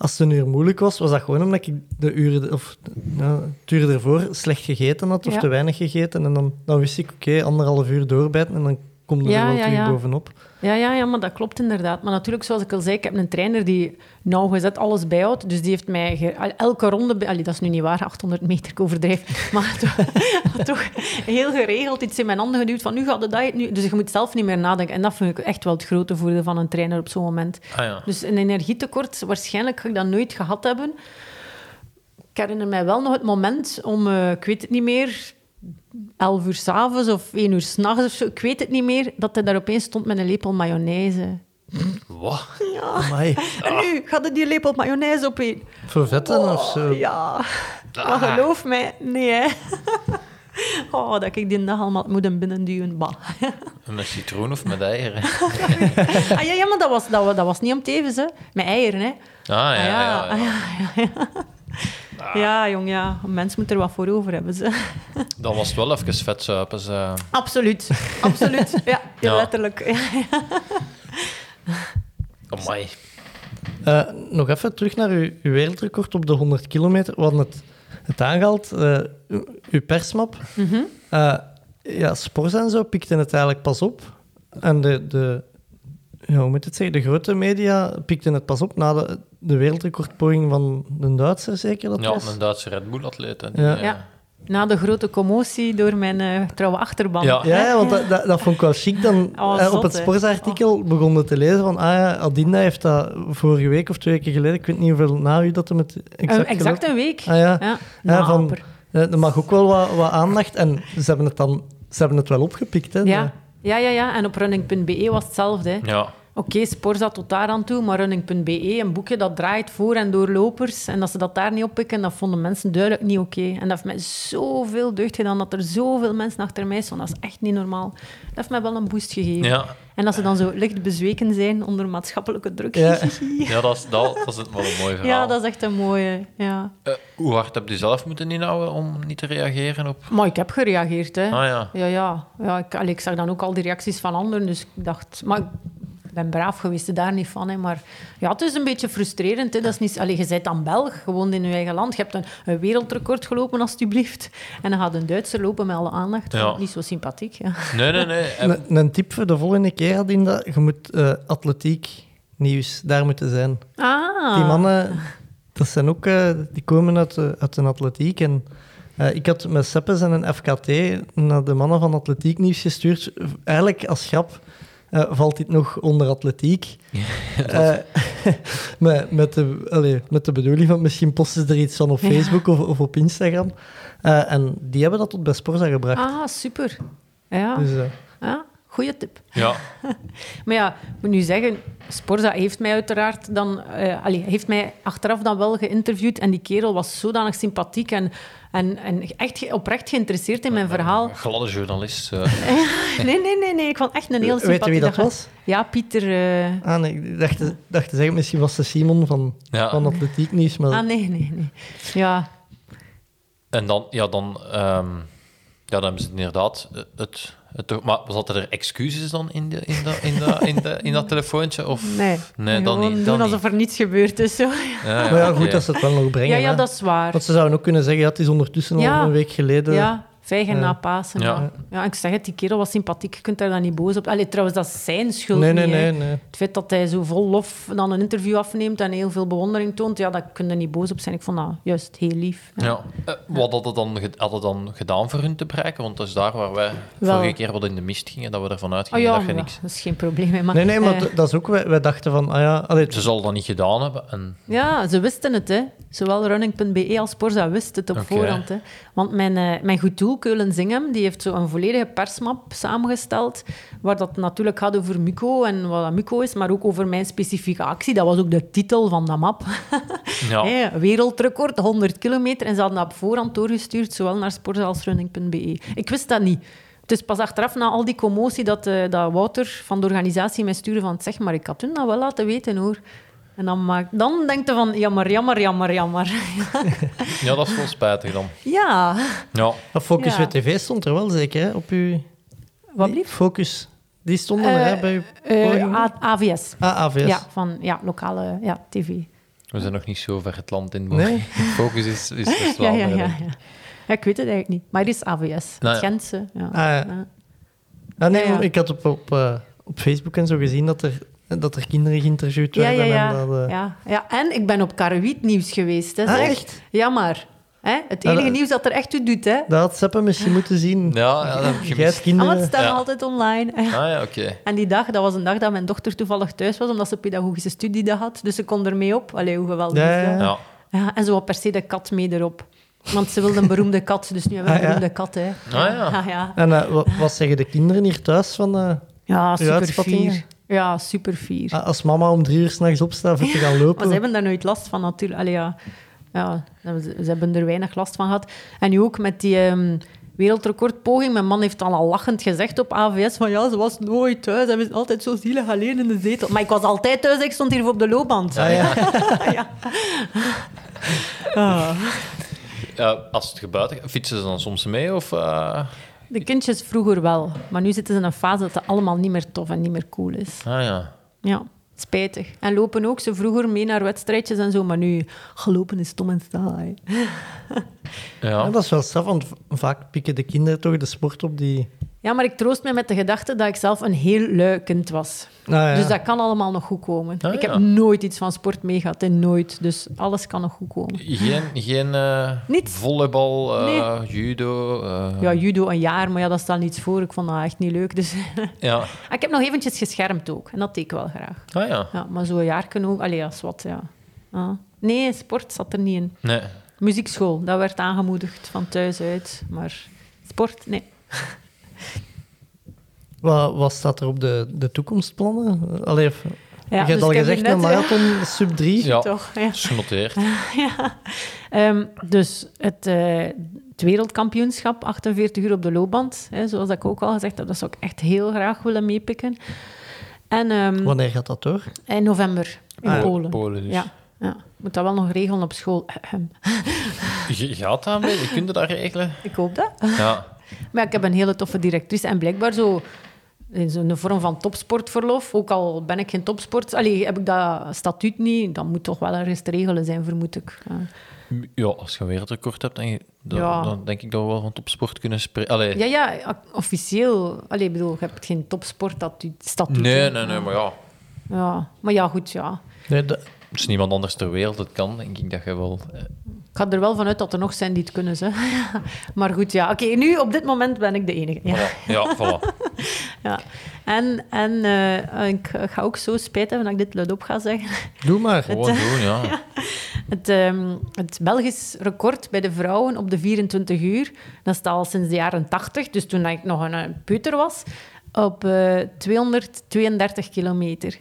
Speaker 7: Als het een uur moeilijk was, was dat gewoon omdat ik de uren, of, ja, het uur ervoor slecht gegeten had of
Speaker 8: Ja.
Speaker 7: te weinig gegeten. En dan, dan wist ik, oké, anderhalf uur doorbijten en dan komt er
Speaker 8: Ja,
Speaker 7: wel
Speaker 8: ja,
Speaker 7: terug
Speaker 8: ja.
Speaker 7: bovenop.
Speaker 8: Ja, ja, ja, maar dat klopt inderdaad. Maar natuurlijk, zoals ik al zei, ik heb een trainer die nauwgezet alles bijhoudt. Dus die heeft mij ge- al- elke ronde... bij- Allee, dat is nu niet waar, 800 meter, ik overdrijf. Maar toch, toch heel geregeld iets in mijn handen geduwd van nu gaat de diet nu. Dus je moet zelf niet meer nadenken. En dat vind ik echt wel het grote voordeel van een trainer op zo'n moment.
Speaker 9: Ah ja.
Speaker 8: Dus een energietekort, waarschijnlijk ga ik dat nooit gehad hebben. Ik herinner mij wel nog het moment om, eh, ik weet het niet meer, 11 uur s'avonds of 1 uur s'nachts of zo, ik weet het niet meer, dat hij daar opeens stond met een lepel mayonaise.
Speaker 9: Wat?
Speaker 7: Amai,
Speaker 8: En
Speaker 9: Ah.
Speaker 8: nu gaat hij die lepel mayonaise opeten.
Speaker 7: voor vetten of zo.
Speaker 8: Ja,
Speaker 9: Ah.
Speaker 8: maar geloof mij, nee hè. Oh, dat ik die dag allemaal moet binnenduwen. Bah.
Speaker 9: Met citroen of met eieren? Ah
Speaker 8: Ah, ja, ja, maar dat was, dat, wa- dat was niet om tevens, hè. Met eieren, hè.
Speaker 9: ja,
Speaker 8: Ah,
Speaker 9: ja, ja. Ah.
Speaker 8: ah, ja, ja, ja. Ja, jong, ja. Een mens moet er wat voor over hebben. Ze.
Speaker 9: Dan was het wel even vetzuipen. ze.
Speaker 8: Absoluut, absoluut. Ja, heel
Speaker 9: Ja.
Speaker 8: letterlijk. Ja, ja.
Speaker 9: Amai.
Speaker 7: Eh, nog even terug naar uw, uw wereldrecord op de 100 kilometer. We hadden het, het aangehaald, eh, uw, uw persmap.
Speaker 8: Mhm.
Speaker 7: Eh, ja, Spors en zo pikten het eigenlijk pas op. En de, de, ja, hoe moet ik het zeggen? de grote media pikten het pas op na de, de wereldrecordpoging van de Duitser, zeker dat
Speaker 9: Ja,
Speaker 7: was?
Speaker 9: een Duitse Red Bull-atleet. hè, die,
Speaker 7: Ja.
Speaker 9: eh,
Speaker 8: Ja. Na de grote commotie door mijn eh, trouwe achterban.
Speaker 9: Ja.
Speaker 7: Ja, ja, want dat, dat, dat vond ik wel chic. Dan,
Speaker 8: Oh,
Speaker 7: eh, op
Speaker 8: zot,
Speaker 7: het
Speaker 8: hè.
Speaker 7: sportsartikel begonnen te lezen van... Ah ja, Adinda heeft dat vorige week of twee weken geleden... Ik weet niet hoeveel na u dat hem het exact,
Speaker 8: Een- Eh, exact
Speaker 7: gelopen-
Speaker 8: een week.
Speaker 7: Ah ja.
Speaker 8: Ja,
Speaker 7: Ja, van,
Speaker 8: naper.
Speaker 7: eh, er mag ook wel wat, wat aandacht. En ze hebben het dan ze hebben het wel opgepikt. Hè,
Speaker 8: ja. ja, ja, ja. En op running.be E was hetzelfde. hè.
Speaker 9: ja.
Speaker 8: Oké, spoor zat tot daar aan toe, maar running.be, E, een boekje dat draait voor en door lopers. En dat ze dat daar niet oppikken, dat vonden mensen duidelijk niet oké. En dat heeft mij zoveel deugd gedaan, dat er zoveel mensen achter mij stonden. Dat is echt niet normaal. Dat heeft mij wel een boost gegeven.
Speaker 9: Ja.
Speaker 8: En dat ze dan zo licht bezweken zijn onder maatschappelijke druk.
Speaker 7: Ja.
Speaker 8: Ja,
Speaker 9: Ja, dat is, dat, dat is het wel een mooi verhaal.
Speaker 8: dat is echt een mooie. Ja.
Speaker 9: Eh, hoe hard heb je zelf moeten inhouden om niet te reageren op...
Speaker 8: Maar ik heb gereageerd, hè.
Speaker 9: Ah ja.
Speaker 8: Ja, ja. ja ik, allee, ik zag dan ook al die reacties van anderen, dus ik dacht... Maar ik ben braaf geweest, daar niet van. Hè, maar ja, het is een beetje frustrerend. Hè. Dat is niet, allee, je bent dan Belg, gewoon in je eigen land. Je hebt een, een wereldrecord gelopen, alstublieft. En dan gaat een Duitser lopen met alle aandacht.
Speaker 9: Ja.
Speaker 8: Vond ik Niet zo sympathiek, ja.
Speaker 9: Nee, nee, nee. Eh,
Speaker 7: Een, een tip voor de volgende keer, Adinda. Je moet eh, atletiek nieuws, daar moeten zijn.
Speaker 8: Ah.
Speaker 7: Die mannen, dat zijn ook, eh, die komen uit, de uit een atletiek. En, eh, ik had met Seppes en een FKT naar de mannen van Atletiek Nieuws gestuurd. Eigenlijk als grap eh, valt dit nog onder atletiek. Eh, met, met, de, allee, met de bedoeling van misschien posten ze er iets van op
Speaker 8: Ja.
Speaker 7: Facebook of, of op Instagram. Eh, en die hebben dat tot bij Sporza gebracht.
Speaker 8: Ah, super. Ja,
Speaker 7: Dus, eh,
Speaker 8: ja. goeie tip.
Speaker 9: ja.
Speaker 8: Maar ja, ik moet nu zeggen, Sporza heeft mij uiteraard dan... eh, allee, heeft mij achteraf dan wel geïnterviewd. En die kerel was zodanig sympathiek en, en, en echt ge- oprecht geïnteresseerd in mijn verhaal.
Speaker 9: Gladde journalist. eh.
Speaker 8: Nee, nee, nee, nee. Ik vond echt een heel
Speaker 7: Weet je
Speaker 8: sympathiek...
Speaker 7: wie dat was?
Speaker 8: Ja, Pieter... eh,
Speaker 7: ah, nee, ik dacht, te- dacht te zeggen, misschien was ze Simon van,
Speaker 9: Ja.
Speaker 7: van Atletiek Nieuws. Maar
Speaker 8: Ah, nee, nee, nee. Ja,
Speaker 9: En dan, ja, dan, ehm, ja, dan hebben ze inderdaad het, het, toch- Maar zaten er excuses dan in, de, in, de, in, de, in, de, in dat telefoontje? Of...
Speaker 8: nee.
Speaker 9: Nee, dan
Speaker 8: Gewoon
Speaker 9: niet.
Speaker 8: doen
Speaker 9: Dan niet.
Speaker 8: alsof er niets gebeurd is. Zo.
Speaker 9: Ja,
Speaker 7: Maar ja,
Speaker 9: oké.
Speaker 7: goed dat ze het wel nog brengen.
Speaker 8: Ja, ja,
Speaker 7: hè.
Speaker 8: dat is waar.
Speaker 7: Want ze zouden ook kunnen zeggen, ja, het is ondertussen
Speaker 8: Ja.
Speaker 7: al een week geleden.
Speaker 8: Ja, Vijgen
Speaker 7: Ja.
Speaker 8: na Pasen.
Speaker 9: Ja.
Speaker 8: Ja. ja, ik zeg het, die kerel was sympathiek. Je kunt daar dan niet boos op. Allee, trouwens, dat is zijn schuld
Speaker 7: Nee,
Speaker 8: niet,
Speaker 7: nee,
Speaker 8: hè.
Speaker 7: nee. nee.
Speaker 8: Het feit dat hij zo vol lof dan een interview afneemt en heel veel bewondering toont, ja, daar kun je niet boos op zijn. Ik vond dat juist heel lief.
Speaker 9: Ja. Eh, wat had het, dan, ge- had het dan gedaan voor hun te bereiken? Want dat is daar waar wij
Speaker 8: Wel.
Speaker 9: vorige keer wat in de mist gingen, dat we ervan
Speaker 8: Ah
Speaker 9: uitgingen
Speaker 8: ja,
Speaker 9: dat je
Speaker 8: maar
Speaker 9: niks...
Speaker 8: dat is geen probleem. hè, Maar,
Speaker 7: Nee, nee, maar
Speaker 8: eh,
Speaker 7: d- dat is ook... Wij, wij dachten van, ah ja... Allee,
Speaker 9: Ze zal dat niet gedaan hebben. En,
Speaker 8: Ja, ze wisten het, hè. Zowel running.be E als Sporza wisten het op
Speaker 9: Oké.
Speaker 8: voorhand, hè. Want mijn, eh, mijn goed doel, Keulen Zingem, die heeft zo een volledige persmap samengesteld, waar dat natuurlijk gaat over Muco en wat dat Muco is, maar ook over mijn specifieke actie. Dat was ook de titel van dat map.
Speaker 9: ja.
Speaker 8: Hè, wereldrecord, 100 kilometer. En ze hadden dat op voorhand doorgestuurd, zowel naar Sporza als running.be. E. Ik wist dat niet. Het is pas achteraf, na al die commotie, dat, eh, dat Wouter van de organisatie mij stuurde van zeg maar, ik had toen dat wel laten weten, hoor. En dan, maak, dan denkt hij van, jammer, jammer, jammer, jammer.
Speaker 9: ja, dat is wel spijtig dan.
Speaker 8: ja,
Speaker 9: Ja.
Speaker 7: dat Focus
Speaker 8: ja.
Speaker 7: WTV stond er wel zeker, hè? Op uw...
Speaker 8: wat
Speaker 7: die
Speaker 8: lief.
Speaker 7: Focus. Die stonden er, hè,
Speaker 8: Eh,
Speaker 7: bij uw...
Speaker 8: Eh,
Speaker 7: poging?
Speaker 8: A- AVS.
Speaker 7: ah, AVS.
Speaker 8: Ja, van ja, lokale ja, tv.
Speaker 9: We zijn nog niet zo ver het land in.
Speaker 7: Nee?
Speaker 9: Focus is, is dus
Speaker 8: Ja, ja,
Speaker 9: Vlaanderen.
Speaker 8: ja, ja. Ja, Ik weet het eigenlijk niet. Maar het is AVS.
Speaker 9: Nou ja.
Speaker 8: Het Gentse. Ja.
Speaker 7: Ah, ja.
Speaker 8: Ja.
Speaker 7: Ah, nee,
Speaker 8: Ja, ja.
Speaker 7: maar ik had op, op, eh, op Facebook en zo gezien dat er, dat er kinderen geïnterviewd
Speaker 8: Ja,
Speaker 7: werden.
Speaker 8: ja, ja.
Speaker 7: En dat, eh,
Speaker 8: ja, ja. En ik ben op Karuit nieuws geweest. Hè,
Speaker 7: Ah,
Speaker 8: zeg.
Speaker 7: echt? Ah,
Speaker 8: Jammer. Hè? Het
Speaker 7: Ja,
Speaker 8: enige
Speaker 7: dat-
Speaker 8: nieuws dat er echt toe doet. Hè?
Speaker 7: Dat had Seppe misschien moeten zien.
Speaker 9: Ja, ja, dat heb ik
Speaker 7: Jij hebt
Speaker 8: Ah,
Speaker 9: gemist.
Speaker 8: want
Speaker 7: kinderen...
Speaker 8: het staat
Speaker 9: Ja.
Speaker 8: altijd online.
Speaker 9: Ah ja, oké.
Speaker 8: En die dag, dat was een dag dat mijn dochter toevallig thuis was, omdat ze pedagogische studiedag had. Dus ze kon ermee op. Allee, hoe geweldig
Speaker 7: Ja,
Speaker 8: is
Speaker 7: ja,
Speaker 8: dat?
Speaker 9: Ja.
Speaker 8: Ja, en ze wou per se de kat mee erop. Want ze wilde een beroemde kat, dus nu hebben we een
Speaker 7: Ah, ja.
Speaker 8: beroemde kat. Hè.
Speaker 9: ja.
Speaker 8: Ja, ja.
Speaker 7: En eh, wa- wat zeggen de kinderen hier thuis van... eh,
Speaker 8: ja super
Speaker 7: uitspattingen?
Speaker 8: fier. Ja, super fier.
Speaker 7: ah, als mama om drie uur s'nachts opstaat om te gaan lopen...
Speaker 8: Maar ze hebben daar nooit last van natuurlijk. Allee, ja. Ja, nou, ze, ze hebben er weinig last van gehad. En nu ook met die ehm, wereldrecordpoging. Mijn man heeft al, al lachend gezegd op AVS van ja, ze was nooit thuis. Ze was altijd zo zielig alleen in de zetel. Maar ik was altijd thuis, ik stond hier voor op de loopband.
Speaker 9: Ah, ja.
Speaker 8: Ja. Ah.
Speaker 9: Eh, als het gebuiten fietsen ze dan soms mee? Of, eh,
Speaker 8: De kindjes vroeger wel, maar nu zitten ze in een fase dat het allemaal niet meer tof en niet meer cool is.
Speaker 9: Ah ja.
Speaker 8: Ja, spijtig. En lopen ook ze vroeger mee naar wedstrijdjes en zo, maar nu, gelopen is stom en saai.
Speaker 7: Ja,
Speaker 9: Ja.
Speaker 7: dat is wel straf, want v- vaak pikken de kinderen toch de sport op die...
Speaker 8: Ja, maar ik troost me met de gedachte dat ik zelf een heel lui kind was.
Speaker 7: Nou ja.
Speaker 8: Dus dat kan allemaal nog goed komen.
Speaker 9: Ah,
Speaker 8: ik
Speaker 9: ja.
Speaker 8: heb nooit iets van sport meegehad, en nooit. Dus alles kan nog goed komen.
Speaker 9: Geen, geen eh,
Speaker 8: Niets.
Speaker 9: volleybal, eh, judo. eh,
Speaker 8: Ja, judo een jaar, maar ja, dat staat niets voor. Ik vond dat echt niet leuk. Dus
Speaker 9: ja.
Speaker 8: ik heb nog eventjes geschermd ook. En dat deed ik wel graag.
Speaker 9: Ah ja.
Speaker 8: Ja, maar zo'n jaar kunnen ook... Allee, als wat, ja. Ah. Nee, sport zat er niet in.
Speaker 9: Nee.
Speaker 8: Muziekschool, dat werd aangemoedigd van thuis uit. Maar sport, nee.
Speaker 7: Wat, wat staat er op de, de toekomstplannen? Allee, of-
Speaker 8: Ja,
Speaker 7: je hebt
Speaker 8: dus
Speaker 7: al
Speaker 8: ik heb
Speaker 7: gezegd,
Speaker 8: hier
Speaker 7: een
Speaker 8: net, eh,
Speaker 7: marathon sub 3.
Speaker 9: Ja,
Speaker 8: Toch, ja.
Speaker 9: is genoteerd.
Speaker 8: ja. Ehm, dus het, eh, het wereldkampioenschap, 48 uur op de loopband, hè, zoals dat ik ook al gezegd heb, dat zou ik echt heel graag willen meepikken. En ehm,
Speaker 7: Wanneer gaat dat door?
Speaker 8: in november in
Speaker 7: Ah, ja.
Speaker 8: Polen.
Speaker 9: Polen dus.
Speaker 8: Ja, ja. Ik moet dat wel nog regelen op school. Ehm, Ahem.
Speaker 9: Je gaat daar mee? Je kunt het daar regelen?
Speaker 8: Ik hoop dat.
Speaker 9: Ja.
Speaker 8: Maar ik heb een hele toffe directrice en blijkbaar zo in zo'n vorm van topsportverlof, ook al ben ik geen topsport, allee, heb ik dat statuut niet, dan moet toch wel ergens te regelen zijn, vermoed ik. Ja.
Speaker 9: Ja, als je een wereldrecord hebt, dan, dan,
Speaker 8: Ja.
Speaker 9: dan denk ik dat we wel van topsport kunnen spreken. Allee.
Speaker 8: Ja, ja, o- officieel. Allee, ik bedoel, je hebt geen topsportstatuut. statuut, hè.
Speaker 9: Nee, nee, nee, maar ja.
Speaker 8: Ja, maar ja, goed, ja.
Speaker 7: Nee, dat-
Speaker 9: Er is niemand anders ter wereld dat kan, denk ik dat je wel... eh,
Speaker 8: Ik ga er wel vanuit dat er nog zijn die het kunnen, ze. maar goed, ja. Oké, nu op dit moment ben ik de enige. Ja.
Speaker 9: voilà. Ja, voilà.
Speaker 8: ja. En, en eh, ik ga ook zo spijt hebben dat ik dit luidop ga zeggen.
Speaker 7: doe maar.
Speaker 8: eh,
Speaker 9: Gewoon doen, ja.
Speaker 8: Het, ehm, het Belgisch record bij de vrouwen op de 24 uur, dat staat al sinds de jaren 80, dus toen ik nog een eh, puter was, op eh, 232 kilometer.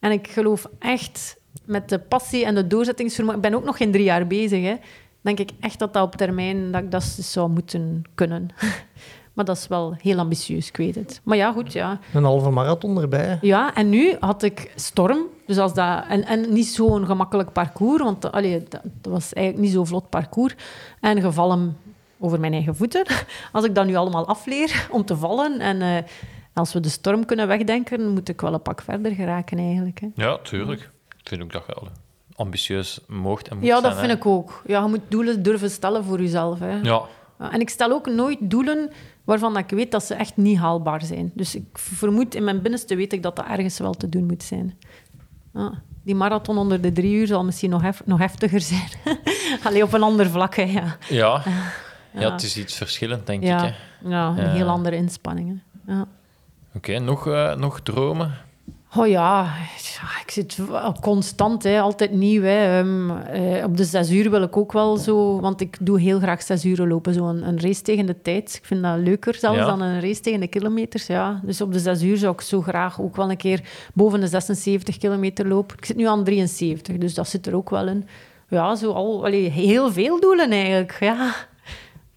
Speaker 8: En ik geloof echt, met de passie en de doorzettingsvermogen, ik ben ook nog geen drie jaar bezig, hè, denk ik echt dat dat op termijn dat ik dat dus zou moeten kunnen. maar dat is wel heel ambitieus, ik weet het. Maar ja, goed, ja.
Speaker 7: Een halve marathon erbij.
Speaker 8: Ja, en nu had ik storm. Dus als dat, en, en niet zo'n gemakkelijk parcours, want allee, dat, dat was eigenlijk niet zo'n vlot parcours. En gevallen over mijn eigen voeten. Als ik dat nu allemaal afleer om te vallen en eh, als we de storm kunnen wegdenken, moet ik wel een pak verder geraken eigenlijk. Hè.
Speaker 9: Ja, tuurlijk. Ik vind ook dat je wel ambitieus moogt en moet
Speaker 8: Ja,
Speaker 9: zijn,
Speaker 8: dat vind
Speaker 9: hè.
Speaker 8: ik ook. Ja, je moet doelen durven stellen voor jezelf. Hè.
Speaker 9: Ja,
Speaker 8: En ik stel ook nooit doelen waarvan dat ik weet dat ze echt niet haalbaar zijn. Dus ik vermoed in mijn binnenste weet ik dat dat ergens wel te doen moet zijn. Ah, die marathon onder de drie uur zal misschien nog, hef- nog heftiger zijn. Alleen op een ander vlak, hè, ja.
Speaker 9: Ja. ja, het is iets verschillend, denk
Speaker 8: Ja,
Speaker 9: ik. hè.
Speaker 8: ja, een
Speaker 9: Ja.
Speaker 8: heel andere inspanningen. Ja.
Speaker 9: Oké, nog, eh, nog dromen?
Speaker 8: Oh ja, ja, ik zit wel constant, hè, altijd nieuw. Hè. Ehm, eh, op de zes uur wil ik ook wel zo, want ik doe heel graag zes uur lopen. Zo een, een race tegen de tijd. Ik vind dat leuker zelfs
Speaker 9: Ja.
Speaker 8: dan een race tegen de kilometers. Ja. Dus op de zes uur zou ik zo graag ook wel een keer boven de 76 kilometer lopen. Ik zit nu aan 73, dus dat zit er ook wel in. Ja, zo al, allee, heel veel doelen eigenlijk. Ja,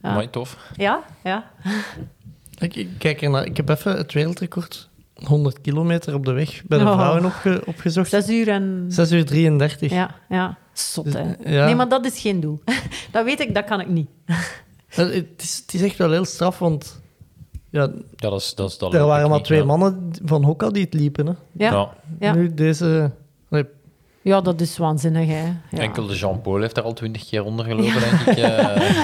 Speaker 8: Ja.
Speaker 9: Mooi, tof.
Speaker 8: ja, ja.
Speaker 7: Ik, ik kijk ernaar. Ik heb even het wereldrecord 100 kilometer op de weg bij de
Speaker 8: Oh.
Speaker 7: vrouwen opge- opgezocht. 6,
Speaker 8: Zes uur en...
Speaker 7: uur 33.
Speaker 8: Ja, ja. Zot,
Speaker 7: Dus,
Speaker 8: hè.
Speaker 7: ja.
Speaker 8: Nee, maar dat is geen doel. dat weet ik, dat kan ik niet.
Speaker 7: Eh, Het, is, het is echt wel heel straf, want ja,
Speaker 9: Ja, dat is, dat is, dat
Speaker 7: er
Speaker 9: loop ik
Speaker 7: waren maar
Speaker 9: niet,
Speaker 7: twee
Speaker 9: ja.
Speaker 7: mannen van Hokka die het liepen. Hè.
Speaker 8: Ja.
Speaker 9: Ja.
Speaker 8: Ja.
Speaker 7: Nu deze... nee,
Speaker 8: Ja, dat is waanzinnig, hè. Ja.
Speaker 9: Enkel de Jean-Paul heeft daar al twintig keer onder gelopen, denk ik. eh.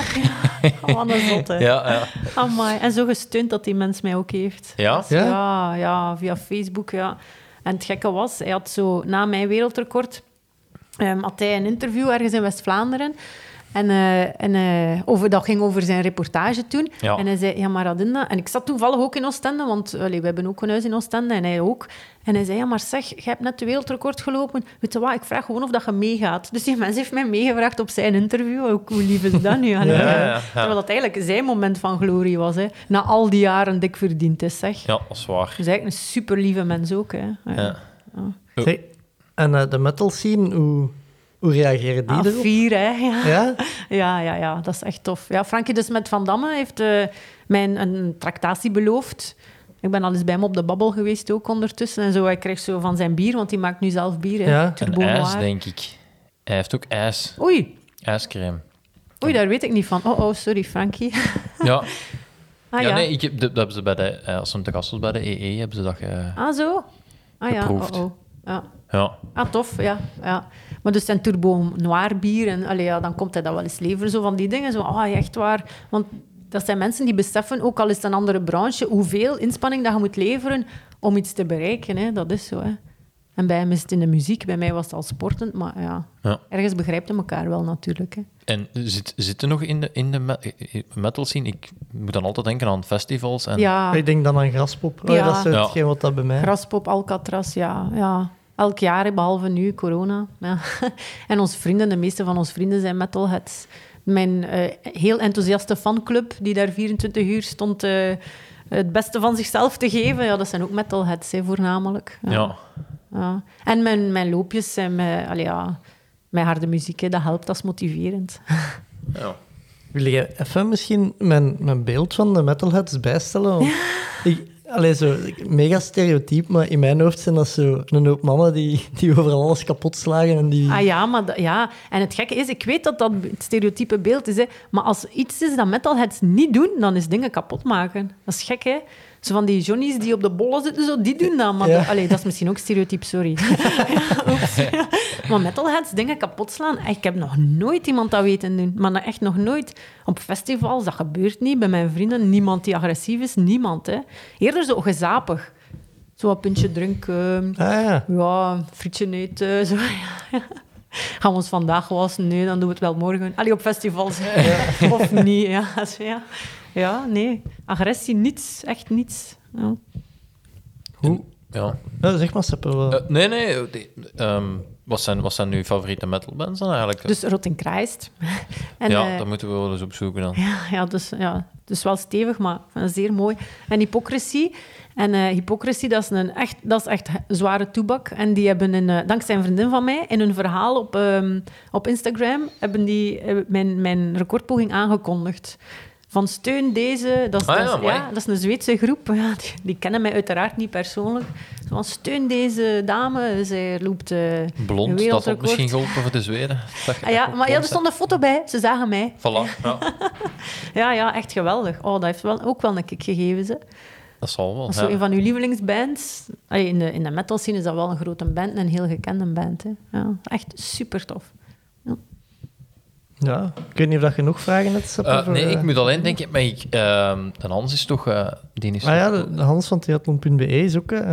Speaker 8: Oh, wat een zot, hè.
Speaker 9: ja, ja.
Speaker 8: Amai. En zo gesteund dat die mens mij ook heeft.
Speaker 9: ja.
Speaker 7: Ja?
Speaker 8: Ja? ja, via Facebook, ja. En het gekke was, hij had zo na mijn wereldrecord... ehm, had hij een interview ergens in West-Vlaanderen. En, eh, en eh, over, dat ging over zijn reportage toen.
Speaker 9: Ja.
Speaker 8: En hij zei, ja, maar Radinda... En ik zat toevallig ook in Oostende, want allee, we hebben ook een huis in Oostende en hij ook. En hij zei, ja, maar zeg, je hebt net de wereldrecord gelopen. Weet je wat, ik vraag gewoon of dat je meegaat. Dus die mens heeft mij meegevraagd op zijn interview. Ook, hoe lief is dat nu? Ja,
Speaker 9: ja, ja.
Speaker 8: Terwijl dat eigenlijk zijn moment van glorie was. Hè. Na al die jaren dik verdiend is, zeg.
Speaker 9: Ja, dat is waar.
Speaker 8: Dus eigenlijk een super lieve mens ook. Hè.
Speaker 9: Ja. Oh.
Speaker 7: Zeg, en eh, de metal scene, hoe, hoe reageren die
Speaker 8: Ah,
Speaker 7: erop?
Speaker 8: vier, hè. Ja.
Speaker 7: Ja?
Speaker 8: Ja, ja, ja, dat is echt tof. Ja, Frankie dus met Van Damme heeft eh, mij een, een tractatie beloofd. Ik ben al eens bij hem op de babbel geweest ook ondertussen. En zo, hij kreeg zo van zijn bier, want die maakt nu zelf bier. Hè.
Speaker 7: Ja.
Speaker 9: En
Speaker 8: Turbo
Speaker 9: ijs,
Speaker 8: Noir.
Speaker 9: denk ik. Hij heeft ook ijs.
Speaker 8: Oei,
Speaker 9: Ijscrème.
Speaker 8: oei, daar weet ik niet van. Oh, oh sorry, Frankie.
Speaker 9: Ja,
Speaker 8: Ah,
Speaker 9: ja,
Speaker 8: ja.
Speaker 9: nee, ik, heb- dat dat hebben ze bij de, eh, als ze te gast was bij de EE, hebben ze dat ge-
Speaker 8: Ah, zo? Ah ja,
Speaker 9: Geproefd.
Speaker 8: oh, oh. Ja.
Speaker 9: Ja,
Speaker 8: Ah, tof, ja. ja. Maar dus zijn turbo noir bier. En allee, ja, dan komt hij dat wel eens leveren, zo van die dingen. Zo, ah, echt waar. Want dat zijn mensen die beseffen, ook al is het een andere branche, hoeveel inspanning dat je moet leveren om iets te bereiken. Hè. Dat is zo, hè. En bij hem is het in de muziek, bij mij was het al sportend, maar ja,
Speaker 9: Ja.
Speaker 8: ergens begrijpt hij elkaar wel natuurlijk. Hè.
Speaker 9: En zit, zitten nog in de, in de me- eh, metal scene? Ik moet dan altijd denken aan festivals. En,
Speaker 8: Ja,
Speaker 7: Ik denk dan aan Graspop. Oh,
Speaker 8: Ah. Ja.
Speaker 7: Dat is
Speaker 9: Ja.
Speaker 7: hetgeen wat dat bij mij...
Speaker 8: Graspop, Alcatraz, ja. ja. Elk jaar, hè, behalve nu, corona. Ja. En onze vrienden, de meeste van onze vrienden zijn metalheads. Mijn eh, heel enthousiaste fanclub, die daar 24 uur stond eh, het beste van zichzelf te geven. Ja, dat zijn ook metalheads, hè, voornamelijk.
Speaker 9: ja.
Speaker 8: Ja. En mijn, mijn loopjes zijn mijn, allee, ja, mijn harde muziek, hè, dat helpt, dat is motiverend.
Speaker 9: Ja.
Speaker 7: Wil je even misschien mijn, mijn beeld van de metalheads bijstellen? Want ik, allee, zo, mega stereotyp, maar in mijn hoofd zijn dat zo een hoop mannen die, die overal alles kapot slagen en die...
Speaker 8: Ah ja, maar dat- ja. En het gekke is, ik weet dat dat het stereotype beeld is, hè, maar als iets is dat metalheads niet doen, dan is dingen kapot maken. Dat is gek, hè? Zo van die Johnny's die op de bollen zitten, zo, die doen dat. Maar
Speaker 7: Ja.
Speaker 8: dat, allee, dat is misschien ook stereotyp, sorry. Ja, oeps. maar metalheads dingen kapot slaan, eh, ik heb nog nooit iemand dat weten doen. Maar nou echt nog nooit. Op festivals, dat gebeurt niet. Bij mijn vrienden, niemand die agressief is, niemand. Hè. Eerder zo gezapig. Zo een puntje drinken,
Speaker 7: Ah, ja.
Speaker 8: ja, een frietje eten. Zo. Gaan we ons vandaag wassen? Nee, dan doen we het wel morgen. Allee, op festivals. Of niet, ja. Zo, ja. Ja, nee. Agressie, niets. Echt niets. Ja.
Speaker 7: Hoe?
Speaker 9: ja.
Speaker 7: Ja, zeg maar, Seppe. wel.
Speaker 9: Eh, nee, nee. eh, die- ehm, wat, zijn, wat zijn uw favoriete metalbands dan eigenlijk?
Speaker 8: Dus Rotting Christ. En,
Speaker 9: ja,
Speaker 8: eh,
Speaker 9: dat moeten we wel eens opzoeken dan.
Speaker 8: Ja, ja, dus, ja, dus wel stevig, maar eh, zeer mooi. En hypocrisie. En eh, hypocrisie, dat is, een echt, dat is echt zware toebak. En die hebben, een, eh, dankzij een vriendin van mij, in hun verhaal op, ehm, op Instagram, hebben die eh, mijn, mijn recordpoging aangekondigd. Van steun deze, dat is,
Speaker 9: Ah ja,
Speaker 8: dat, is,
Speaker 9: mooi.
Speaker 8: dat is een Zweedse groep. Ja, die, die kennen mij uiteraard niet persoonlijk. Zo Van steun deze dame, zij loopt eh, een
Speaker 9: Blond, dat had
Speaker 8: wereldrecord.
Speaker 9: misschien geholpen voor de Zweden. Dat je
Speaker 8: Ah, ja,
Speaker 9: ook
Speaker 8: maar ja, er
Speaker 9: blond
Speaker 8: stond een foto bij, ze zagen mij.
Speaker 9: bent. Voilà, ja,
Speaker 8: Ja, ja, echt geweldig. Oh, dat heeft wel, ook wel een kick gegeven, ze.
Speaker 9: dat zal wel.
Speaker 8: Dat is zo
Speaker 9: ja.
Speaker 8: een van uw lievelingsbands. Allee, in, de, in de metal scene is dat wel een grote band, een heel gekende band. Hè. Ja, echt super tof.
Speaker 7: Ja, ik weet niet of dat genoeg vragen hebt. Seppe,
Speaker 9: Eh,
Speaker 7: voor,
Speaker 9: nee, ik
Speaker 7: eh,
Speaker 9: moet alleen denken, maar ik, ehm, en Hans is toch... eh die is
Speaker 7: Maar Ah ja,
Speaker 9: toch-
Speaker 7: de- de Hans van theatron.be is ook... eh,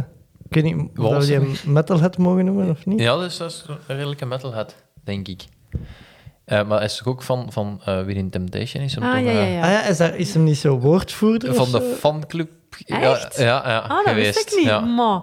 Speaker 7: ik weet niet of dat we die een metalhead mogen noemen of niet.
Speaker 9: Ja, dus dat is een redelijke metalhead, denk ik. Eh, maar hij is toch ook van, van eh, Within Temptation? Is hem
Speaker 8: Ah,
Speaker 9: toch,
Speaker 8: ja, ja,
Speaker 9: eh,
Speaker 8: ja.
Speaker 7: Ah ja, is, daar, is hem niet zo woordvoerder of
Speaker 9: Van de
Speaker 7: zo?
Speaker 9: fanclub
Speaker 8: Echt?
Speaker 9: Ja, ja, ja,
Speaker 8: ah, dat
Speaker 9: geweest.
Speaker 8: wist ik niet.
Speaker 9: Ja.
Speaker 8: Maar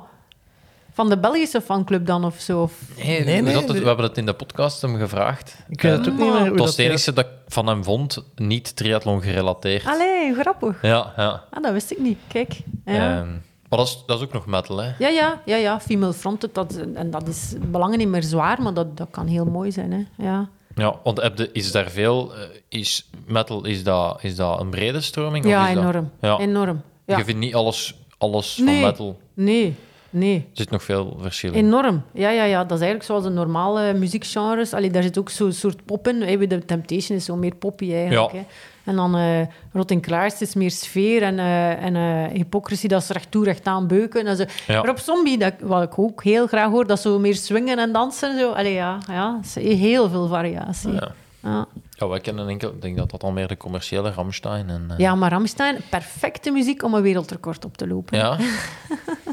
Speaker 8: van de Belgische fanclub dan of zo? Of...
Speaker 9: Nee,
Speaker 7: Nee,
Speaker 9: we,
Speaker 7: nee,
Speaker 9: hadden het-
Speaker 7: de-
Speaker 9: we hebben het in de podcast hem gevraagd.
Speaker 7: Ik weet het ook niet meer. hoe
Speaker 9: Het was het
Speaker 7: dat-
Speaker 9: enige dat ik van hem vond, niet triathlon gerelateerd.
Speaker 8: Allee, grappig.
Speaker 9: Ja, ja.
Speaker 8: Ah, dat wist ik niet. Kijk. Ja.
Speaker 9: Ehm, maar dat is, dat is ook nog metal, hè?
Speaker 8: Ja, ja, ja, ja, female fronted, dat, en dat is belangen niet meer zwaar, maar dat, dat kan heel mooi zijn. Hè. Ja.
Speaker 9: Ja, want heb je- is daar veel... eh, Is metal, is dat, is dat een brede stroming? of
Speaker 8: Ja,
Speaker 9: is dat-
Speaker 8: enorm.
Speaker 9: Ja.
Speaker 8: Enorm. Ja.
Speaker 9: Je vindt niet alles, alles
Speaker 8: Nee.
Speaker 9: van metal.
Speaker 8: Nee, nee.
Speaker 9: Er zit nog veel verschil in.
Speaker 8: Enorm. Ja, ja, ja. Dat is eigenlijk zoals de normale muziekgenres. Allee, daar zit ook zo'n soort pop in. Hey, bij de Temptation is zo meer poppy eigenlijk.
Speaker 9: Ja.
Speaker 8: Hè. En dan eh Rotten Klaars is meer sfeer. En, eh en eh hypocrisie, dat is recht toe, recht aan beuken. En zo.
Speaker 9: Ja.
Speaker 8: Maar op Zombie, dat, wat ik ook heel graag hoor, dat is zo meer swingen en dansen. en Zo. Allee, ja, ja. is Heel veel variatie.
Speaker 9: Ja.
Speaker 8: Ja.
Speaker 9: Ja, wij kennen enkel... Ik denk dat dat al meer de commerciële Ramstein en... eh,
Speaker 8: Ja, maar Ramstein, perfecte muziek om een wereldrecord op te lopen.
Speaker 9: Ja.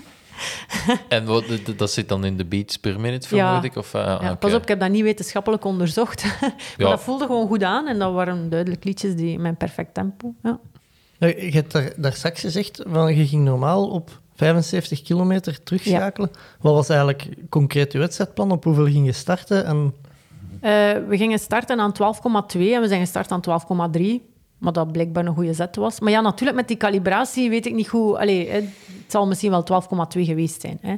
Speaker 9: en wat, d- d- dat zit dan in de beats per minute,
Speaker 8: Ja.
Speaker 9: vermoed ik? Of, eh,
Speaker 8: Ja,
Speaker 9: oké.
Speaker 8: Pas op, ik heb dat niet wetenschappelijk onderzocht. maar
Speaker 9: Ja.
Speaker 8: dat voelde gewoon goed aan en dat waren duidelijk liedjes die in mijn perfect tempo. Ja.
Speaker 7: Ja, Nou, Je hebt daar, daar straks gezegd, van, je ging normaal op 75 kilometer terugschakelen. Wat was eigenlijk concreet je wedstrijdplan? Op hoeveel ging je starten? En
Speaker 8: Eh, we gingen starten aan 12,2 en we zijn gestart aan 12,3. Maar dat blijkbaar een goede zet was. Maar ja, natuurlijk met die calibratie weet ik niet goed. Allee, hè, het zal misschien wel 12,2 geweest zijn. Hè.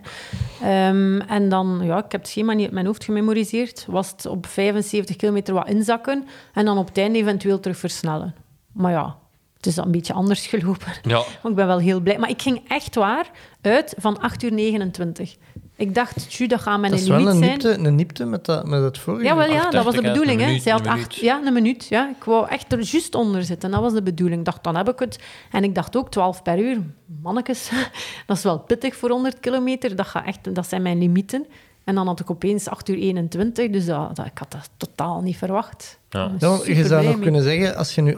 Speaker 8: Ehm, en dan, ja, ik heb het schema niet uit mijn hoofd gememoriseerd. Was het op 75 kilometer wat inzakken en dan op het einde eventueel terug versnellen. Maar ja, het is dan een beetje anders gelopen.
Speaker 9: Ja.
Speaker 8: Maar Oh, ik ben wel heel blij. Maar ik ging echt waar uit van 8 uur 29. Ik dacht, tju, dat gaat mijn
Speaker 7: dat is
Speaker 8: limiet
Speaker 7: wel een
Speaker 8: zijn.
Speaker 7: niepte, een niepte met, dat, met het vorige.
Speaker 8: Ja, wel, ja, dat was de
Speaker 9: 8,30, hè.
Speaker 8: bedoeling.
Speaker 9: Een
Speaker 8: Hè.
Speaker 9: minuut,
Speaker 8: Zij had
Speaker 9: een
Speaker 8: acht,
Speaker 9: minuut.
Speaker 8: ja, een minuut. Ja. Ik wou echt er juist onder zitten. Dat was de bedoeling. Ik dacht, dan heb ik het. En ik dacht ook 12 per uur. Mannekes, dat is wel pittig voor 100 kilometer. Dat, gaat echt, dat zijn mijn limieten. En dan had ik opeens 8 uur 21. Dus dat, dat- ik had dat totaal niet verwacht.
Speaker 9: Ja.
Speaker 8: Ik ben
Speaker 7: Ja, want Nou, je zou
Speaker 8: superblij
Speaker 7: nog
Speaker 8: mee.
Speaker 7: kunnen zeggen, als je nu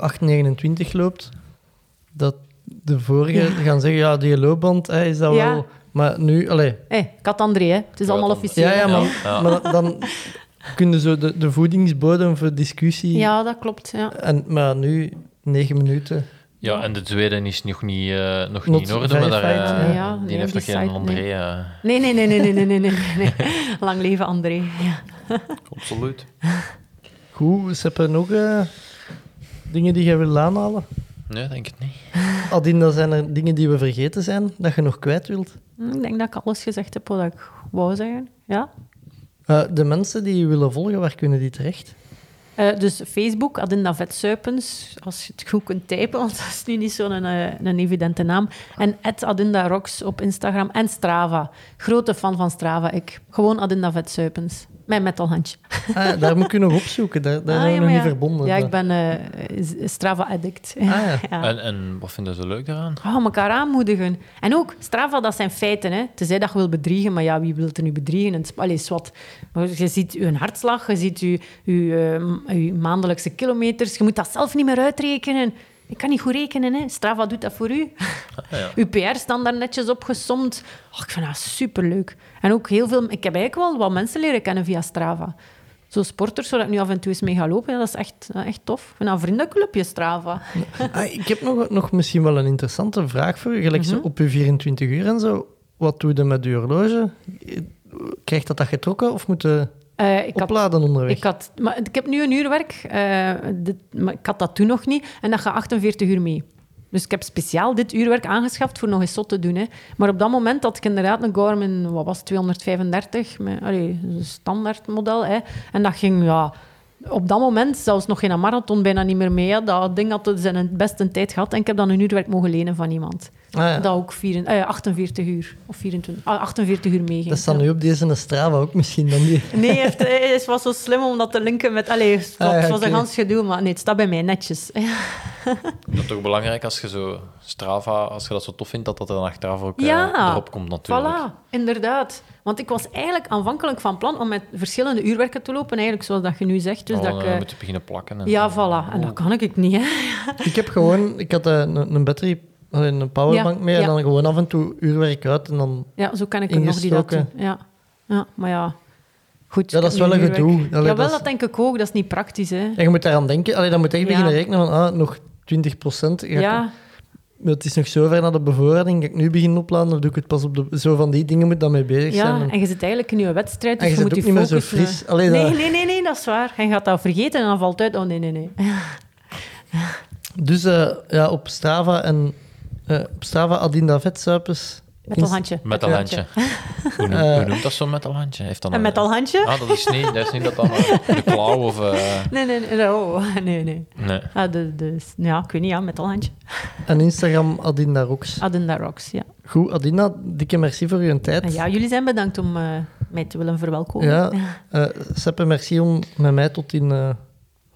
Speaker 7: 8,29 loopt, dat de vorige gaan zeggen, ja, die loopband, hè, is dat
Speaker 8: Ja.
Speaker 7: wel... Maar nu, allee,
Speaker 8: Hé, Eh, ik had André, hè. het is
Speaker 9: Ja,
Speaker 8: allemaal
Speaker 9: dan-
Speaker 8: officieel.
Speaker 7: ja, ja,
Speaker 9: Ja,
Speaker 7: maar,
Speaker 9: ja.
Speaker 7: maar dan, dan kun je zo de, de voedingsbodem voor discussie...
Speaker 8: Ja, dat klopt. Ja.
Speaker 7: En, maar nu, 9 minuten...
Speaker 9: ja, en de tweede is nog niet, eh, nog
Speaker 7: Not
Speaker 9: niet in orde, maar daar, eh,
Speaker 7: verified,
Speaker 8: ja. Ja,
Speaker 9: die
Speaker 8: nee,
Speaker 9: heeft
Speaker 8: die
Speaker 9: nog geen
Speaker 8: site, nee.
Speaker 9: André. eh,
Speaker 8: Nee, nee, nee, nee, nee, nee, nee, nee, nee. Lang leven André. Ja.
Speaker 9: Absoluut.
Speaker 7: Goed, ze hebben nog eh, dingen die je wil aanhalen.
Speaker 9: Nee, denk het niet.
Speaker 7: Adien, dat zijn er dingen die we vergeten zijn, dat je nog kwijt wilt.
Speaker 8: Hm, Ik denk dat ik alles gezegd heb wat ik wou zeggen. Ja.
Speaker 7: Eh, de mensen die je willen volgen, waar kunnen die terecht?
Speaker 8: Eh, dus Facebook, Adinda Vetsuipens, als je het goed kunt typen, want dat is nu niet zo'n eh, een evidente naam. En Adinda Rocks op Instagram en Strava. Grote fan van Strava, ik. Gewoon Adinda Vetsuipens. Mijn metalhandje.
Speaker 7: Ah, daar moet je nog opzoeken, daar, daar
Speaker 8: Ah,
Speaker 7: zijn we
Speaker 8: ja,
Speaker 7: nog
Speaker 8: maar
Speaker 7: niet
Speaker 8: ja.
Speaker 7: verbonden.
Speaker 8: Ja,
Speaker 7: Dat-
Speaker 8: ik ben eh, Strava-addict.
Speaker 7: Ah, ja.
Speaker 9: En, en wat vinden ze leuk daaraan?
Speaker 8: Oh, elkaar aanmoedigen. En ook, Strava, dat zijn feiten. Hè? Tenzij dat je wil bedriegen, maar ja, wie wil er nu bedriegen? En, het is- allee, is wat. Maar je ziet je hartslag, je ziet je, maandelijkse kilometers. Je moet dat zelf niet meer uitrekenen. Ik kan niet goed rekenen, hè. Strava doet dat voor u.
Speaker 9: ja.
Speaker 8: Uw PR staan daar netjes opgesomd. Oh, ik vind dat superleuk. En ook heel veel... Ik heb eigenlijk wel wat mensen leren kennen via Strava. Zo sporters, waar ik nu af en toe eens mee ga lopen, ja, dat is echt, dat is echt tof. Ik vind dat een vriendenclubje, Strava.
Speaker 7: Ah, ik heb nog, nog misschien wel een interessante vraag voor u. Gelijk zo
Speaker 8: Mhm.
Speaker 7: op je 24 uur en zo. Wat doe je met je horloge? Krijgt dat dat getrokken of moet je
Speaker 8: Eh, ik had
Speaker 7: opladen onderweg?
Speaker 8: Ik, had, maar ik heb nu een uurwerk, eh, dit- maar ik had dat toen nog niet. En dat gaat 48 uur mee. Dus ik heb speciaal dit uurwerk aangeschaft voor nog eens zot te doen. Hè. Maar op dat moment had ik inderdaad een Garmin, wat was het, 235, met, allee, een standaard model. Hè. En dat ging, ja, op dat moment zelfs nog in een marathon bijna niet meer mee. hè. Dat ding had zijn best een tijd gehad. En ik heb dan een uurwerk mogen lenen van iemand.
Speaker 7: Ah, ja.
Speaker 8: Dat ook vier, eh, 48 uur, of 24, ah, 48 uur meeging.
Speaker 7: Dat staat
Speaker 8: Ja.
Speaker 7: nu op deze Strava ook misschien dan die.
Speaker 8: Nee, hij heeft, hij is- was zo slim om dat te linken met... Allee, het was,
Speaker 7: Ah, ja,
Speaker 8: het was een
Speaker 7: oké.
Speaker 8: gans gedoe, maar nee, het staat bij mij netjes.
Speaker 9: Dat is toch belangrijk als je zo Strava, als je dat zo tof vindt, dat dat er dan achteraf ook eh,
Speaker 8: Ja,
Speaker 9: erop komt natuurlijk.
Speaker 8: Voilà, inderdaad. Want ik was eigenlijk aanvankelijk van plan om met verschillende uurwerken te lopen, eigenlijk zoals dat je nu zegt. Dus
Speaker 7: Oh,
Speaker 9: Dus
Speaker 8: dat ik, eh,
Speaker 9: moeten beginnen plakken. En
Speaker 8: ja,
Speaker 9: zo.
Speaker 8: voilà. En dat kan ik niet, hè.
Speaker 7: Ik heb gewoon, ik had eh, een, een battery, allee, een powerbank
Speaker 8: Ja,
Speaker 7: mee
Speaker 8: ja.
Speaker 7: en dan gewoon af en toe uurwerk uit en dan...
Speaker 8: Ja, zo ken ik er nog die dat doen.
Speaker 7: Ingestoken.
Speaker 8: Ja. ja, maar ja. Goed,
Speaker 7: Ja, dat is
Speaker 8: ik heb
Speaker 7: wel
Speaker 8: nu
Speaker 7: een
Speaker 8: uurwerk.
Speaker 7: gedoe. Allee,
Speaker 8: Jawel,
Speaker 7: dat
Speaker 8: dat,
Speaker 7: is-
Speaker 8: denk ik ook. Dat is niet praktisch, hè.
Speaker 7: En je moet daaraan denken, allee, dan moet je echt
Speaker 8: Ja.
Speaker 7: beginnen rekenen van, ah, nog 20 procent.
Speaker 8: Ja,
Speaker 7: Het is nog zo ver naar de bevoorrading, ga ik nu beginnen opladen of doe ik het pas op de... Zo van die dingen moet dan mee bezig zijn.
Speaker 8: ja,
Speaker 7: En-
Speaker 8: en je zit eigenlijk in je wedstrijd, dus
Speaker 7: En je
Speaker 8: je, moet
Speaker 7: zit
Speaker 8: je
Speaker 7: ook niet meer
Speaker 8: focus...
Speaker 7: zo fris.
Speaker 8: eh,
Speaker 7: Allee, dat-
Speaker 8: nee, nee, nee, nee, dat is waar. Je gaat dat vergeten en dan valt uit. Oh, nee, nee, nee.
Speaker 7: Dus eh, ja, op Strava en... eh, op Strava Adinda Vetsuipers.
Speaker 8: Met al handje.
Speaker 9: Met een handje. Hoe, noem-
Speaker 7: Eh.
Speaker 9: hoe noemt dat zo met een handje? Heeft dat
Speaker 8: En
Speaker 9: een-
Speaker 8: met al handje?
Speaker 9: Ah, dat is niet, dat is niet dat dan eh, de klauw of... eh,
Speaker 8: Nee, nee, nee. Oh, nee, nee.
Speaker 9: nee.
Speaker 8: Ah, de, de, ja, ik weet niet, ja, met al handje.
Speaker 7: En Instagram Adinda Rocks.
Speaker 8: Adinda Rocks, ja.
Speaker 7: Goed, Adinda, dikke merci voor uw tijd.
Speaker 8: En Ah, ja, jullie zijn bedankt om eh, mij te willen verwelkomen.
Speaker 7: Ja, eh, Seppe, merci om met mij tot in... eh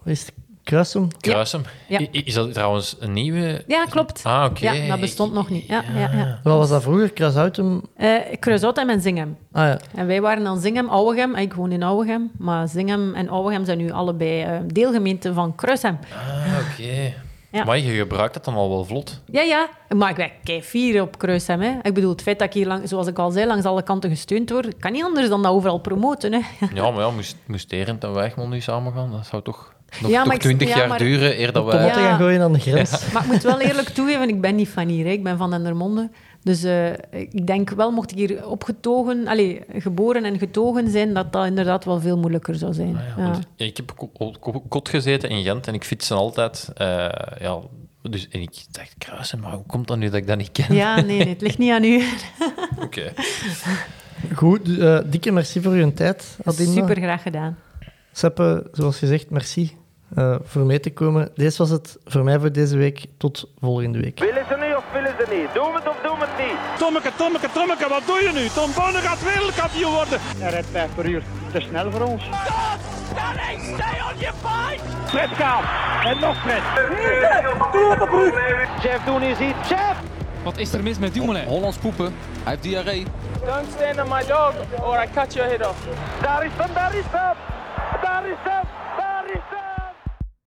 Speaker 7: wat is het? Kruisum?
Speaker 9: Kruisem.
Speaker 8: Ja.
Speaker 9: I- i- Is dat trouwens een nieuwe...
Speaker 8: Ja, klopt.
Speaker 9: Ah, oké.
Speaker 8: Ja, dat bestond nog niet. Ja, ja, ja.
Speaker 7: Wat was dat vroeger? Kruishoutum?
Speaker 8: Eh, Kruisautheim en Zinghem.
Speaker 7: Ah ja.
Speaker 8: En wij waren dan Zinghem, Ouwegem. Ah, Ik woon in Ouwegem. Maar Zinghem en Ouwegem zijn nu allebei eh, deelgemeenten van Kruishem.
Speaker 9: Ah, oké.
Speaker 8: Ja.
Speaker 9: Maar je gebruikt dat dan al wel vlot.
Speaker 8: Ja, ja. Maar ik ben keifier op Kruishem. Hè. Ik bedoel, het feit dat ik hier, lang, zoals ik al zei, langs alle kanten gesteund word, kan niet anders dan dat overal promoten. Hè.
Speaker 9: Ja, maar ja, moest, moest Terend en Wijgman nu samen gaan? Dat zou toch nog
Speaker 8: Ja, maar
Speaker 9: toch
Speaker 8: ik-
Speaker 9: 20
Speaker 8: ja,
Speaker 9: jaar
Speaker 8: maar-
Speaker 9: duren eer dat wij...
Speaker 7: Tomaten gaan gooien aan de grens.
Speaker 8: Maar ik moet wel eerlijk toegeven, ik ben niet van hier. Hè. Ik ben van Dendermonde. Dus eh, ik denk wel, mocht ik hier opgetogen, allez, geboren en getogen zijn, dat dat inderdaad wel veel moeilijker zou zijn.
Speaker 9: Ah, ja,
Speaker 8: Ja.
Speaker 9: want Ik heb ko- ko- ko- kot gezeten in Gent en ik fietste altijd. eh, ja, dus, en ik dacht, kruisen, maar hoe komt dat nu dat ik dat niet ken?
Speaker 8: Ja, nee, nee, het ligt niet aan u.
Speaker 9: Oké.
Speaker 7: Goed, dus, eh, dikke merci voor uw tijd, Adinda.
Speaker 8: Super graag gedaan.
Speaker 7: Seppe, zoals gezegd, merci eh, voor mee te komen. Deze was het voor mij voor deze week. Tot volgende week.
Speaker 1: Willen ze niet of willen ze niet? Doen we het of doen we het niet?
Speaker 2: Tommeke, Tommeke, Tommeke, wat doe je nu? Tom Bonne gaat wereldkampioen worden.
Speaker 3: Hij rijdt 5 per uur. Te snel voor ons.
Speaker 1: Fred Kaap. En nog Fred. Jeff Doen is hier. Jeff!
Speaker 4: Wat is er mis met Dumoulin?
Speaker 5: Hollands poepen. Hij heeft diarree.
Speaker 6: Don't stand on my dog or I cut your head off.
Speaker 1: Daar is hem, daar is hem. Daar is hem,